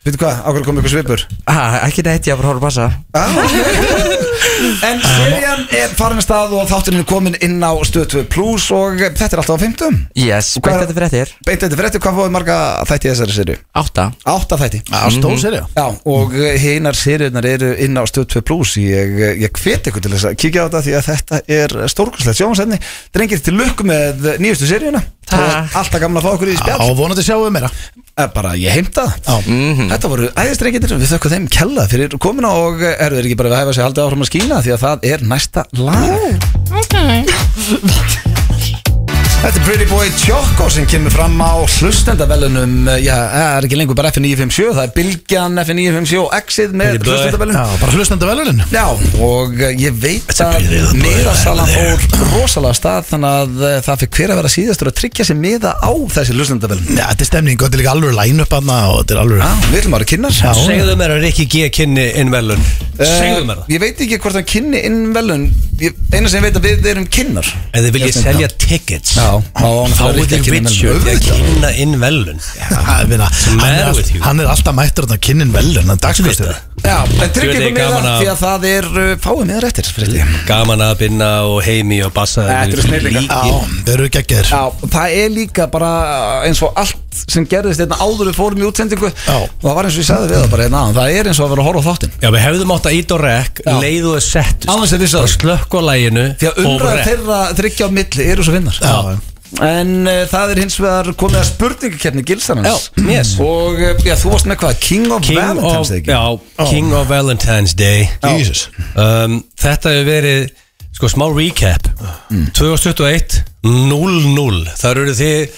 [SPEAKER 1] veitu hvað ákveður kom ykkur svipur
[SPEAKER 4] ah, Ekki neitt, ég var að horfa að passa
[SPEAKER 1] Já, ok. En serían er farin að stað og þátturinn er komin inn á stöð 2 Plus og þetta er alltaf á 50
[SPEAKER 4] Yes,
[SPEAKER 1] Og hvað-
[SPEAKER 4] beint þetta fyrir þér
[SPEAKER 1] Beint þetta fyrir eftir hvað fóðið marga þætti í þessari seríu?
[SPEAKER 4] Átta
[SPEAKER 1] Átta þætti Mm.
[SPEAKER 2] Stóð sér já
[SPEAKER 1] Já, og eh, hinar seríunar eru inn á stöð 2 Plus Ég, eh, ég hveti ykkur til þess að kíkja á þetta því að þetta er stórkurslegt sjónvarsefni Drengir til lukku með nýjustu seríuna
[SPEAKER 4] Takk.
[SPEAKER 1] Og Alltaf gamla að fá okkur í
[SPEAKER 2] Á
[SPEAKER 1] spjall
[SPEAKER 2] vonandi sjáum við meira Mm.
[SPEAKER 1] Eh, bara ég heimta það
[SPEAKER 4] Mhm.
[SPEAKER 1] Þetta voru æðistrengir við þökkum þeim kella fyrir komuna og eh, eru þeir ekki bara að hefa sig haldið áfram að skína því að það er næsta lag Þetta er Pretty Boy Choco sem kemur fram á hlustendavelunum eh, já, það er ekki lengur bara F957 það er Bilgjan F957 og Exit með
[SPEAKER 3] Pretty Boy.
[SPEAKER 1] hlustendavelun
[SPEAKER 2] Já, bara hlustandi velunin
[SPEAKER 1] Já, og eh, ég veit
[SPEAKER 3] a
[SPEAKER 1] að
[SPEAKER 3] pretty boy,
[SPEAKER 1] miðasalan
[SPEAKER 3] I'm
[SPEAKER 1] fór rosalega af stað þannig að eh, það fyrir hver að vera síðastur að tryggja sér miða á þessi hlustendavelun
[SPEAKER 2] Já, þetta er stemning og þetta er líka alveg læn upp aðna og þetta er
[SPEAKER 1] Já,
[SPEAKER 2] alveg
[SPEAKER 1] Eh, við viljum að vera kynnar
[SPEAKER 2] Já.
[SPEAKER 3] Segðu mér að Rikki G kynni inn velun Segðu mér það
[SPEAKER 1] Ég veit ekki hvort hann kynni inn velun Ég- Eina sem ég veit að við erum kynnar
[SPEAKER 3] Ef þið viljið selja tickets
[SPEAKER 1] Já, þá á hann að
[SPEAKER 3] Þá
[SPEAKER 1] fara
[SPEAKER 3] er
[SPEAKER 1] Rikki að
[SPEAKER 3] þið
[SPEAKER 1] kynna
[SPEAKER 3] Richard
[SPEAKER 1] velun.
[SPEAKER 3] að kynna inn velun
[SPEAKER 2] Ha, ég meina, hann, er
[SPEAKER 3] matter with
[SPEAKER 2] all,
[SPEAKER 3] you?
[SPEAKER 2] hann er alltaf mættur að kynnin velun hann dagskvist
[SPEAKER 3] Veistu það?
[SPEAKER 1] Já, en
[SPEAKER 3] Ég
[SPEAKER 1] tryggja
[SPEAKER 3] veit
[SPEAKER 1] ykkur
[SPEAKER 3] ekki
[SPEAKER 1] með
[SPEAKER 3] gaman Mm.
[SPEAKER 1] það
[SPEAKER 3] að-
[SPEAKER 1] Því að það er uh, fáið með réttir Fristi.
[SPEAKER 3] Gaman að binna og heimi og bassa
[SPEAKER 1] Þetta eru snillingar.
[SPEAKER 3] Líkir.
[SPEAKER 2] Já, þeir eru geggir
[SPEAKER 1] Já, það er líka bara eins og allt sem gerðist einna áður við fórum í útsendingu
[SPEAKER 2] Já.
[SPEAKER 1] og það var eins og ég sagði við það bara einna Það er eins og að vera að horfa á þáttinn
[SPEAKER 3] Já, við hefðum átt að ít og rekk
[SPEAKER 1] Já.
[SPEAKER 3] Leið og sett
[SPEAKER 1] Án þess að vissa það.
[SPEAKER 3] Slökk á læginu
[SPEAKER 1] Því að umræða þeirra þryggja á milli eru svo vinnar
[SPEAKER 2] Já.
[SPEAKER 1] En uh, það er hins vegar komið að spurningakefni gilsarans
[SPEAKER 3] Já, yes.
[SPEAKER 1] Og uh, já, þú varst með hvað? King of
[SPEAKER 3] King
[SPEAKER 1] Valentine's
[SPEAKER 3] of,
[SPEAKER 1] Day ekki?
[SPEAKER 3] já, King of Valentine's Day
[SPEAKER 2] Jesus.
[SPEAKER 3] um, Þetta hefur verið sko, smá recap
[SPEAKER 1] Mm.
[SPEAKER 3] 2021 0-0 Þar eru þið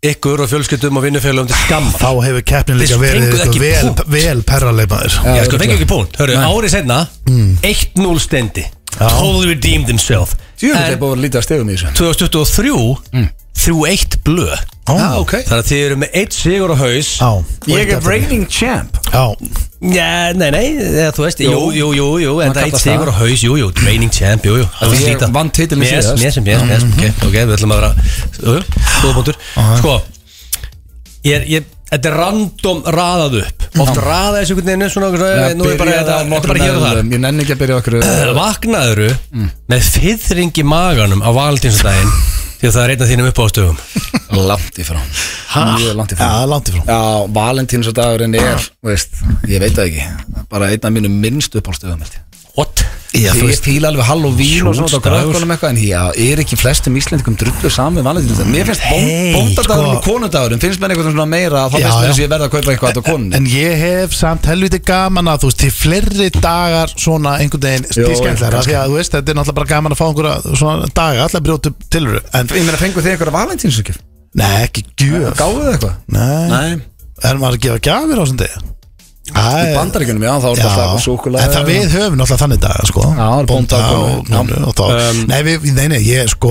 [SPEAKER 3] ykkur og fjölskyldum og vinnufélagum til skamma
[SPEAKER 2] þá hefur keppnin líka
[SPEAKER 3] Þið
[SPEAKER 2] verið
[SPEAKER 3] fenguð
[SPEAKER 2] eitthvað
[SPEAKER 3] ekki
[SPEAKER 2] vel,
[SPEAKER 3] punkt.
[SPEAKER 2] vel perraleipaður
[SPEAKER 3] Já, sko, fengi ekki punkt Hörru, árið senna
[SPEAKER 1] Mm.
[SPEAKER 3] 1-0 stendi Totally redeemed himself
[SPEAKER 1] Djúvill er
[SPEAKER 3] En
[SPEAKER 1] búin að lítið að stegum í þessu
[SPEAKER 3] 2023 3-1 blö
[SPEAKER 1] Já, Ah, ok
[SPEAKER 3] Mm. Þannig að þið eru með eitt sigur á haus
[SPEAKER 2] Já,
[SPEAKER 1] Ég er reigning champ
[SPEAKER 2] Já,
[SPEAKER 3] Já, nei, nei, eða, þú veist, jú, jú, jú, jú
[SPEAKER 1] Maður
[SPEAKER 3] En það er eitt
[SPEAKER 1] kallast
[SPEAKER 3] sigur á haus, jú, jú, training champ, jú, jú Það
[SPEAKER 1] Ég vann titilinn
[SPEAKER 3] yes,
[SPEAKER 1] síðast. Mm.
[SPEAKER 3] Yes, yes, yes, ok, ok, við ætlum að vera Jú, jú, góða punktur Sko, ég, er- ég, þetta er random raðað upp
[SPEAKER 1] Mm.
[SPEAKER 3] Oft raða þessu einhvern veginn svona, svona Nú er bara, þetta þetta er bara hér og þar
[SPEAKER 1] Ég nenni ekki að byrja okkur
[SPEAKER 3] Vaknaðuru
[SPEAKER 1] Mm.
[SPEAKER 3] með fyrring í maganum á valentínsdaginn Því að það er einn af þínum upp á stöðum
[SPEAKER 1] Langt í frá Mjög langt í
[SPEAKER 2] já,
[SPEAKER 1] frá
[SPEAKER 2] langt í frá
[SPEAKER 1] Já, valentínsdagurinn er þú veist, Ég veit það ekki Bara einn af mínum minnst uppálstöðum
[SPEAKER 3] What?
[SPEAKER 2] Já, þú
[SPEAKER 1] Ég
[SPEAKER 2] veist,
[SPEAKER 1] fíla alveg Halloween og svona á
[SPEAKER 3] Sjónsdagur.
[SPEAKER 1] grökkunum eitthvað En já, er ekki flestum íslendingum drullu saman valentínsdag Mér finnst
[SPEAKER 3] Hey,
[SPEAKER 1] bóndadagurinn
[SPEAKER 2] sko.
[SPEAKER 1] og konudagurinn Finnst mér eitthvað svona meira Þá
[SPEAKER 2] Já,
[SPEAKER 1] finnst mér
[SPEAKER 2] já.
[SPEAKER 1] þess að ég verða að kaupa eitthvað á konunni
[SPEAKER 2] En ég hef samt helviti gaman að þú veist, til fleiri dagar svona einhvern veginn
[SPEAKER 1] Jó,
[SPEAKER 2] stískendlæra
[SPEAKER 1] kannski.
[SPEAKER 2] því að þú veist, þetta er náttúrulega bara gaman að fá einhverja svona daga, allar brjótu tilur en,
[SPEAKER 1] Ég meina, fengu þið einhverja valentínsugjöf?
[SPEAKER 2] nei, ekki gjöf
[SPEAKER 1] Gáðu þið eitthvað?
[SPEAKER 2] Nei,
[SPEAKER 1] Nei
[SPEAKER 2] en maður að gefa gjafir á þessum degi
[SPEAKER 1] Í
[SPEAKER 2] Æ,
[SPEAKER 1] bandaríkunum, já, þá er þetta alltaf súkulega
[SPEAKER 2] en það við höfum náttúrulega þannig dag sko.
[SPEAKER 1] það er bónda
[SPEAKER 2] Bónda
[SPEAKER 1] og
[SPEAKER 2] og,
[SPEAKER 1] konu,
[SPEAKER 2] og, og um, nei, við, nei, nei, ég sko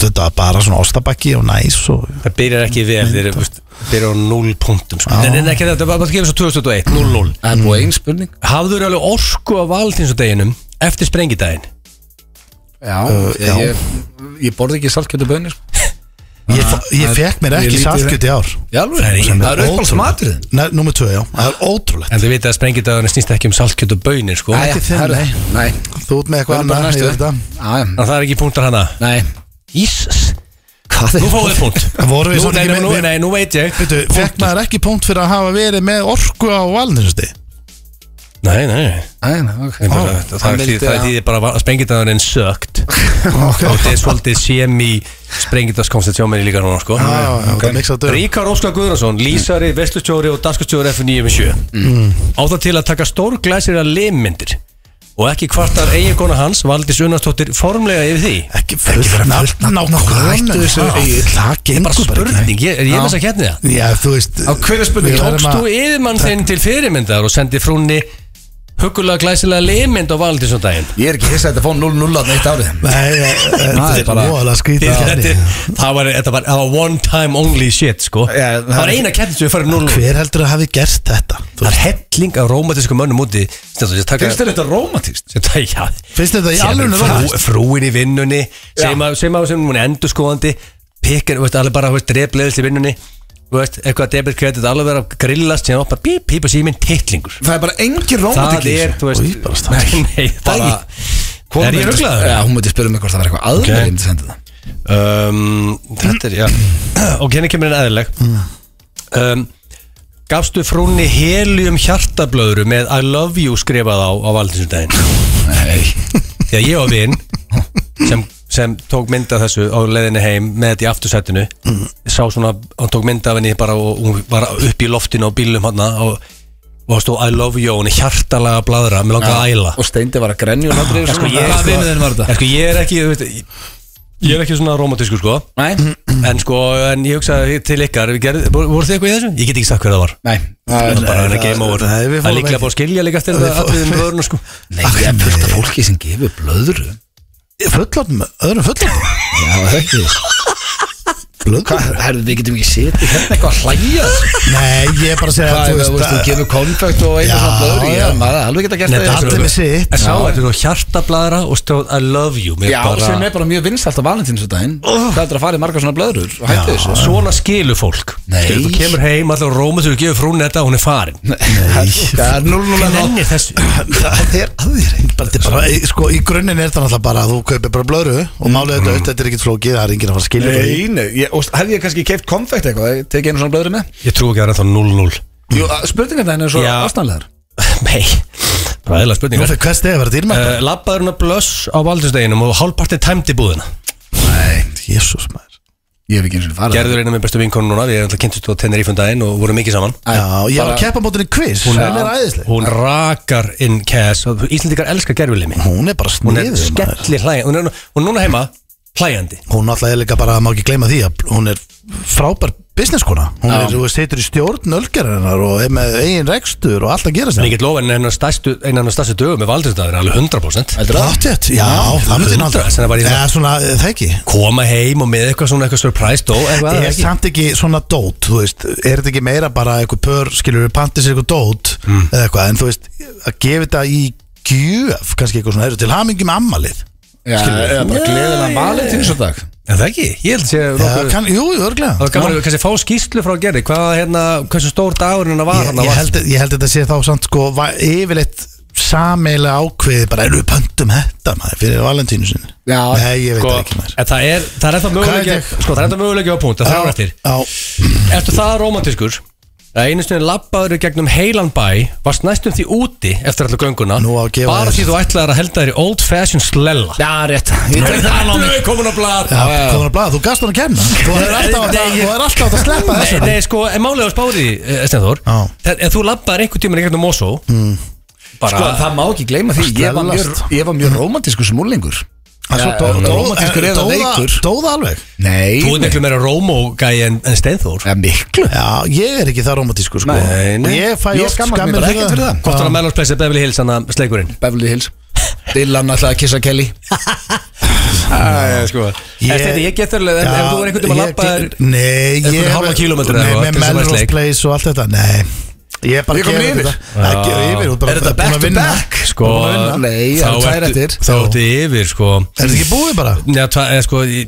[SPEAKER 2] þetta er bara svona ástabakki og næs og,
[SPEAKER 3] Það byrjar ekki vel, þeir eru veist, byrjar á 0 punktum sko.
[SPEAKER 2] Já.
[SPEAKER 3] Nei, nei, ekki þetta, það var bara að gefa svo 2001, 0-0
[SPEAKER 1] Það er búið einn spurning
[SPEAKER 3] Hafður alveg orku á valentínsdeginum eftir sprengidaginn?
[SPEAKER 1] Já,
[SPEAKER 2] já.
[SPEAKER 1] Eh, ég, ég, ég borði ekki saltkjötu bönir sko.
[SPEAKER 2] ég, ég fekk mér
[SPEAKER 1] ég
[SPEAKER 2] ekki
[SPEAKER 1] lítið-
[SPEAKER 2] saltkjöti ár
[SPEAKER 1] Já, alveg,
[SPEAKER 3] Það er í-
[SPEAKER 1] það er uppáls maturinn
[SPEAKER 2] Nei, Númer 2, já, það er ótrúlegt
[SPEAKER 3] En þið vitið að sprengidagurinn snýst ekki um saltkjöt og bönir sko
[SPEAKER 2] Nei.
[SPEAKER 3] Þannig
[SPEAKER 2] ekki þinn,
[SPEAKER 1] herru,
[SPEAKER 2] nei.
[SPEAKER 1] Nei,
[SPEAKER 2] Þú út með
[SPEAKER 1] hvað
[SPEAKER 2] eitthvað
[SPEAKER 1] er bara
[SPEAKER 2] annað, ég
[SPEAKER 1] næstu
[SPEAKER 2] veit það
[SPEAKER 1] Já,
[SPEAKER 3] að það er ekki punktar hana
[SPEAKER 1] Nei,
[SPEAKER 3] Jesus
[SPEAKER 1] hvað
[SPEAKER 3] Nú fáið þið punkt
[SPEAKER 2] Vorum við
[SPEAKER 3] nú,
[SPEAKER 2] samt
[SPEAKER 3] nei,
[SPEAKER 2] ekki
[SPEAKER 3] nú,
[SPEAKER 2] með-
[SPEAKER 3] nú,
[SPEAKER 2] við-
[SPEAKER 3] hérna nei, nú veit ég
[SPEAKER 2] Veitu, fekk maður ekki punkt fyrir að hafa verið með orku á valninsdi
[SPEAKER 3] Nei, nei, nei
[SPEAKER 1] Nei, nei, ok
[SPEAKER 3] Ég bara, það, það,
[SPEAKER 1] vildi
[SPEAKER 3] það, það
[SPEAKER 1] að-
[SPEAKER 3] þýðir bara að sprengidagurinn sögt
[SPEAKER 2] okay.
[SPEAKER 3] Og það er svolítið semi sprengidagskonstitjá mér líka núna sko
[SPEAKER 2] okay. okay.
[SPEAKER 3] Ríkar Óskar Guðrason, lísari, veslustjóri og danskustjóri F957 á það til að taka stór glæsir að limmyndir og ekki kvartar eiginkona hans Valdís Unnarsdóttir formlega yfir því
[SPEAKER 2] Ekki fullna Nákvæmna
[SPEAKER 1] Hættu þessu, Egill.
[SPEAKER 2] Það
[SPEAKER 3] bara
[SPEAKER 2] gengur bara ekki
[SPEAKER 3] spurning, ég, er ég veist að kjætni það
[SPEAKER 2] Já, þú veist
[SPEAKER 1] Á hverju spurningu?
[SPEAKER 2] við verðum
[SPEAKER 3] Tókst
[SPEAKER 2] að-
[SPEAKER 3] þú yfirmann þinn til fyrirmyndar og sendi frúnni huggulega glæsilega liðmynd á valdinsundaginn
[SPEAKER 1] Ég er ekki hissa að þetta fá 0-0 að neitt árið
[SPEAKER 2] Nei, eh, þetta
[SPEAKER 1] Það er
[SPEAKER 2] er
[SPEAKER 1] bara-
[SPEAKER 2] móðalega skrítið
[SPEAKER 3] Þetta er- Það var, þetta var, það var one time only shit sko
[SPEAKER 1] Já,
[SPEAKER 3] Það var eina kettin sem við farið 0-0
[SPEAKER 2] Hver heldur að hafi gerst þetta? Þú
[SPEAKER 3] Það er
[SPEAKER 2] veist,
[SPEAKER 3] helling af rómatísku mönnum úti sem þú- sem taka-
[SPEAKER 1] Finnst þér þetta rómatist?
[SPEAKER 3] sem taka- já,
[SPEAKER 2] Finnst þér þetta í
[SPEAKER 3] sem
[SPEAKER 2] alvörunni
[SPEAKER 3] frú-
[SPEAKER 2] rómantískt?
[SPEAKER 3] Frúin í vinnunni sem að sem, að- sem hún er endurskoðandi pikkin, veist, alveg bara, veist, drefleðis í vinnunni veist, eitthvað debit kredit alveg vera að grillast sem opna bíp, pípa síminn titlingur
[SPEAKER 1] Það er bara engin
[SPEAKER 3] Það
[SPEAKER 1] rómatik
[SPEAKER 3] er, þú veist
[SPEAKER 2] Í, bara stað.
[SPEAKER 3] Nei, nei, bara Er ég ruglaður?
[SPEAKER 1] Já, hún myndi spyrja mig hvort það var eitthvað aðra
[SPEAKER 3] Ok.
[SPEAKER 1] okay. myndi senda það
[SPEAKER 3] um, Þetta er, já Og henni kemur einn eðlileg um, Gafstu frúnni helium hjartablöðru með I love you skrifað á á valdinsundaginn
[SPEAKER 1] Nei
[SPEAKER 3] Því að ég og vinn sem, sem tók mynd af þessu á leiðinni heim með þetta í aftursættinu sá svona, hann tók mynd af henni bara og hún var upp í loftinu á bílum hann og, og stóð I love you og henni hjartalega bladra, mér langaði að æla
[SPEAKER 1] Og Steindi var að grenja um og náttúrulega
[SPEAKER 3] sko, ég,
[SPEAKER 1] Hvað
[SPEAKER 3] sko-
[SPEAKER 1] vinnu þinn var
[SPEAKER 3] Ég,
[SPEAKER 1] þetta?
[SPEAKER 3] sko, ég er ekki, þú veist ég- Ég er ekki svona romantísku sko
[SPEAKER 1] Nei,
[SPEAKER 3] En sko, en ég hugsaði til ykkar við gerð, voru, voru þið eitthvað í þessu? Ég get ekki sagt hver það var
[SPEAKER 1] nei Það
[SPEAKER 3] Það
[SPEAKER 1] er
[SPEAKER 3] var bara henni
[SPEAKER 2] það-
[SPEAKER 3] game over
[SPEAKER 2] nei, við
[SPEAKER 3] Það er
[SPEAKER 2] fórum
[SPEAKER 3] líklega
[SPEAKER 2] ekki.
[SPEAKER 3] búið að skilja líka eftir
[SPEAKER 2] Við
[SPEAKER 3] það
[SPEAKER 2] fórum-
[SPEAKER 3] allir um blöðurna sko
[SPEAKER 1] Nei, það er fullt af fólki sem gefur blöðru
[SPEAKER 2] Fullotnum, öðrum fullotnum
[SPEAKER 1] Já, það er ekki Hvað, herðu, við getum ekki setið hérna eitthvað að hlæja
[SPEAKER 2] Nei, ég er bara að segja
[SPEAKER 1] Hvað,
[SPEAKER 2] þú
[SPEAKER 1] þú veist, þú
[SPEAKER 2] að-
[SPEAKER 1] gefur konfekt og einu
[SPEAKER 2] Já,
[SPEAKER 1] svona blöðru
[SPEAKER 2] já.
[SPEAKER 1] Já, maður er alveg geta gert
[SPEAKER 3] Nei,
[SPEAKER 1] það sko. í þessu.
[SPEAKER 3] þetta
[SPEAKER 2] allir með sitt.
[SPEAKER 3] En sá þetta er hjartablaðra og stóð I love you Mér
[SPEAKER 1] Já, sem er bara mjög vinsalt á valentinsudaginn Það er að fara í margar svona blöðrur og hættu þessu
[SPEAKER 3] Ah. Svona skilu fólk
[SPEAKER 1] Nei.
[SPEAKER 3] Þú kemur heim, allir róma þú gefur frún þetta og hún er farin
[SPEAKER 1] Nei, það er 0-0
[SPEAKER 3] Hvað ennir þessu?
[SPEAKER 2] Það er aðeins bara, þetta er bara, sko, Í grunninn er þetta náttúrulega bara að þú kaupir bara blöru og málið þetta auðvitað, þetta er ekkert flókið það er enginn að fara að skilja bara í.
[SPEAKER 1] Mm, Nei, nei, ég, og hefði ég kannski keift konfekt eitthvað tekið einu svona blöðri með
[SPEAKER 3] Ég trú ekki að það er ennþá 0-0
[SPEAKER 1] Jú, spurningar það er svo
[SPEAKER 3] Já.
[SPEAKER 1] ástæðanlegar
[SPEAKER 3] Nei, bara eðla
[SPEAKER 2] Nú
[SPEAKER 3] spurningar
[SPEAKER 2] fyrir hvers stegi að vera dýrmætt
[SPEAKER 1] Eh,
[SPEAKER 3] uh, Labbaður hún að blöss á valdinsdeginum og hálfpartin tæmdi búðina
[SPEAKER 2] Jésús maður
[SPEAKER 1] Ég hef ekki eins og farað
[SPEAKER 3] Gerður eina með bestu vinkonum núna, við erum alltaf kynntust á tennir ífundaginn og vorum mikið saman
[SPEAKER 1] Æ,
[SPEAKER 2] Já, ég var
[SPEAKER 1] bara-
[SPEAKER 2] að keppa mótinni quiz Hún er aðeinslega
[SPEAKER 3] Hún rakar inn cash og Íslendingar elskar gerfulimi
[SPEAKER 2] Hún er bara
[SPEAKER 3] Hún er
[SPEAKER 2] sniður
[SPEAKER 3] skellir hlægjandi Hún er og núna heima hlægjandi
[SPEAKER 2] Hún alltaf er líka bara, má ekki gleyma því að hún er frábær businesskona Hún
[SPEAKER 1] Já.
[SPEAKER 2] er, þú veist, heitur í stjórn ölgerinnar og er með eigin rekstur og allt að gera
[SPEAKER 3] En
[SPEAKER 2] sér
[SPEAKER 3] ég get lofa henni hennar stærstu, eina hennar stærstu dögum með valdinsdagur alveg 100%
[SPEAKER 1] Heldur það?
[SPEAKER 2] Ráttjætt, já, það myndi
[SPEAKER 3] Hundrað, sem það var í
[SPEAKER 2] náttúrulega
[SPEAKER 3] það.
[SPEAKER 2] Já, svona, eh, það ekki
[SPEAKER 3] Koma heim og með eitthvað svona eitthvað surprise dó eitthvað
[SPEAKER 2] er
[SPEAKER 3] ekki.
[SPEAKER 2] samt ekki svona dót þú veist, er þetta ekki meira bara eitthvað pör skilur við pantið sér eitthvað dót
[SPEAKER 3] Mm.
[SPEAKER 2] eða eitthvað, en þú veist, að gefa þetta í gjöf, kannski eitthvað svona, eru til hamingi með ammalið
[SPEAKER 1] Já, eða bara gleðilega valentinsudag
[SPEAKER 3] En það ekki, ég held að sé
[SPEAKER 2] Já,
[SPEAKER 3] nokkuð-
[SPEAKER 2] kann, jú, jú, örglega
[SPEAKER 3] Það var gaman að kannski fá skýslu frá Gerði Hvað hérna, hversu stór dagur hennar var
[SPEAKER 2] ég,
[SPEAKER 3] hann
[SPEAKER 2] ég, held, ég held að þetta sé þá samt sko va- yfirleitt sameila ákveði bara, eru við pöntum þetta maður fyrir valentínu sinni
[SPEAKER 1] Já,
[SPEAKER 2] Nei, ég veit
[SPEAKER 3] Sko,
[SPEAKER 2] það ekki maður
[SPEAKER 3] en það er, það er ennþá möguleiki
[SPEAKER 2] er þetta?
[SPEAKER 3] Sko, það er ennþá möguleiki á punkt, það þrjára eftir
[SPEAKER 2] Já,
[SPEAKER 3] Ertu það romantiskur? Það einu stunni labbaður í gegnum heilan bæ Varst næstum því úti eftir allu gönguna
[SPEAKER 2] Nú á að gefa
[SPEAKER 3] Bara
[SPEAKER 2] þér.
[SPEAKER 3] því þú ætlaðir að held þær í old fashion slella
[SPEAKER 1] Já, rétt
[SPEAKER 3] Þetta er komin á blad
[SPEAKER 2] já, komin að blaða, þú gafst hann að kenna Þú er alltaf átt að,
[SPEAKER 3] Nei, ég-
[SPEAKER 2] þú er alltaf átt að sleppa
[SPEAKER 3] Nei,
[SPEAKER 2] þessu
[SPEAKER 3] nei, sko, en málega spáði Stenþór
[SPEAKER 2] Já. Mm.
[SPEAKER 3] Ef þú labbaður einhvern tímann í gegnum Mosó
[SPEAKER 1] Sko, það má ekki gleyma því Ég var mjög,
[SPEAKER 2] Stelast.
[SPEAKER 1] ég var mjög rómantiskur smúlingur
[SPEAKER 2] En svo
[SPEAKER 1] Já,
[SPEAKER 2] dó- dó-
[SPEAKER 1] rómantískur
[SPEAKER 2] en
[SPEAKER 1] eða
[SPEAKER 2] dóða-
[SPEAKER 1] veikur.
[SPEAKER 2] Dóða alveg
[SPEAKER 1] Nei
[SPEAKER 3] Þú er
[SPEAKER 1] nei.
[SPEAKER 3] miklu meira Rómó-gæi en, en Steinþór
[SPEAKER 1] Já, miklu
[SPEAKER 2] Já, ég er ekki það romantískur sko
[SPEAKER 3] Nei, nei.
[SPEAKER 2] Og Ég fæ
[SPEAKER 1] Ég
[SPEAKER 2] oft
[SPEAKER 1] skammast
[SPEAKER 2] skammir
[SPEAKER 1] mín bara ekkert fyrir það.
[SPEAKER 3] Hvort var að meðlagspleysa Beverly Hills hann að sleikurinn
[SPEAKER 1] Beverly Hills Dylan alltaf að kissa Kelly
[SPEAKER 3] Æ, sko
[SPEAKER 2] Ég-
[SPEAKER 3] Ég, ég get þurrlega,
[SPEAKER 2] Já,
[SPEAKER 3] ef, ef þú er einhvern tímann
[SPEAKER 2] ég
[SPEAKER 3] labbaður
[SPEAKER 2] get- Nei,
[SPEAKER 3] einhvern
[SPEAKER 2] ég
[SPEAKER 3] hálfa kílómetra
[SPEAKER 2] Nei,
[SPEAKER 3] eða eitthvað,
[SPEAKER 2] með
[SPEAKER 3] til þess að vera
[SPEAKER 2] Melrose
[SPEAKER 3] sleik.
[SPEAKER 2] Place og allt þetta Nei, ég er bara
[SPEAKER 1] Ég kom yfir.
[SPEAKER 2] Ekki yfir, þú
[SPEAKER 1] Er
[SPEAKER 2] bara
[SPEAKER 1] þetta
[SPEAKER 2] búin
[SPEAKER 1] back
[SPEAKER 2] að
[SPEAKER 1] to
[SPEAKER 2] vinna
[SPEAKER 1] back?
[SPEAKER 3] Sko,
[SPEAKER 1] Nei,
[SPEAKER 3] þá
[SPEAKER 1] það er tvær
[SPEAKER 3] ertu-
[SPEAKER 1] eftir
[SPEAKER 3] Þá ertu yfir, sko
[SPEAKER 2] Er þetta ekki búið bara?
[SPEAKER 3] Já, tva- eða sko, í-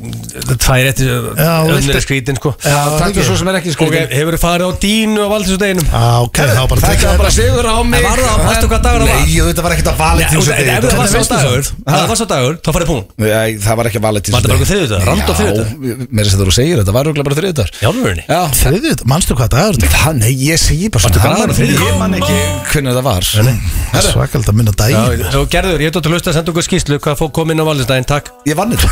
[SPEAKER 3] tvær eftir eh,
[SPEAKER 2] Já,
[SPEAKER 3] Önnur
[SPEAKER 2] viltu-
[SPEAKER 3] er skrítin, sko
[SPEAKER 2] Já,
[SPEAKER 1] Takk
[SPEAKER 2] ekki.
[SPEAKER 1] svo sem er ekki sko,
[SPEAKER 3] Ok,
[SPEAKER 1] skriðin
[SPEAKER 3] hefur þið farið á dínu á valdinsudeginum
[SPEAKER 2] Já, ok, þá bara
[SPEAKER 1] Það
[SPEAKER 2] tekja
[SPEAKER 1] ekki bara
[SPEAKER 2] þetta
[SPEAKER 1] sigur á mig
[SPEAKER 3] En var það- varstu hvað dagur það var?
[SPEAKER 1] Nei, þetta var ekkert að
[SPEAKER 3] Ef
[SPEAKER 1] valentinsudag
[SPEAKER 3] það var sá dagur, ef það var sá dagur, þá farið pún
[SPEAKER 1] Nei, það var ekki valetins
[SPEAKER 3] Var þetta bara þriðjudagur? Rand á
[SPEAKER 1] Já, mér er þess að þú segir þetta, var rúglega bara þriðudagur
[SPEAKER 3] Jálfurinni
[SPEAKER 1] Já,
[SPEAKER 2] Þriðið, manstu hvað dagur þetta?
[SPEAKER 1] það, nei, ég segi bara
[SPEAKER 3] Varstu
[SPEAKER 1] svona
[SPEAKER 3] glaður á þriðjudaginn?
[SPEAKER 1] Ég man ekki hvernig það var
[SPEAKER 2] Það er svakald að minna daginn
[SPEAKER 3] Já, og gerður, ég tóttu að hlusta að senda okkur skýslu hvað fólk kom inn á valdinstæðin, takk
[SPEAKER 1] Ég vann þetta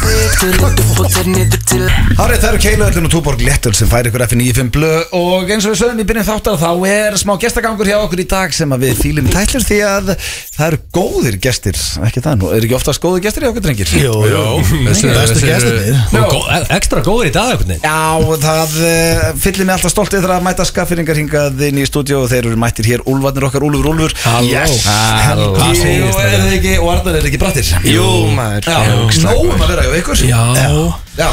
[SPEAKER 1] Hárið, það eru keiluðallin og túborg léttul sem færi ykkur F95 blöð og eins og við sögum í byrjun þáttar þá er smá gestagangur hjá okkur í dag sem að við fýlum tætlur því að það eru góðir gestir ekki það nú, eru ekki oftast góðir gestir hjá okkur drengir?
[SPEAKER 2] Jó, jó
[SPEAKER 3] Þessi-
[SPEAKER 2] Bestu
[SPEAKER 3] þessi eru-
[SPEAKER 2] gestirnir.
[SPEAKER 3] Og gó- Ekstra góður í dag, einhvern veginn
[SPEAKER 1] eh, Já, það uh, fyllir mig alltaf stoltið þegar að mæta skaffyringar hingað inn í stúdíu og þeir þeir eru mættir hér Úlfarnir okkar, Úlfur, Úlfur
[SPEAKER 3] Halló.
[SPEAKER 1] Halló
[SPEAKER 3] Hvað
[SPEAKER 1] Jú,
[SPEAKER 3] segir þetta?
[SPEAKER 1] er þið ekki, og Arnar er ekki brattir
[SPEAKER 4] Jú, maður.
[SPEAKER 1] Já,
[SPEAKER 4] Jú.
[SPEAKER 1] nógum að vera hjá ykkur
[SPEAKER 3] Já,
[SPEAKER 1] Já,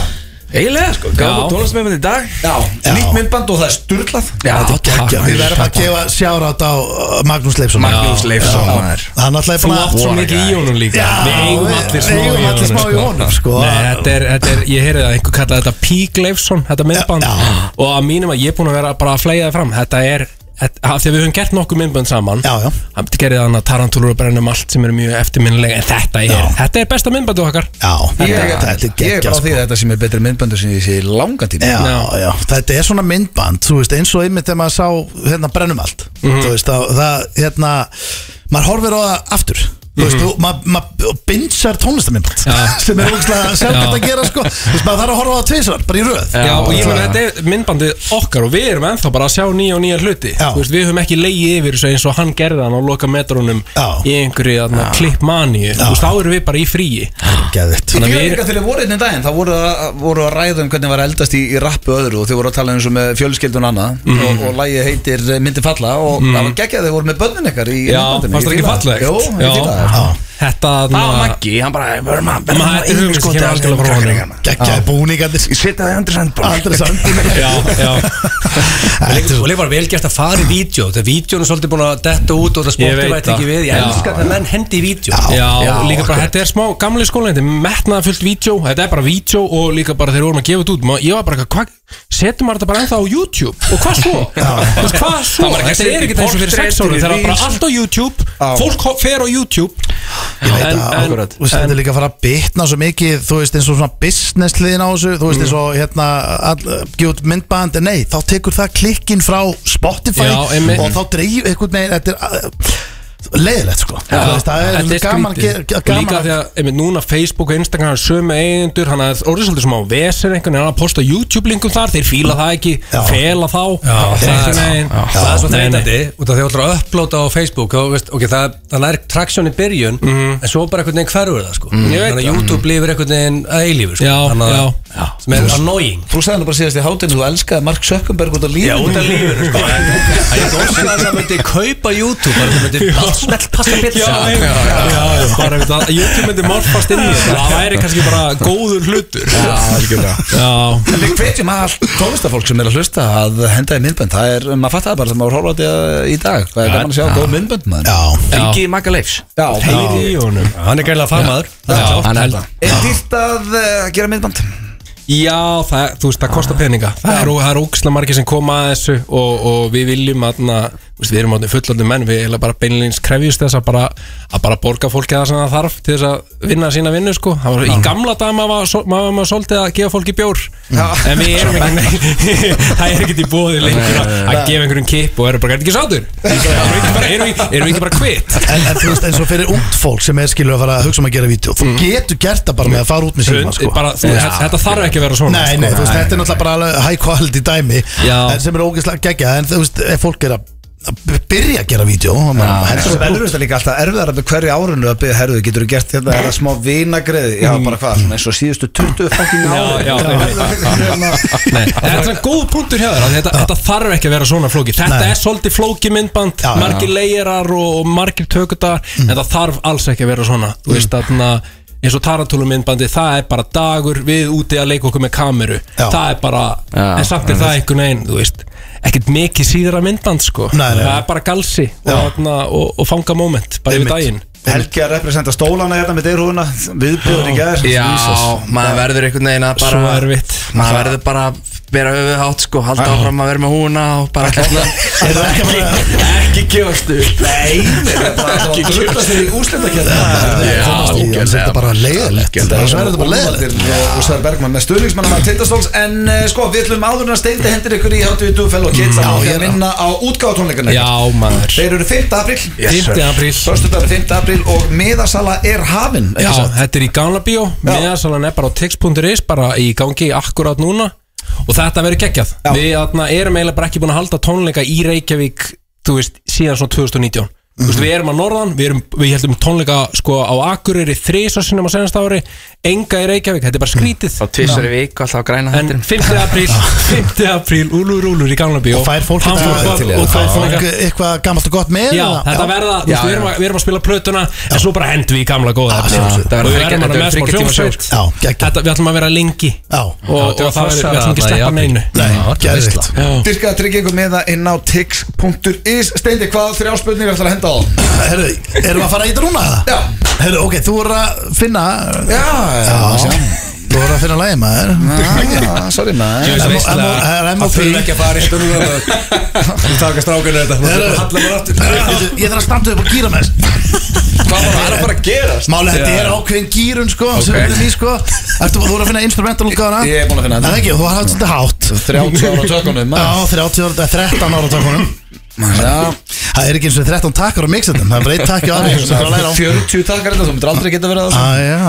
[SPEAKER 4] Eiginlega, sko,
[SPEAKER 3] Já.
[SPEAKER 4] gáðum tónlistmefnum í dag
[SPEAKER 1] já, nýtt myndband og það er sturglað
[SPEAKER 3] já, takk
[SPEAKER 2] Gekkja, Við verðum að gefa sjárátt á uh, Magnús Leifsson
[SPEAKER 4] Magnús
[SPEAKER 2] Já,
[SPEAKER 4] Leifsson,
[SPEAKER 2] já.
[SPEAKER 4] maður.
[SPEAKER 2] Hann alltaf er
[SPEAKER 3] Þú
[SPEAKER 2] búin að
[SPEAKER 3] átt svo mikið í honum líka
[SPEAKER 2] Já,
[SPEAKER 3] Við eigum allir smá
[SPEAKER 2] við eigum allir smá í honum, sko.
[SPEAKER 3] Nei, þetta er, þetta er, ég heyrði að einhver kallaði þetta Pík Leifsson, þetta myndband
[SPEAKER 2] Já, já.
[SPEAKER 3] Og að mínum að ég er búin að vera bara að flega það fram Þetta er, þetta- af því að við höfum gert nokkuð myndband saman
[SPEAKER 2] Já, já.
[SPEAKER 3] Hann gerði þannig að tarantúlur og brennum allt sem er mjög eftirminnilega En þetta er,
[SPEAKER 2] Já.
[SPEAKER 3] þetta er besta myndbandu okkar
[SPEAKER 2] Já,
[SPEAKER 1] Ég
[SPEAKER 2] þetta þetta er
[SPEAKER 1] ég er
[SPEAKER 2] gekkja
[SPEAKER 1] bara á
[SPEAKER 3] sko.
[SPEAKER 1] því að þetta sem er betri myndbandur sem ég sé í langan tíma
[SPEAKER 2] Já, já, þetta er svona myndband þú veist, eins og einmitt þegar maður sá hérna brennum allt, þú veist, það, það hérna, maður horfir á það aftur þú veist, þú- maður ma, bindsar tónlistamindband,
[SPEAKER 3] Já.
[SPEAKER 2] sem er ógæslega sjálfgætt
[SPEAKER 3] Já.
[SPEAKER 2] að gera, sko, þú veist, maður þarf að horfa á það tvisvar, bara í röð
[SPEAKER 3] Já, og ég meina þetta er myndbandið okkar og við erum ennþá bara að sjá nýja og nýja hluti
[SPEAKER 2] Já.
[SPEAKER 3] Þú veist, Við höfum ekki leiði yfir þessu eins og hann gerði hann á loka metrónum
[SPEAKER 2] Já.
[SPEAKER 3] í einhverju klippmaníu Þú veist, þá erum við bara í fríi
[SPEAKER 2] Geðvitt
[SPEAKER 1] Þannig
[SPEAKER 3] Þannig að
[SPEAKER 1] að
[SPEAKER 3] við-
[SPEAKER 1] þegar þið voru einn daginn, þá voru, að- voru að ræða um hvernig var að eldast í, í rappu öðru og þið voru að tala eins og með fjölskyldun annað
[SPEAKER 3] Mhm.
[SPEAKER 1] og, og lægi heitir eh, Myndi falla og það var geggjað þið voru með börnin ykkar í
[SPEAKER 3] Já,
[SPEAKER 1] myndbandinu. Ég
[SPEAKER 3] fannst það ekki
[SPEAKER 1] fíla
[SPEAKER 3] fallegt?
[SPEAKER 1] Jú,
[SPEAKER 3] Já.
[SPEAKER 1] ég fíla það
[SPEAKER 3] Þetta
[SPEAKER 1] Það var
[SPEAKER 3] þarna-
[SPEAKER 1] Maggi, hann bara "Verðum að- verðum
[SPEAKER 3] Maður,
[SPEAKER 1] Hérna- að
[SPEAKER 3] þetta er hugmynd sem
[SPEAKER 1] innskotið
[SPEAKER 3] kemur
[SPEAKER 1] að
[SPEAKER 3] algjörlega frá
[SPEAKER 1] þeim
[SPEAKER 3] honum.
[SPEAKER 1] krakkarnir."
[SPEAKER 2] geggjaði búningarnir
[SPEAKER 1] Ég hérna. setja það í Andri Sandborg
[SPEAKER 2] aldrei samt
[SPEAKER 3] Já, já Og líka- Og líka var vel gert að fara í vídeo Þetta vídeo er svolítið búin að detta út og það
[SPEAKER 7] Ég
[SPEAKER 3] sportið
[SPEAKER 7] veit
[SPEAKER 3] vært ekki
[SPEAKER 7] það.
[SPEAKER 3] við Ég elska það menn hendi í vídeo Já, líka bara, þetta er smá gamli skóla Þetta er metnaða fullt vídeo Þetta er bara vídeo og líka bara þeir vorum að gefa þetta út má- Ég var bara, eitthvað, hvað, setjum maður þetta bara ennþá á YouTube Og hvað svo? Þú veist, Hvað svo?
[SPEAKER 7] var ekki að
[SPEAKER 3] Þetta
[SPEAKER 7] setja
[SPEAKER 3] er
[SPEAKER 7] í
[SPEAKER 3] ekki þessu fyrir sex
[SPEAKER 7] portrétt
[SPEAKER 3] árum
[SPEAKER 7] í
[SPEAKER 3] Það er bara
[SPEAKER 7] reels.
[SPEAKER 3] allt á YouTube Fólk ho- fer á YouTube
[SPEAKER 2] Ég veit
[SPEAKER 3] En-
[SPEAKER 2] að,
[SPEAKER 3] en-
[SPEAKER 2] akkurat Þú veist, þetta er líka að fara að bitna svo mikið Þú veist, eins og svona business liðin á þessu Þú veist, eins og hérna all- gefa út myndband, en nei, þá tekur það klikkin frá Spotify
[SPEAKER 3] Já, einmitt.
[SPEAKER 2] Og þá dreif einhvern veginn Þetta er uh, leiðilegt, sko Þú veist, það er
[SPEAKER 3] þetta
[SPEAKER 2] gaman,
[SPEAKER 3] skrítið.
[SPEAKER 2] ge-
[SPEAKER 3] Og Líka
[SPEAKER 2] gaman
[SPEAKER 3] því að einmitt, núna Facebook og Instagram er sömu eigendur Hann er orðið svolítið smá vesir einhvern veginn Hann er að posta YouTube-linkum þar, þeir fíla það ekki
[SPEAKER 2] Já.
[SPEAKER 3] Fela þá
[SPEAKER 7] Það
[SPEAKER 3] Einhvern
[SPEAKER 7] er-
[SPEAKER 3] veginn.
[SPEAKER 7] já. Það er svo
[SPEAKER 3] Nei, nei.
[SPEAKER 7] þreytandi út af því að þú ætlar að upplóta á Facebook og veist, ok, það, það nær traksjón í byrjun en svo bara einhvern veginn hverfur það sko. þannig að YouTube blífur einhvern veginn að eilífu sko.
[SPEAKER 3] Já,
[SPEAKER 7] þannig að
[SPEAKER 3] já.
[SPEAKER 7] sem er annoying
[SPEAKER 1] Þú sagði hann bara síðast í hátinu, þú elskaði Mark Zuckerberg út af lífinu
[SPEAKER 7] lífur sko. En- en ég góðsum að það myndi kaupa YouTube bara það myndi allt snett pasta pizza
[SPEAKER 3] Já, já, já, já, bara einmitt að YouTube myndi morfast inn í þetta Það væri kannski bara góður hlutur Já, algjörlega
[SPEAKER 1] Við hvetjum all tónlistafólk sem er að hlusta að henda í myndbönd Það er, maður fattar það bara þegar maður horfa á þetta í dag Það er gaman að sjá góð myndbönd maður
[SPEAKER 2] Já,
[SPEAKER 4] Ringi í Magga Leifs
[SPEAKER 1] Já,
[SPEAKER 3] Heyri í honum
[SPEAKER 7] hann er gæðilega fagmaður
[SPEAKER 3] Já,
[SPEAKER 1] hann er
[SPEAKER 3] held-
[SPEAKER 1] það Er dýrt að eh, gera myndband?
[SPEAKER 3] Já, það, þú veist, það kostar peninga Það er, það er ógislega margir sem koma að þessu og, og við viljum að við erum átni fullandi menn, við erum bara beinleins krefjust þess að bara, að bara borga fólki það sem það þarf til þess að vinna sína vinnu sko. Það var, í gamla dag maður var svo- maður var svolítið að gefa fólki bjór en við erum ekki það er ekkert í bóði lengur að að gefa einhverjum kipp og erum bara, er þetta ekki sátur? erum við ekki bara, erum við, erum við ekki bara kvitt?
[SPEAKER 2] en, en þú veist, eins og fyrir ungt fólk sem er skilur að fara að hugsa um að gera vídeo Þú getur gert það bara með að fara út með síma, sko
[SPEAKER 3] Mm. Bara, þú, þetta þetta þarf ekki að vera svona
[SPEAKER 2] Nei,
[SPEAKER 3] sko.
[SPEAKER 2] nei, þú veist, þetta er náttúrulega bara alveg high quality dæmi
[SPEAKER 3] Já.
[SPEAKER 2] en sem er ógeðslega geggjað, en þú veist, ef fólk er að að byrja að gera vídeo
[SPEAKER 1] Svo verður þetta líka alltaf erfiðar með hverju árinu að byrja herðu Getur þú gert þetta, er það smá vinagreði Já, bara hvað, svona eins og síðustu 20 fucking
[SPEAKER 3] Já,
[SPEAKER 1] ári
[SPEAKER 3] já, Nei, þetta er svona góð punktur hjá þér af því þetta, þetta þarf ekki að vera svona flóki Þetta
[SPEAKER 2] Nei.
[SPEAKER 3] er svolítið flóki myndband
[SPEAKER 2] Já, já.
[SPEAKER 3] Margir leirar og, og margir tökudar En það þarf alls ekki að vera svona Þú
[SPEAKER 2] Mm.
[SPEAKER 3] veist þarna eins og tarantúlu myndbandi það er bara dagur við úti að leika okkur með kameru
[SPEAKER 2] Já.
[SPEAKER 3] það er bara,
[SPEAKER 4] Já,
[SPEAKER 3] en samt er það einhvern veginn þú veist, ekkert mikið síðra myndband sko,
[SPEAKER 2] Nei, nei.
[SPEAKER 3] það er bara galsi og, þarna, og, og fanga moment, bara yfir daginn
[SPEAKER 1] Helgi að representa stólana hérna með deyrhúðuna Viðbjóður í gæðir
[SPEAKER 4] Já, maður verður einhvern veginn að bara
[SPEAKER 3] Svo erfitt.
[SPEAKER 4] Maður verður bara að bera höfuð hátt sko Halda áfram að vera með húna og bara hérna.
[SPEAKER 2] Er það ekki bara
[SPEAKER 4] Ekki gefast upp
[SPEAKER 1] Ekki kjöfla sér í úslendakeppni.
[SPEAKER 2] Já, það er þetta bara leiðilegt Það er þetta bara leiðilegt
[SPEAKER 1] Óvaldir og Úsar Bergman með stuðningsmann að tindastóls en eh, sko við ætlum áður en að steindi hendir ykkur í Háttu við Dúfell og Kids að Mm, ég minna á útgáðutónleikana
[SPEAKER 3] Já maður,
[SPEAKER 1] Þeir eru 5. apríl
[SPEAKER 3] 5. apríl
[SPEAKER 1] Föstudagur 5. apríl og miðasala er hafin
[SPEAKER 3] Já, þetta er í gamla bíó
[SPEAKER 1] Já.
[SPEAKER 3] meðasalan er bara á tix.is bara í gangi akkurát núna og þetta verður geggjað
[SPEAKER 1] Já.
[SPEAKER 3] við atna, erum eiginlega bara ekki búin að halda tónleika í Reykjavík þú veist, síðan svona 2019 Þú
[SPEAKER 1] Mhm.
[SPEAKER 3] veist, við erum að norðan, við, erum, við heldum tónleika sko, á Akureyri þrísvarsinum á senast ári, enga í Reykjavík, þetta er bara skrítið.
[SPEAKER 1] Mm.
[SPEAKER 4] Á tvisar í vik og alltaf á græna
[SPEAKER 3] En
[SPEAKER 4] hættir
[SPEAKER 3] 5. apríl, 5. apríl, úlur úlur í Gamla bíó.
[SPEAKER 2] Og fær fólk
[SPEAKER 3] Hann fór
[SPEAKER 2] eitthvað-
[SPEAKER 3] bara-
[SPEAKER 2] og fær
[SPEAKER 3] Já.
[SPEAKER 2] fólk eitthvað gammalt og gott með
[SPEAKER 3] Já,
[SPEAKER 2] eða?
[SPEAKER 3] þetta verða, þú
[SPEAKER 4] Já,
[SPEAKER 3] veist, við erum, að, við erum að spila plötuna en svo bara hendum við í gamla góða efni.
[SPEAKER 4] Ah.
[SPEAKER 2] sjálfsögðu.
[SPEAKER 3] Og við erum að
[SPEAKER 4] þetta verður
[SPEAKER 3] vera með smá
[SPEAKER 4] þriggja tíma
[SPEAKER 3] hljómsveit
[SPEAKER 2] Já, geggjað.
[SPEAKER 3] Þetta- Við ætlum að vera lengi
[SPEAKER 2] Já.
[SPEAKER 3] og, og það er, við ætlum ekki að sleppa neinu
[SPEAKER 2] Nei, gerðvikt
[SPEAKER 1] Dyrkaða tryggingu með það inn á tix.is Steindi, hvað þrjá spurningar ætlar að henda á það?
[SPEAKER 2] Herru, erum við að fara í þetta núna?
[SPEAKER 1] Já.
[SPEAKER 2] Herru, ok, þú voru að finna
[SPEAKER 1] Já,
[SPEAKER 2] Já, þú voru að finna lægi maður
[SPEAKER 1] já, Ah, sorry maður
[SPEAKER 2] Ég veist það. Hann þurfi ekki
[SPEAKER 3] að fara í þetta Þú taka strákanu þetta
[SPEAKER 2] Herru, Herru, Ég þarf að standa upp og gýra með
[SPEAKER 1] Hvað var það að fara að gerast?
[SPEAKER 2] Máli, þetta er ákveðin gýrun sko sem við erum í sko Ertu, Þú voru að finna instrumental útgáðuna
[SPEAKER 1] Ég er búin að finna
[SPEAKER 2] Það
[SPEAKER 1] þetta.
[SPEAKER 2] er ekki, þú hafði þetta hátt
[SPEAKER 1] 30 ára tökunum
[SPEAKER 2] Já, 30 ára, 13 ára tókunum
[SPEAKER 1] Já,
[SPEAKER 2] Það er ekki eins og 13 takkar á mixetum Það er bara eitt takki á aðri sem þarf að læra á
[SPEAKER 1] 40 takkar þetta, þú myndir aldrei geta verið að
[SPEAKER 2] Á, já.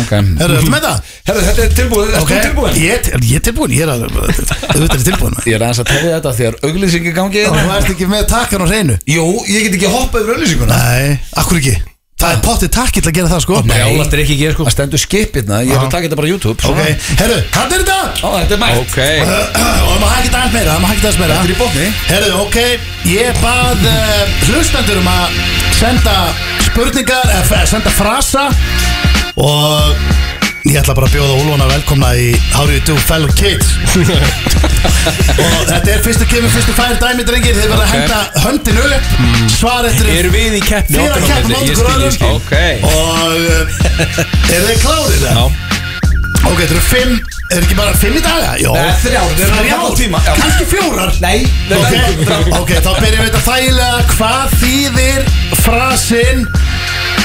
[SPEAKER 1] Ok.
[SPEAKER 2] Herru, ertu með það?
[SPEAKER 1] Herru, þetta er tilbúið,
[SPEAKER 2] Ok,
[SPEAKER 1] þetta er tilbúið
[SPEAKER 2] Ég er- ég er tilbúin, ég er að Þetta er tilbúin maður.
[SPEAKER 1] Ég er aðeins að tefja þetta því að auglýsingi gangi
[SPEAKER 2] Og Þú
[SPEAKER 1] hérna.
[SPEAKER 2] ert ekki með takkan á hreinu
[SPEAKER 1] Jú, ég get ekki hoppað yfir auglýsinguna
[SPEAKER 2] Nei, akkur ekki Það er pottið takki til að gera það sko
[SPEAKER 3] Brjálast er ekki að gera sko
[SPEAKER 1] Það stendur skipirna, ég er að taka þetta bara á YouTube
[SPEAKER 2] Ok,
[SPEAKER 1] svona.
[SPEAKER 2] herru, hann er þetta
[SPEAKER 1] Á, þetta er mætt
[SPEAKER 3] Ok
[SPEAKER 2] Og maður hægir aðeins meira, maður hægir aðeins meira
[SPEAKER 1] Þetta er í botni.
[SPEAKER 2] Herru, ok, ég bað uh, hlustendur um að senda spurningar eða f- senda frasa og ég ætla bara að bjóða Úlfana velkomna í How do you do fellow kids og þetta er fyrstu kemur, fyrstu fær dæmi drengir, þið verða að henda höndin upp svar eftir
[SPEAKER 3] Mm. Erum við í keppni?
[SPEAKER 2] Þið eruð að keppa móti
[SPEAKER 3] Ég skil, sko. ég skil.
[SPEAKER 2] hverjum öðrum Og uh, eru þið klárið það? Ok, þetta eru fimm, er ekki bara fimm í daga? Jó
[SPEAKER 1] Nei, þrjár, þetta er hálfan tíma. Já.
[SPEAKER 2] Þrjár, kannski fjórar
[SPEAKER 1] Nei, þetta
[SPEAKER 2] Ok,
[SPEAKER 1] er þrjár.
[SPEAKER 2] ok, þá byrjum við þetta þægilega Hvað þýðir frasinn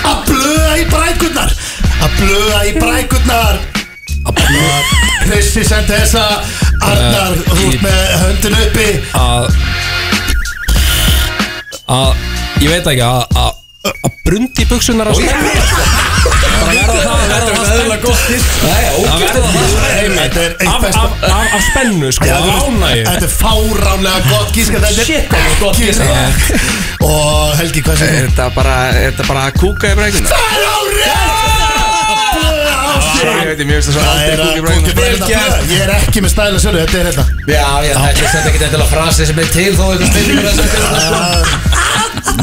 [SPEAKER 2] Að blöða í brækurnar Að blöða í brækurnar Að blöða Hrissi sendi þessa Arnar, þú ert með höndin uppi
[SPEAKER 3] Að Að Ég veit ekki að Að að brundi buksunar á sig Það verða það að verða það eðla gott Það verða það
[SPEAKER 2] Þetta er eitt
[SPEAKER 3] Af-
[SPEAKER 2] besta-
[SPEAKER 3] af- af- Af spennu sko,
[SPEAKER 2] Já,
[SPEAKER 3] af
[SPEAKER 2] þú veist,
[SPEAKER 3] ánægju
[SPEAKER 2] Þetta er fáránlega gott gíska Þetta er gott gíska Og Helgi, hvað sem
[SPEAKER 4] Er
[SPEAKER 2] er
[SPEAKER 4] þetta bara, er þetta bara að kúka í brekuna?
[SPEAKER 2] Það er á rétt
[SPEAKER 4] Ég veit, ég mjög veist að svo
[SPEAKER 2] Það
[SPEAKER 4] aldrei
[SPEAKER 2] er að
[SPEAKER 4] kúka í
[SPEAKER 2] kúka í
[SPEAKER 4] brekuna
[SPEAKER 2] brækurnar. Ég er ekki með stæla sjölu, þetta er hérna
[SPEAKER 1] Já, já, þetta er þetta ekki endilega frasi sem er til þó þetta stendur að setja þetta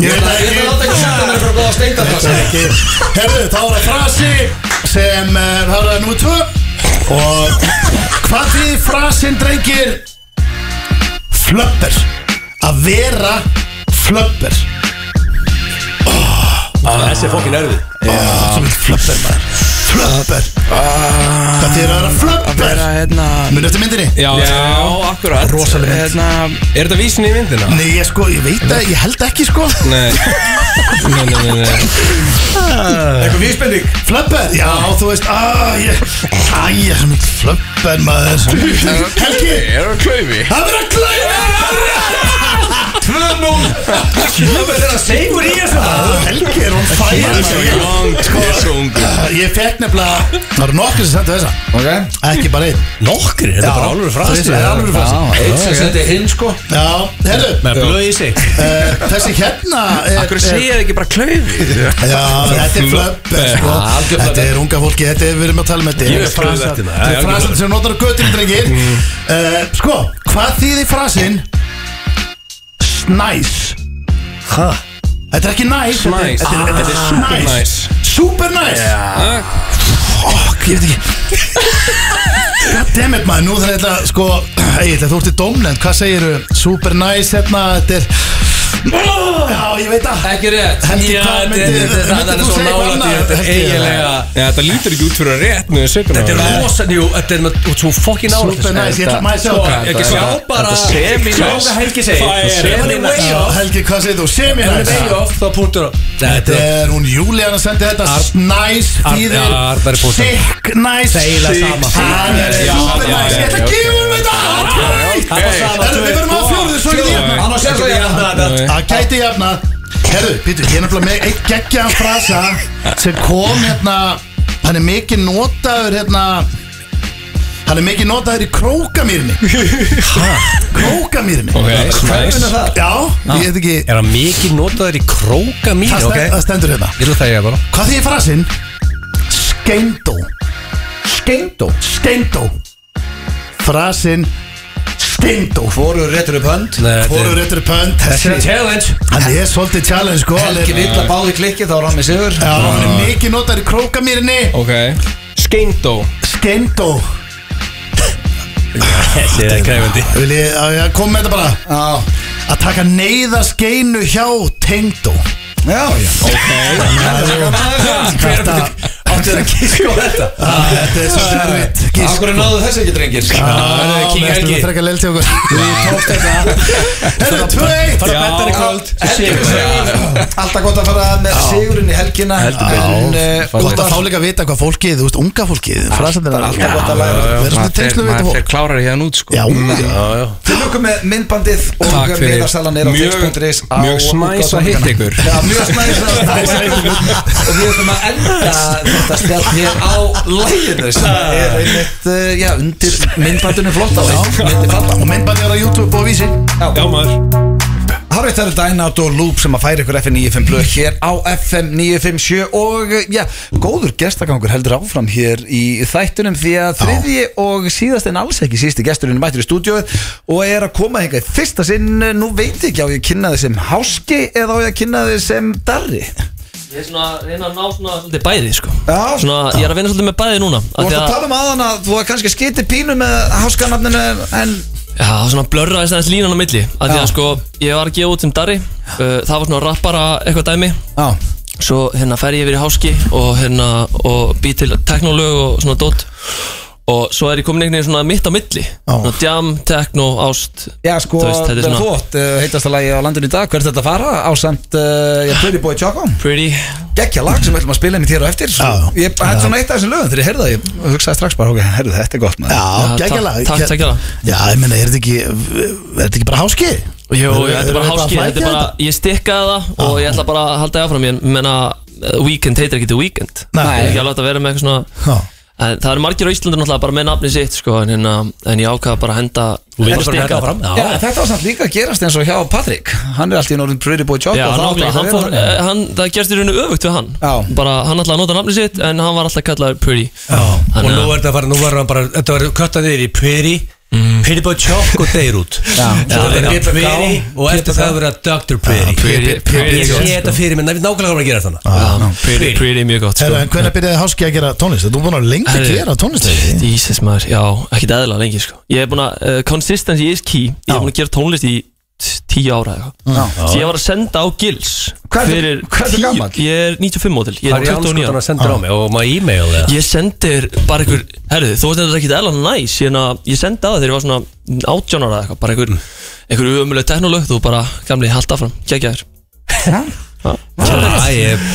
[SPEAKER 2] Ég
[SPEAKER 1] Ég
[SPEAKER 2] veit
[SPEAKER 1] ætla að láta ekki að setja mér frá góða steindar
[SPEAKER 2] það ekki Herðu, þá er það frasi sem eh, það er nummer 2 og hvað því frasin drengir flöppur að vera flöppur
[SPEAKER 3] Þessi er fokkin erfið
[SPEAKER 2] sem er flöppur maður flöppur hvað því er að vera flöppur
[SPEAKER 5] vera hérna
[SPEAKER 2] munið eftir myndinni
[SPEAKER 3] Já,
[SPEAKER 4] Já,
[SPEAKER 3] já
[SPEAKER 4] akkurat
[SPEAKER 2] Rosaleg mynd.
[SPEAKER 5] hérna
[SPEAKER 3] Er þetta vísin í myndina?
[SPEAKER 2] Nei, ég sko, ég veit að, ég held ekki sko
[SPEAKER 3] Nei Nei, nei, nei, nei
[SPEAKER 1] Eitthvað vísbending
[SPEAKER 2] Flöppur, já, þú veist, aaa, ég Æ, ég er sem flöppur maður Helgi,
[SPEAKER 4] Ég er að klaufi
[SPEAKER 2] það verður að glæða
[SPEAKER 1] 2-0 Það er að segur í þessu
[SPEAKER 2] Helgi er hún færi
[SPEAKER 3] sko.
[SPEAKER 2] Ég fekk nefnilega Það eru nokkur sem sendu þessa
[SPEAKER 1] Ok
[SPEAKER 2] Ekki bara einn
[SPEAKER 3] Nokkri, þetta er bara alveg frasi
[SPEAKER 2] Það er alveg frasi
[SPEAKER 1] Eitt sem sendi hinn sko
[SPEAKER 2] Já, herru
[SPEAKER 3] Með blöð í sig
[SPEAKER 2] eh, Þessi hérna er-
[SPEAKER 4] Akkur
[SPEAKER 2] er-
[SPEAKER 4] segja þið ekki bara klaufi?
[SPEAKER 2] Já, þetta er flöpp eh, sko.
[SPEAKER 1] Já, algjör flöpp.
[SPEAKER 2] Þetta er unga fólki Þetta er við erum að tala með þetta
[SPEAKER 3] Ég er
[SPEAKER 2] Þetta er
[SPEAKER 3] skrifað eftir það.
[SPEAKER 2] Þetta
[SPEAKER 3] Já,
[SPEAKER 2] er frasan sem notar á göttum drengir Eh, Sko, hvað þýðir frasin Snæs Hæ? Þetta er ekki næs þetta er-
[SPEAKER 3] Snæs.
[SPEAKER 2] Þetta er- þetta er
[SPEAKER 3] Super
[SPEAKER 2] snæs
[SPEAKER 3] nice
[SPEAKER 2] Super næs Fuck, ég veit ekki Goddammit maður, nú þarf ég ætla sko Egil, þú ert í dómnend, hvað segiru? Super nice hérna, þetta er oh, Já, ég veit það
[SPEAKER 3] Ekki rétt
[SPEAKER 2] Helgi,
[SPEAKER 3] Já,
[SPEAKER 2] hvað
[SPEAKER 3] þetta
[SPEAKER 2] myndir-
[SPEAKER 3] er- þetta-
[SPEAKER 2] myndir
[SPEAKER 3] þetta er
[SPEAKER 2] þú
[SPEAKER 3] svo
[SPEAKER 2] segja eitthvað
[SPEAKER 3] nálægt í
[SPEAKER 2] annað?
[SPEAKER 3] Þetta er
[SPEAKER 2] Helgi,
[SPEAKER 3] eiginlega Já, þetta lítur ekki út fyrir að rétt með sökuna Þetta er rosan, jú, þetta er út svo fokkin nálægt
[SPEAKER 2] Super nice, ég ætla maður að sjá það.
[SPEAKER 3] Ekki sjá bara Sjá hvað Helgi segir Semi
[SPEAKER 2] Já, Helgi, hvað segir þú? Semi nice
[SPEAKER 3] off Þá punktur á
[SPEAKER 2] Þetta er hún Júlíana sendi þetta Nice
[SPEAKER 3] Ar-
[SPEAKER 2] þýðir
[SPEAKER 3] Já, Arnar er búinn.
[SPEAKER 2] Sick nice
[SPEAKER 3] Þegilega sama.
[SPEAKER 2] Hann er
[SPEAKER 3] Já,
[SPEAKER 2] super
[SPEAKER 3] já,
[SPEAKER 2] nice
[SPEAKER 3] já,
[SPEAKER 2] Ég ætla
[SPEAKER 3] já,
[SPEAKER 2] að gefa hún þetta
[SPEAKER 3] Það var sama,
[SPEAKER 2] Herru, Við
[SPEAKER 3] tvö.
[SPEAKER 2] verðum á fjóruðu, svo ekki því
[SPEAKER 1] Hann á sér það jafna
[SPEAKER 2] Það gæti jafna Herru, Pítur, ég er nefnilega með eitt geggjaðan frasa sem kom hérna hann er mikið notaður hérna það Hann er mikið notaður í krókamýrni Krókamýrni
[SPEAKER 7] Ok, nice.
[SPEAKER 2] Já, ég veit ekki
[SPEAKER 7] Er hann mikið notaður í króka mín?
[SPEAKER 2] Það stendur,
[SPEAKER 7] Ok,
[SPEAKER 2] það stendur hérna
[SPEAKER 7] ég vil það ég bara
[SPEAKER 2] Hvað því frasinn? Skeindó
[SPEAKER 1] Steindó
[SPEAKER 2] Skeindó Frasinn Skeindó
[SPEAKER 1] Hvoru réttur upp hönd
[SPEAKER 7] Nei, þetta
[SPEAKER 2] Fóru
[SPEAKER 7] er-
[SPEAKER 2] réttur pönd
[SPEAKER 7] Þetta er challenge
[SPEAKER 2] Hann er svolítið challenge sko hann er-
[SPEAKER 1] Helgi vill að báði klikki þá er hann með sigur
[SPEAKER 2] Já, hann er mikið notaður í krókamýrni
[SPEAKER 7] Ok Skeindó
[SPEAKER 2] Skeindó
[SPEAKER 7] Þetta er krefandi
[SPEAKER 2] Vil ég að ég kom með þetta bara Að taka neyðaskeinu hjá Tengdó
[SPEAKER 1] Já, já
[SPEAKER 2] Þetta
[SPEAKER 1] Áttu þér að kíska á þetta
[SPEAKER 2] Ah, Þetta er svo erfitt Gísk
[SPEAKER 1] Akkur er náðu þess ekki drengir
[SPEAKER 7] King Helgi.
[SPEAKER 2] Þrekka leil til okkur Við tók þetta Herru, 2-1
[SPEAKER 1] Fara
[SPEAKER 7] bettar í kvöld.
[SPEAKER 1] Alltaf gott að fara með sigurinn í helgina
[SPEAKER 7] Heldur betur.
[SPEAKER 1] En, eh,
[SPEAKER 2] Gott að fá líka að vita hvað fólkið, þú veist, unga fólkið Frasandir er
[SPEAKER 1] Alltaf gott að læra.
[SPEAKER 2] Það er svona
[SPEAKER 4] Maður fer-
[SPEAKER 2] tengslu við
[SPEAKER 4] maður
[SPEAKER 2] þetta
[SPEAKER 4] fer
[SPEAKER 2] fólk
[SPEAKER 4] klárar hérna út sko
[SPEAKER 2] Já,
[SPEAKER 1] Til okkur með myndbandið og
[SPEAKER 7] Takk fyrir.
[SPEAKER 1] miðarsalan er á
[SPEAKER 7] Mjög-
[SPEAKER 1] text.is á
[SPEAKER 7] mjög smæs að hitta ykkur.
[SPEAKER 1] Já, mjög smæs að hitta ykkur og við ætlum að enda þetta spjall hér á læginu sem er einmitt, uh, já, undir myndbandinu flotta myndi falla
[SPEAKER 2] og myndbandi er á YouTube og vísi
[SPEAKER 7] Já maður
[SPEAKER 1] Harveit það eru Dynout og Loop sem að færa ykkur FM 95 blöð hér á FM 957 og eh, já, góður gestagangur heldur áfram hér í þættunum því að þriðji og síðast en alls ekki sísti gesturinn er mættur í stúdíóið og er að koma hingað í fyrsta sinn eh, nú veit ég ekki á ég að kynna þið sem háski eða á ég að kynna þið sem darri
[SPEAKER 8] Ég er svona að reyna að ná svona svolítið bæði sko
[SPEAKER 1] Já.
[SPEAKER 8] Svona, ég er að vinna svolítið með bæði núna
[SPEAKER 1] Þú
[SPEAKER 8] af
[SPEAKER 1] varst
[SPEAKER 8] því
[SPEAKER 1] að
[SPEAKER 8] að,
[SPEAKER 1] tala um aðan að þú var kannski skitið pínu með háskanafninu en
[SPEAKER 8] Já, svona blörraðist aðeins línan á milli af Því
[SPEAKER 1] Já.
[SPEAKER 8] að sko, ég var að gefa út sem Darri uh, Það var svona rappara eitthvað dæmi
[SPEAKER 1] Já,
[SPEAKER 8] Svo hérna fer ég yfir í háski og hérna Og bý til teknolög og svona dót Og svo er ég komin einhvern veginn svona mitt á milli Svona jam, tekno, ást
[SPEAKER 1] já sko,
[SPEAKER 8] Þú veist, þetta er
[SPEAKER 1] það er
[SPEAKER 8] svona-
[SPEAKER 1] þótt heitast að lagi á landinu í dag, hvert þetta fara á samt, uh, ég byrði búið tjókum
[SPEAKER 8] Pretty
[SPEAKER 1] geggja lag sem við ætlum að spila einmitt hér á eftir svo,
[SPEAKER 2] Já.
[SPEAKER 1] ég, þetta er svona eitt af þessum lögum þegar ég heyrði það ég hugsaði strax bara, ok, heyrðu þetta er gott maður
[SPEAKER 2] Já,
[SPEAKER 8] Já,
[SPEAKER 2] geggjala
[SPEAKER 8] takk- takk- takk kærlega.
[SPEAKER 2] Já, ég meina, er þetta ekki Er þetta ekki bara háski?
[SPEAKER 8] Jó,
[SPEAKER 2] Eru-
[SPEAKER 8] þetta er bara
[SPEAKER 2] eru
[SPEAKER 8] háski,
[SPEAKER 2] að
[SPEAKER 8] þetta er
[SPEAKER 2] flækja
[SPEAKER 8] bara,
[SPEAKER 2] þetta?
[SPEAKER 8] ég stikkaði það og ég ætla bara að halda því áfram, ég menna Weekend heitir ekki til Weekend
[SPEAKER 2] Nei.
[SPEAKER 8] Ég er ekki alveg að vera með eitthvað svona
[SPEAKER 2] Já.
[SPEAKER 8] En það eru margir á Íslandur náttúrulega bara með nafni sitt sko, en, hérna, en ég ákvaða bara að henda
[SPEAKER 7] Þú vinnur bara
[SPEAKER 8] bara stikka
[SPEAKER 7] þetta fram
[SPEAKER 8] þetta.
[SPEAKER 1] Já, þetta var samt líka að gerast eins og hjá Patrik Hann er alltaf í norðin Pretty Boy Choco
[SPEAKER 8] Já,
[SPEAKER 1] og það átti ekki að
[SPEAKER 8] nákvæmlega, hann
[SPEAKER 1] vera
[SPEAKER 8] fór,
[SPEAKER 1] þannig.
[SPEAKER 8] eh, hann, það gerst í rauninu öfugt við hann
[SPEAKER 1] Já.
[SPEAKER 8] bara, Hann alltaf nota nafni sitt, en hann var alltaf kallaður Pretty
[SPEAKER 7] Og
[SPEAKER 8] Þannig
[SPEAKER 7] nú
[SPEAKER 8] að
[SPEAKER 7] er þetta bara, nú var hann bara Þetta var köttað yfir í Piri Piri búið tjók og deyr út Mm. Já, það er Piri og eftir það verið að Dr. Piri
[SPEAKER 8] Pretty,
[SPEAKER 7] Ég sé
[SPEAKER 8] pretty,
[SPEAKER 7] þetta fyrir mig, ná- nákvæmlega hvað maður að gera þannig
[SPEAKER 8] pretty, pretty, pretty mjög gott
[SPEAKER 2] Herru,
[SPEAKER 8] sko.
[SPEAKER 2] en hvernig byrjaði háski að gera tónlist? Þú er búin að vera lengi að
[SPEAKER 8] Herru,
[SPEAKER 2] gera tónlist ekki?
[SPEAKER 8] Jesus maður, já, ekkert eðla lengi sko. Ég er búin að, uh, consistency is key Ég er búin að gera tónlist í t- tíu ára eða eitthvað Svo ég var að senda á Gils
[SPEAKER 1] Hvað ertu-
[SPEAKER 8] fyrir
[SPEAKER 1] hvað ertu
[SPEAKER 8] tíu-
[SPEAKER 1] gamall?
[SPEAKER 8] Ég er 95 mótil, ég
[SPEAKER 7] Það er
[SPEAKER 8] er
[SPEAKER 7] í
[SPEAKER 8] 29 ára
[SPEAKER 7] anskotan að senda á mig og maður e-mail eða
[SPEAKER 8] Ég sendi þér bara einhver Herðu, þú veist þetta ekki eðla næs Ég, hérna- ég sendi að þér, ég var svona 18 ára eða eitthvað Bara
[SPEAKER 1] Mm.
[SPEAKER 8] einhver, einhver umölu teknolög Þú bara, gamli, halda fram, gegja þér
[SPEAKER 7] Æ, ég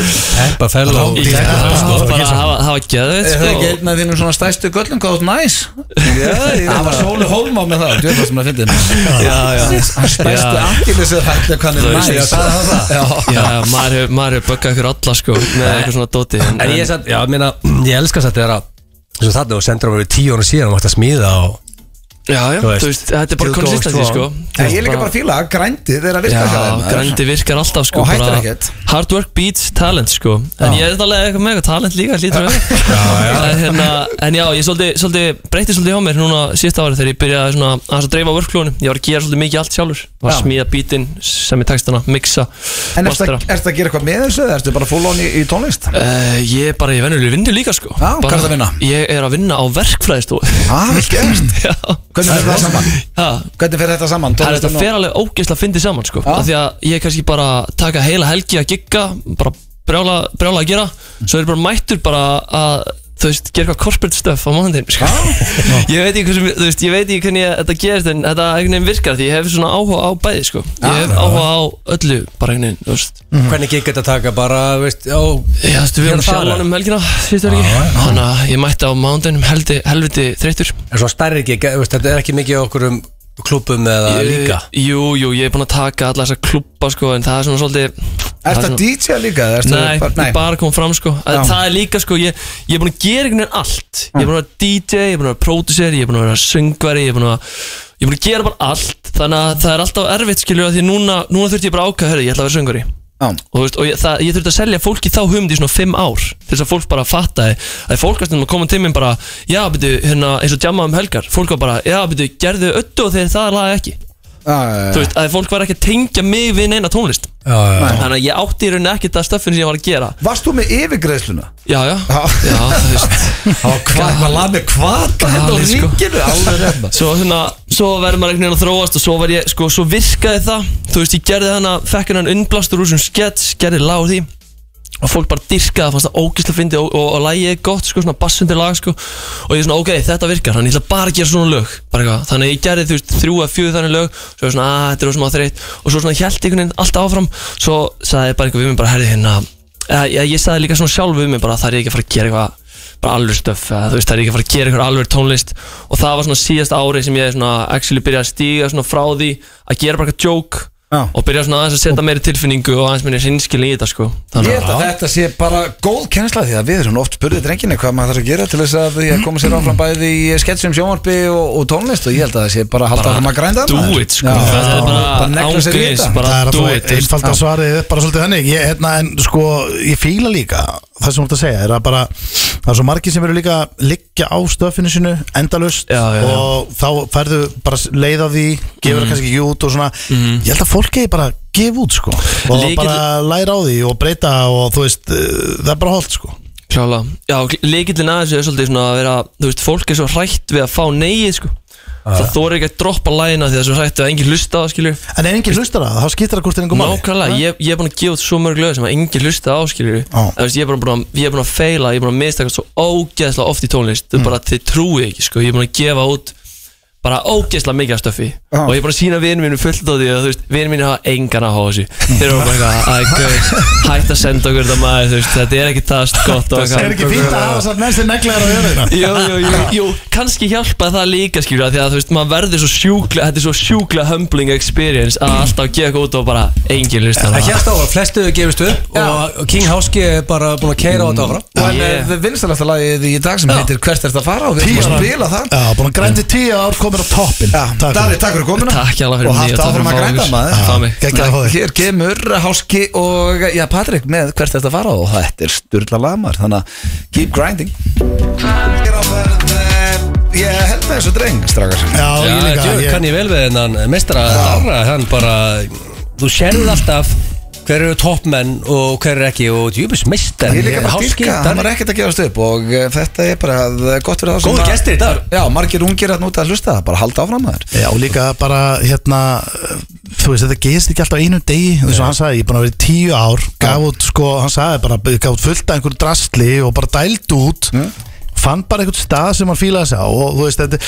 [SPEAKER 7] peppa fel og
[SPEAKER 8] Ég-
[SPEAKER 7] sko,
[SPEAKER 8] Það var bara að hafa- hafa geðveitt,
[SPEAKER 1] Er
[SPEAKER 8] sko.
[SPEAKER 1] það ekki einn af þínum svona stæstu göllum góð næs? Það var Sóli Hólmá með það Þú veist sem að fyndi Hann stæstu angilisir hætti hvað hann
[SPEAKER 8] Þú
[SPEAKER 1] er
[SPEAKER 8] veist,
[SPEAKER 1] næs
[SPEAKER 8] já,
[SPEAKER 1] Sagði hann það?
[SPEAKER 8] Já, já, maður hefur hef böggað ykkur alla sko Með eitthvað svona dóti en,
[SPEAKER 7] En ég er satt, já, ég meina, ég elska satt þegar að Svo þarna og sendur á mig tíu ára síðan og maður ætti að smíða og
[SPEAKER 8] Já, já,
[SPEAKER 7] þú veist,
[SPEAKER 8] þú veist, þetta er bara
[SPEAKER 7] þú
[SPEAKER 8] konsistensi
[SPEAKER 7] góðst
[SPEAKER 8] sko
[SPEAKER 7] svo.
[SPEAKER 1] En Ég er líka bara að fíla að grændið er að virka hjá
[SPEAKER 8] Já,
[SPEAKER 1] þeim, maður.
[SPEAKER 8] grændi virkar alltaf sko
[SPEAKER 1] Og hættir
[SPEAKER 8] bara
[SPEAKER 1] ekkert.
[SPEAKER 8] Hard work beats talent sko En ég er þetta alveg eitthvað með eitthvað talent líka hlýtur að vera En hérna, En já, ég svolítið, svolítið breytti svolítið hjá mér núna síðasta ári þegar ég byrjaði svona aðeins að dreifa workflowinu Ég var að gera svolítið mikið allt sjálfur Var að
[SPEAKER 1] Já.
[SPEAKER 8] smíða beatinn, semja textana, mixa,
[SPEAKER 1] En ertu
[SPEAKER 8] mastera
[SPEAKER 1] að- ertu að gera eitthvað með þessu eða ertu bara full on í í tónlist?
[SPEAKER 8] Uh, ég er bara í venjuleg vinnu líka sko
[SPEAKER 1] Já, hvað
[SPEAKER 8] Bara-
[SPEAKER 1] ertu að vinna?
[SPEAKER 8] Ég er að vinna á verkfræðistofu
[SPEAKER 1] Ah, vel gert.
[SPEAKER 8] Já,
[SPEAKER 1] Hvernig fer þetta saman?
[SPEAKER 8] já
[SPEAKER 1] Hvernig fer þetta saman?
[SPEAKER 8] Það er þetta
[SPEAKER 1] Tónlistin og-
[SPEAKER 8] fer alveg ógeðslega að fyndi saman sko Af því að ég er kannski bara að taka heila helgi að gigga Bara brjála, brjála að gera Svo er ég bara mættur bara að Þú veist, gera eitthvað corporate stuff á mánundin sko. Ég veit ekki hversu, þú veist, ég veit ekki hvernig ég, þetta gerist En þetta einhvern veginn virkar Því ég hef svona áhuga á bæði sko Ég hef áhuga á öllu bara einhvern veginn, þú veist
[SPEAKER 7] hvernig gekk þetta að taka bara, veist, já
[SPEAKER 8] Já, þú veist, við
[SPEAKER 7] Hérna
[SPEAKER 8] erum
[SPEAKER 7] það
[SPEAKER 8] sjálfanum um helgina Svístu er ekki Þannig að ég mætti á mánundinum heldi, helviti þreyttur
[SPEAKER 7] En svo stærri gig, eh, þú veist, þetta er ekki mikið á okkur um klubum eða líka
[SPEAKER 8] Jú, jú, ég er búinn að taka alla þessa klubba sko En það er svona svolítið
[SPEAKER 1] Er það
[SPEAKER 8] svona-
[SPEAKER 1] DJ líka? eða ertu
[SPEAKER 8] Nei,
[SPEAKER 1] bara-
[SPEAKER 8] ég bara kom fram sko
[SPEAKER 1] Já.
[SPEAKER 8] að Það er líka sko, ég, ég er búin að gera einhvern veginn allt Ég er búin að vera DJ, ég er búin að vera producer Ég er búin að vera söngvari, ég er búin að Ég er búin að gera bara allt Þannig að það er alltaf erfitt skilur Því að núna, núna þurfti ég bara að ákveða, herri, ég ætla að vera söngvari
[SPEAKER 1] Já.
[SPEAKER 8] Og, þú veist, og ég, það, ég þurfti að selja fólki þá humd í svona 5 ár Til þess að fólk bara fattaði Það er fólk að stundum að koma til mér bara Já, byrju, hérna, eins og djamma um helgar Fólk var bara, já, byrju, gerðu öttu og þeir það laga ekki
[SPEAKER 1] Já, já, já.
[SPEAKER 8] Þú veist, að fólk var ekki að tengja mig við neina tónlist
[SPEAKER 7] Já, já, já.
[SPEAKER 8] Þannig að ég átti í rauninni ekki það stöffin sem ég var að gera
[SPEAKER 1] Varst þú með yfirgreðsluna?
[SPEAKER 8] Já, já, já, þú veist
[SPEAKER 1] Það var hvað, maður lað með hvað hérna á
[SPEAKER 8] Galið, sko.
[SPEAKER 1] ríkinu, alveg reyna
[SPEAKER 8] Svo, svona, svo verður maður einhvern veginn að þróast og svo, var ég, sko, svo virkaði það Þú veist, ég gerði hana, fekk hennan unnblastur úr sem skets, gerði lag úr því og fólk bara dyrkaði, fannst það ógislega fyndi og, og, og lagið er gott, sko, svona bassundir lag sko. og ég er svona, ok, þetta virkar, þannig ég ætla bara að gera svona lög, bara eitthvað, þannig að ég gerði þú veist, þrjú að fjöðu þannig lög, svo var ég svona, að þetta er svona þreitt, og svo svona hjælt einhvern veginn allt áfram, svo sagði ég bara einhver við mig bara, herði hérna, eða, ég, ég sagði líka svona sjálf við mig bara, það er ég ekki að fara að gera eitthvað bara alveg stöf, eða, þú veist, það er ég ekki að fara að gera eitthvað alveg tónlist og það var svona síðast ári sem ég svona actually byrjaði að stíga svona frá því að gera bara eitthvað joke
[SPEAKER 1] Já.
[SPEAKER 8] og byrja svona aðeins að setja meiri tilfinningu og aðeins meiri sinnskilin í þetta sko
[SPEAKER 1] Ég held að þetta sé bara góð kennsla því að við erum oft spurðið drengina hvað maður þarf að gera til þess að ég koma sér áfram bæði í sketsum sjónvarpi og, og tónlist og ég held að það sé bara að halda áfram að grænda
[SPEAKER 8] do
[SPEAKER 1] maður.
[SPEAKER 8] it sko
[SPEAKER 1] Já,
[SPEAKER 8] það er
[SPEAKER 1] bara
[SPEAKER 8] bara
[SPEAKER 1] negla sér í
[SPEAKER 8] ángriðis
[SPEAKER 1] þetta.
[SPEAKER 2] Það er
[SPEAKER 8] bara
[SPEAKER 2] að
[SPEAKER 8] do
[SPEAKER 2] þú
[SPEAKER 8] it þú veist.
[SPEAKER 2] einfalda svarið er bara svolítið þannig ég, hérna, en sko, ég fíla líka það sem þú ert að segja, er að bara það er svo margir sem eru líka að liggja á stöfinu sinu endalust
[SPEAKER 8] Já, já, Mhm. já.
[SPEAKER 2] og þá færðu bara leið á því gefur það kannski ekki út og svona
[SPEAKER 8] Mhm.
[SPEAKER 2] ég held að fólk eigi bara að gefa út sko og
[SPEAKER 8] Lykill-
[SPEAKER 2] bara læra á því og breyta og þú veist, uh, það er bara holdt sko
[SPEAKER 8] klála já, leikillin aðeins er svolítið svona að vera þú veist, fólk er svo hrætt við að fá neið sko það þóri ekki að droppa lægina því það er svo hrætt við að enginn hlusta á það skilju
[SPEAKER 2] en ef enginn hlustar að það, þá skiptir það hvort er einhver máli
[SPEAKER 8] nákvæmlega, ég, ég er búin að gefa út svo mörg lög sem að enginn hlusta á skilju
[SPEAKER 2] Já.
[SPEAKER 8] Það veist, ég er bara búin að, ég er búin að feila, ég er búin að mista eitthvað svo ógeðslega oft í tónlist mm. bara þið trúi ekki, sko, ég er búin að gefa út bara ógeðslega mikið af stöfi og ég er búin að sína vinnu mínu fullt á því að þú veist, vinnu mínu hafa engan að háa
[SPEAKER 2] Mm.
[SPEAKER 8] þessu þeir eru bara eitthvað, "Æ, gaur, hætt að senda okkur þetta maður, þú veist, þetta er ekki það gott og
[SPEAKER 2] er
[SPEAKER 8] eitthvað
[SPEAKER 2] ekki fínt að hafa samt næstir neglaðar á jörðina
[SPEAKER 8] Jú, jú, jú, jú, kannski hjálpa það líka skilur að því að þú veist, maður verður svo sjúkla þetta er svo sjúkla humbling experience að alltaf gefa eitthvað út og bara engin hlusta
[SPEAKER 7] Það hérst á að flestu gefist upp og King Háski er bara búin að keira á
[SPEAKER 2] Mm.
[SPEAKER 7] þetta áfram
[SPEAKER 1] Og hann
[SPEAKER 8] Ég-
[SPEAKER 1] er vinstalasta lagið í dag sem heitir Hvert er þetta að fara og við erum að spila það
[SPEAKER 2] Já, búin að grændi tíu ár komin á toppin
[SPEAKER 1] Já, Davíð, takk fyrir komuna
[SPEAKER 8] Takk hjá fyrir
[SPEAKER 1] Og
[SPEAKER 8] mig
[SPEAKER 1] haft áfram að grænda maður
[SPEAKER 8] Það mig
[SPEAKER 2] Gekkið að fá þig
[SPEAKER 1] Hér kemur Háski og já, Patrik með hvert þetta fara og þetta er styrla lamar þannig að keep grinding Ég er á ferð eh, ég held með þessu dreng strákar
[SPEAKER 2] Já,
[SPEAKER 7] Já,
[SPEAKER 2] ég líka
[SPEAKER 7] djöfull
[SPEAKER 2] ég-
[SPEAKER 7] kann ég vel við hennan mestara Darra, hann bara þú sérðu alltaf hver eru toppmenn og hver eru ekki og djúbis mestar
[SPEAKER 1] Ég er líka bara dyrka, hann var ekkert að gefast upp og eh, þetta er bara eh, gott fyrir það sem
[SPEAKER 7] Góðir
[SPEAKER 1] að-
[SPEAKER 7] gestir í dag.
[SPEAKER 1] Já, margir ungir að núta að hlusta bara halda áfram maður
[SPEAKER 2] Já, og líka bara, hérna, uh, þú veist, þetta gerist ekki alltaf á einum degi, þú veist, og hann sagði, ég er búin að vera í tíu ár, gaf út, sko, hann sagði bara, gaf út fullt af einhverju drastli og bara dælt út, fann bara einhvern stað sem hann fílaði sig á og, þú veist, þetta,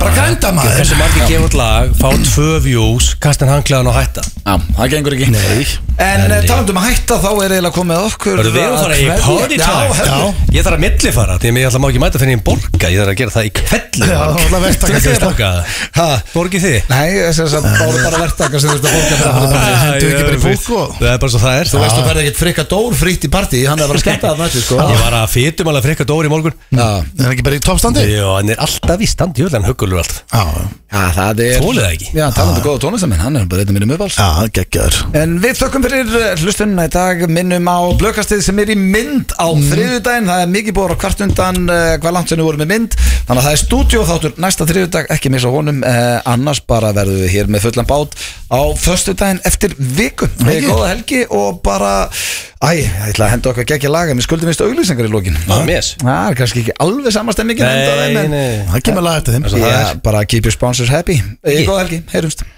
[SPEAKER 2] bara grænda maður.
[SPEAKER 7] þessu margir gefa út lag, fá tvö views kastan hanglaðan og hætta
[SPEAKER 1] Já, það gengur ekki Nei En eh,
[SPEAKER 7] Nei.
[SPEAKER 1] talandum um að hætta þá er eiginlega komið okkur
[SPEAKER 7] Verður við að fara í
[SPEAKER 1] kveðja.
[SPEAKER 7] party time?
[SPEAKER 1] Já, hefðu
[SPEAKER 7] Ég þarf að millifara, því að ég ætla má ekki mæta fyrir ég borga Ég þarf að gera það í kvelli
[SPEAKER 2] Já, það var verst að
[SPEAKER 7] Þú
[SPEAKER 2] gera
[SPEAKER 7] þið
[SPEAKER 2] það.
[SPEAKER 7] borga það? Borgi þið?
[SPEAKER 1] Nei, þess að það er bara verktaka sem þú ert að fólka
[SPEAKER 2] Já,
[SPEAKER 1] með
[SPEAKER 2] það hendur
[SPEAKER 7] Ah, ég
[SPEAKER 2] ekki bara
[SPEAKER 7] er
[SPEAKER 2] í fólk
[SPEAKER 7] fyrst.
[SPEAKER 2] og-
[SPEAKER 7] Það er bara svo það er Ah.
[SPEAKER 1] Þú veist, þú verður ekkert frikka dór frýtt í partí Hann er bara að skemmta það nætti, sko
[SPEAKER 7] Ég var að fytum alveg frekka dóri í morgun
[SPEAKER 1] Já,
[SPEAKER 2] Það er ekki bara í toppstandi?
[SPEAKER 7] Jó, hann er alltaf í stand, jöðlega hann huggulur alltaf
[SPEAKER 2] Já,
[SPEAKER 1] Já, það er
[SPEAKER 7] Þolið það ekki.
[SPEAKER 1] Já, talandu góða tónlistamenn, hann er bara eitthvað mínum uppáls
[SPEAKER 2] já, það geggjaður.
[SPEAKER 1] En við þökkum fyrir eh, hlustunina í dag minnum á blökastið sem er í mynd á
[SPEAKER 7] Mhm.
[SPEAKER 1] mm. þriðudaginn, það er mikið búið á kvart undan eh, hvað langt sem við vorum með mynd þannig að það er stúdíó þáttur næsta þriðudag ekki missa honum, eh, annars bara verðum við hér með fullan bát á föstudaginn eftir viku, það er góða helgi og bara, æ, ég ætla að henda okkar geggja laga, mér skuldum vist auglýsingar í lókin
[SPEAKER 7] Ah, mes.
[SPEAKER 1] Það er kannski ekki alveg samastemmingin
[SPEAKER 7] Nei, nei
[SPEAKER 2] Það kemur lag eftir þeim.
[SPEAKER 1] Já, bara keep your sponsors happy, ég Eh, góða helgi, heyrumst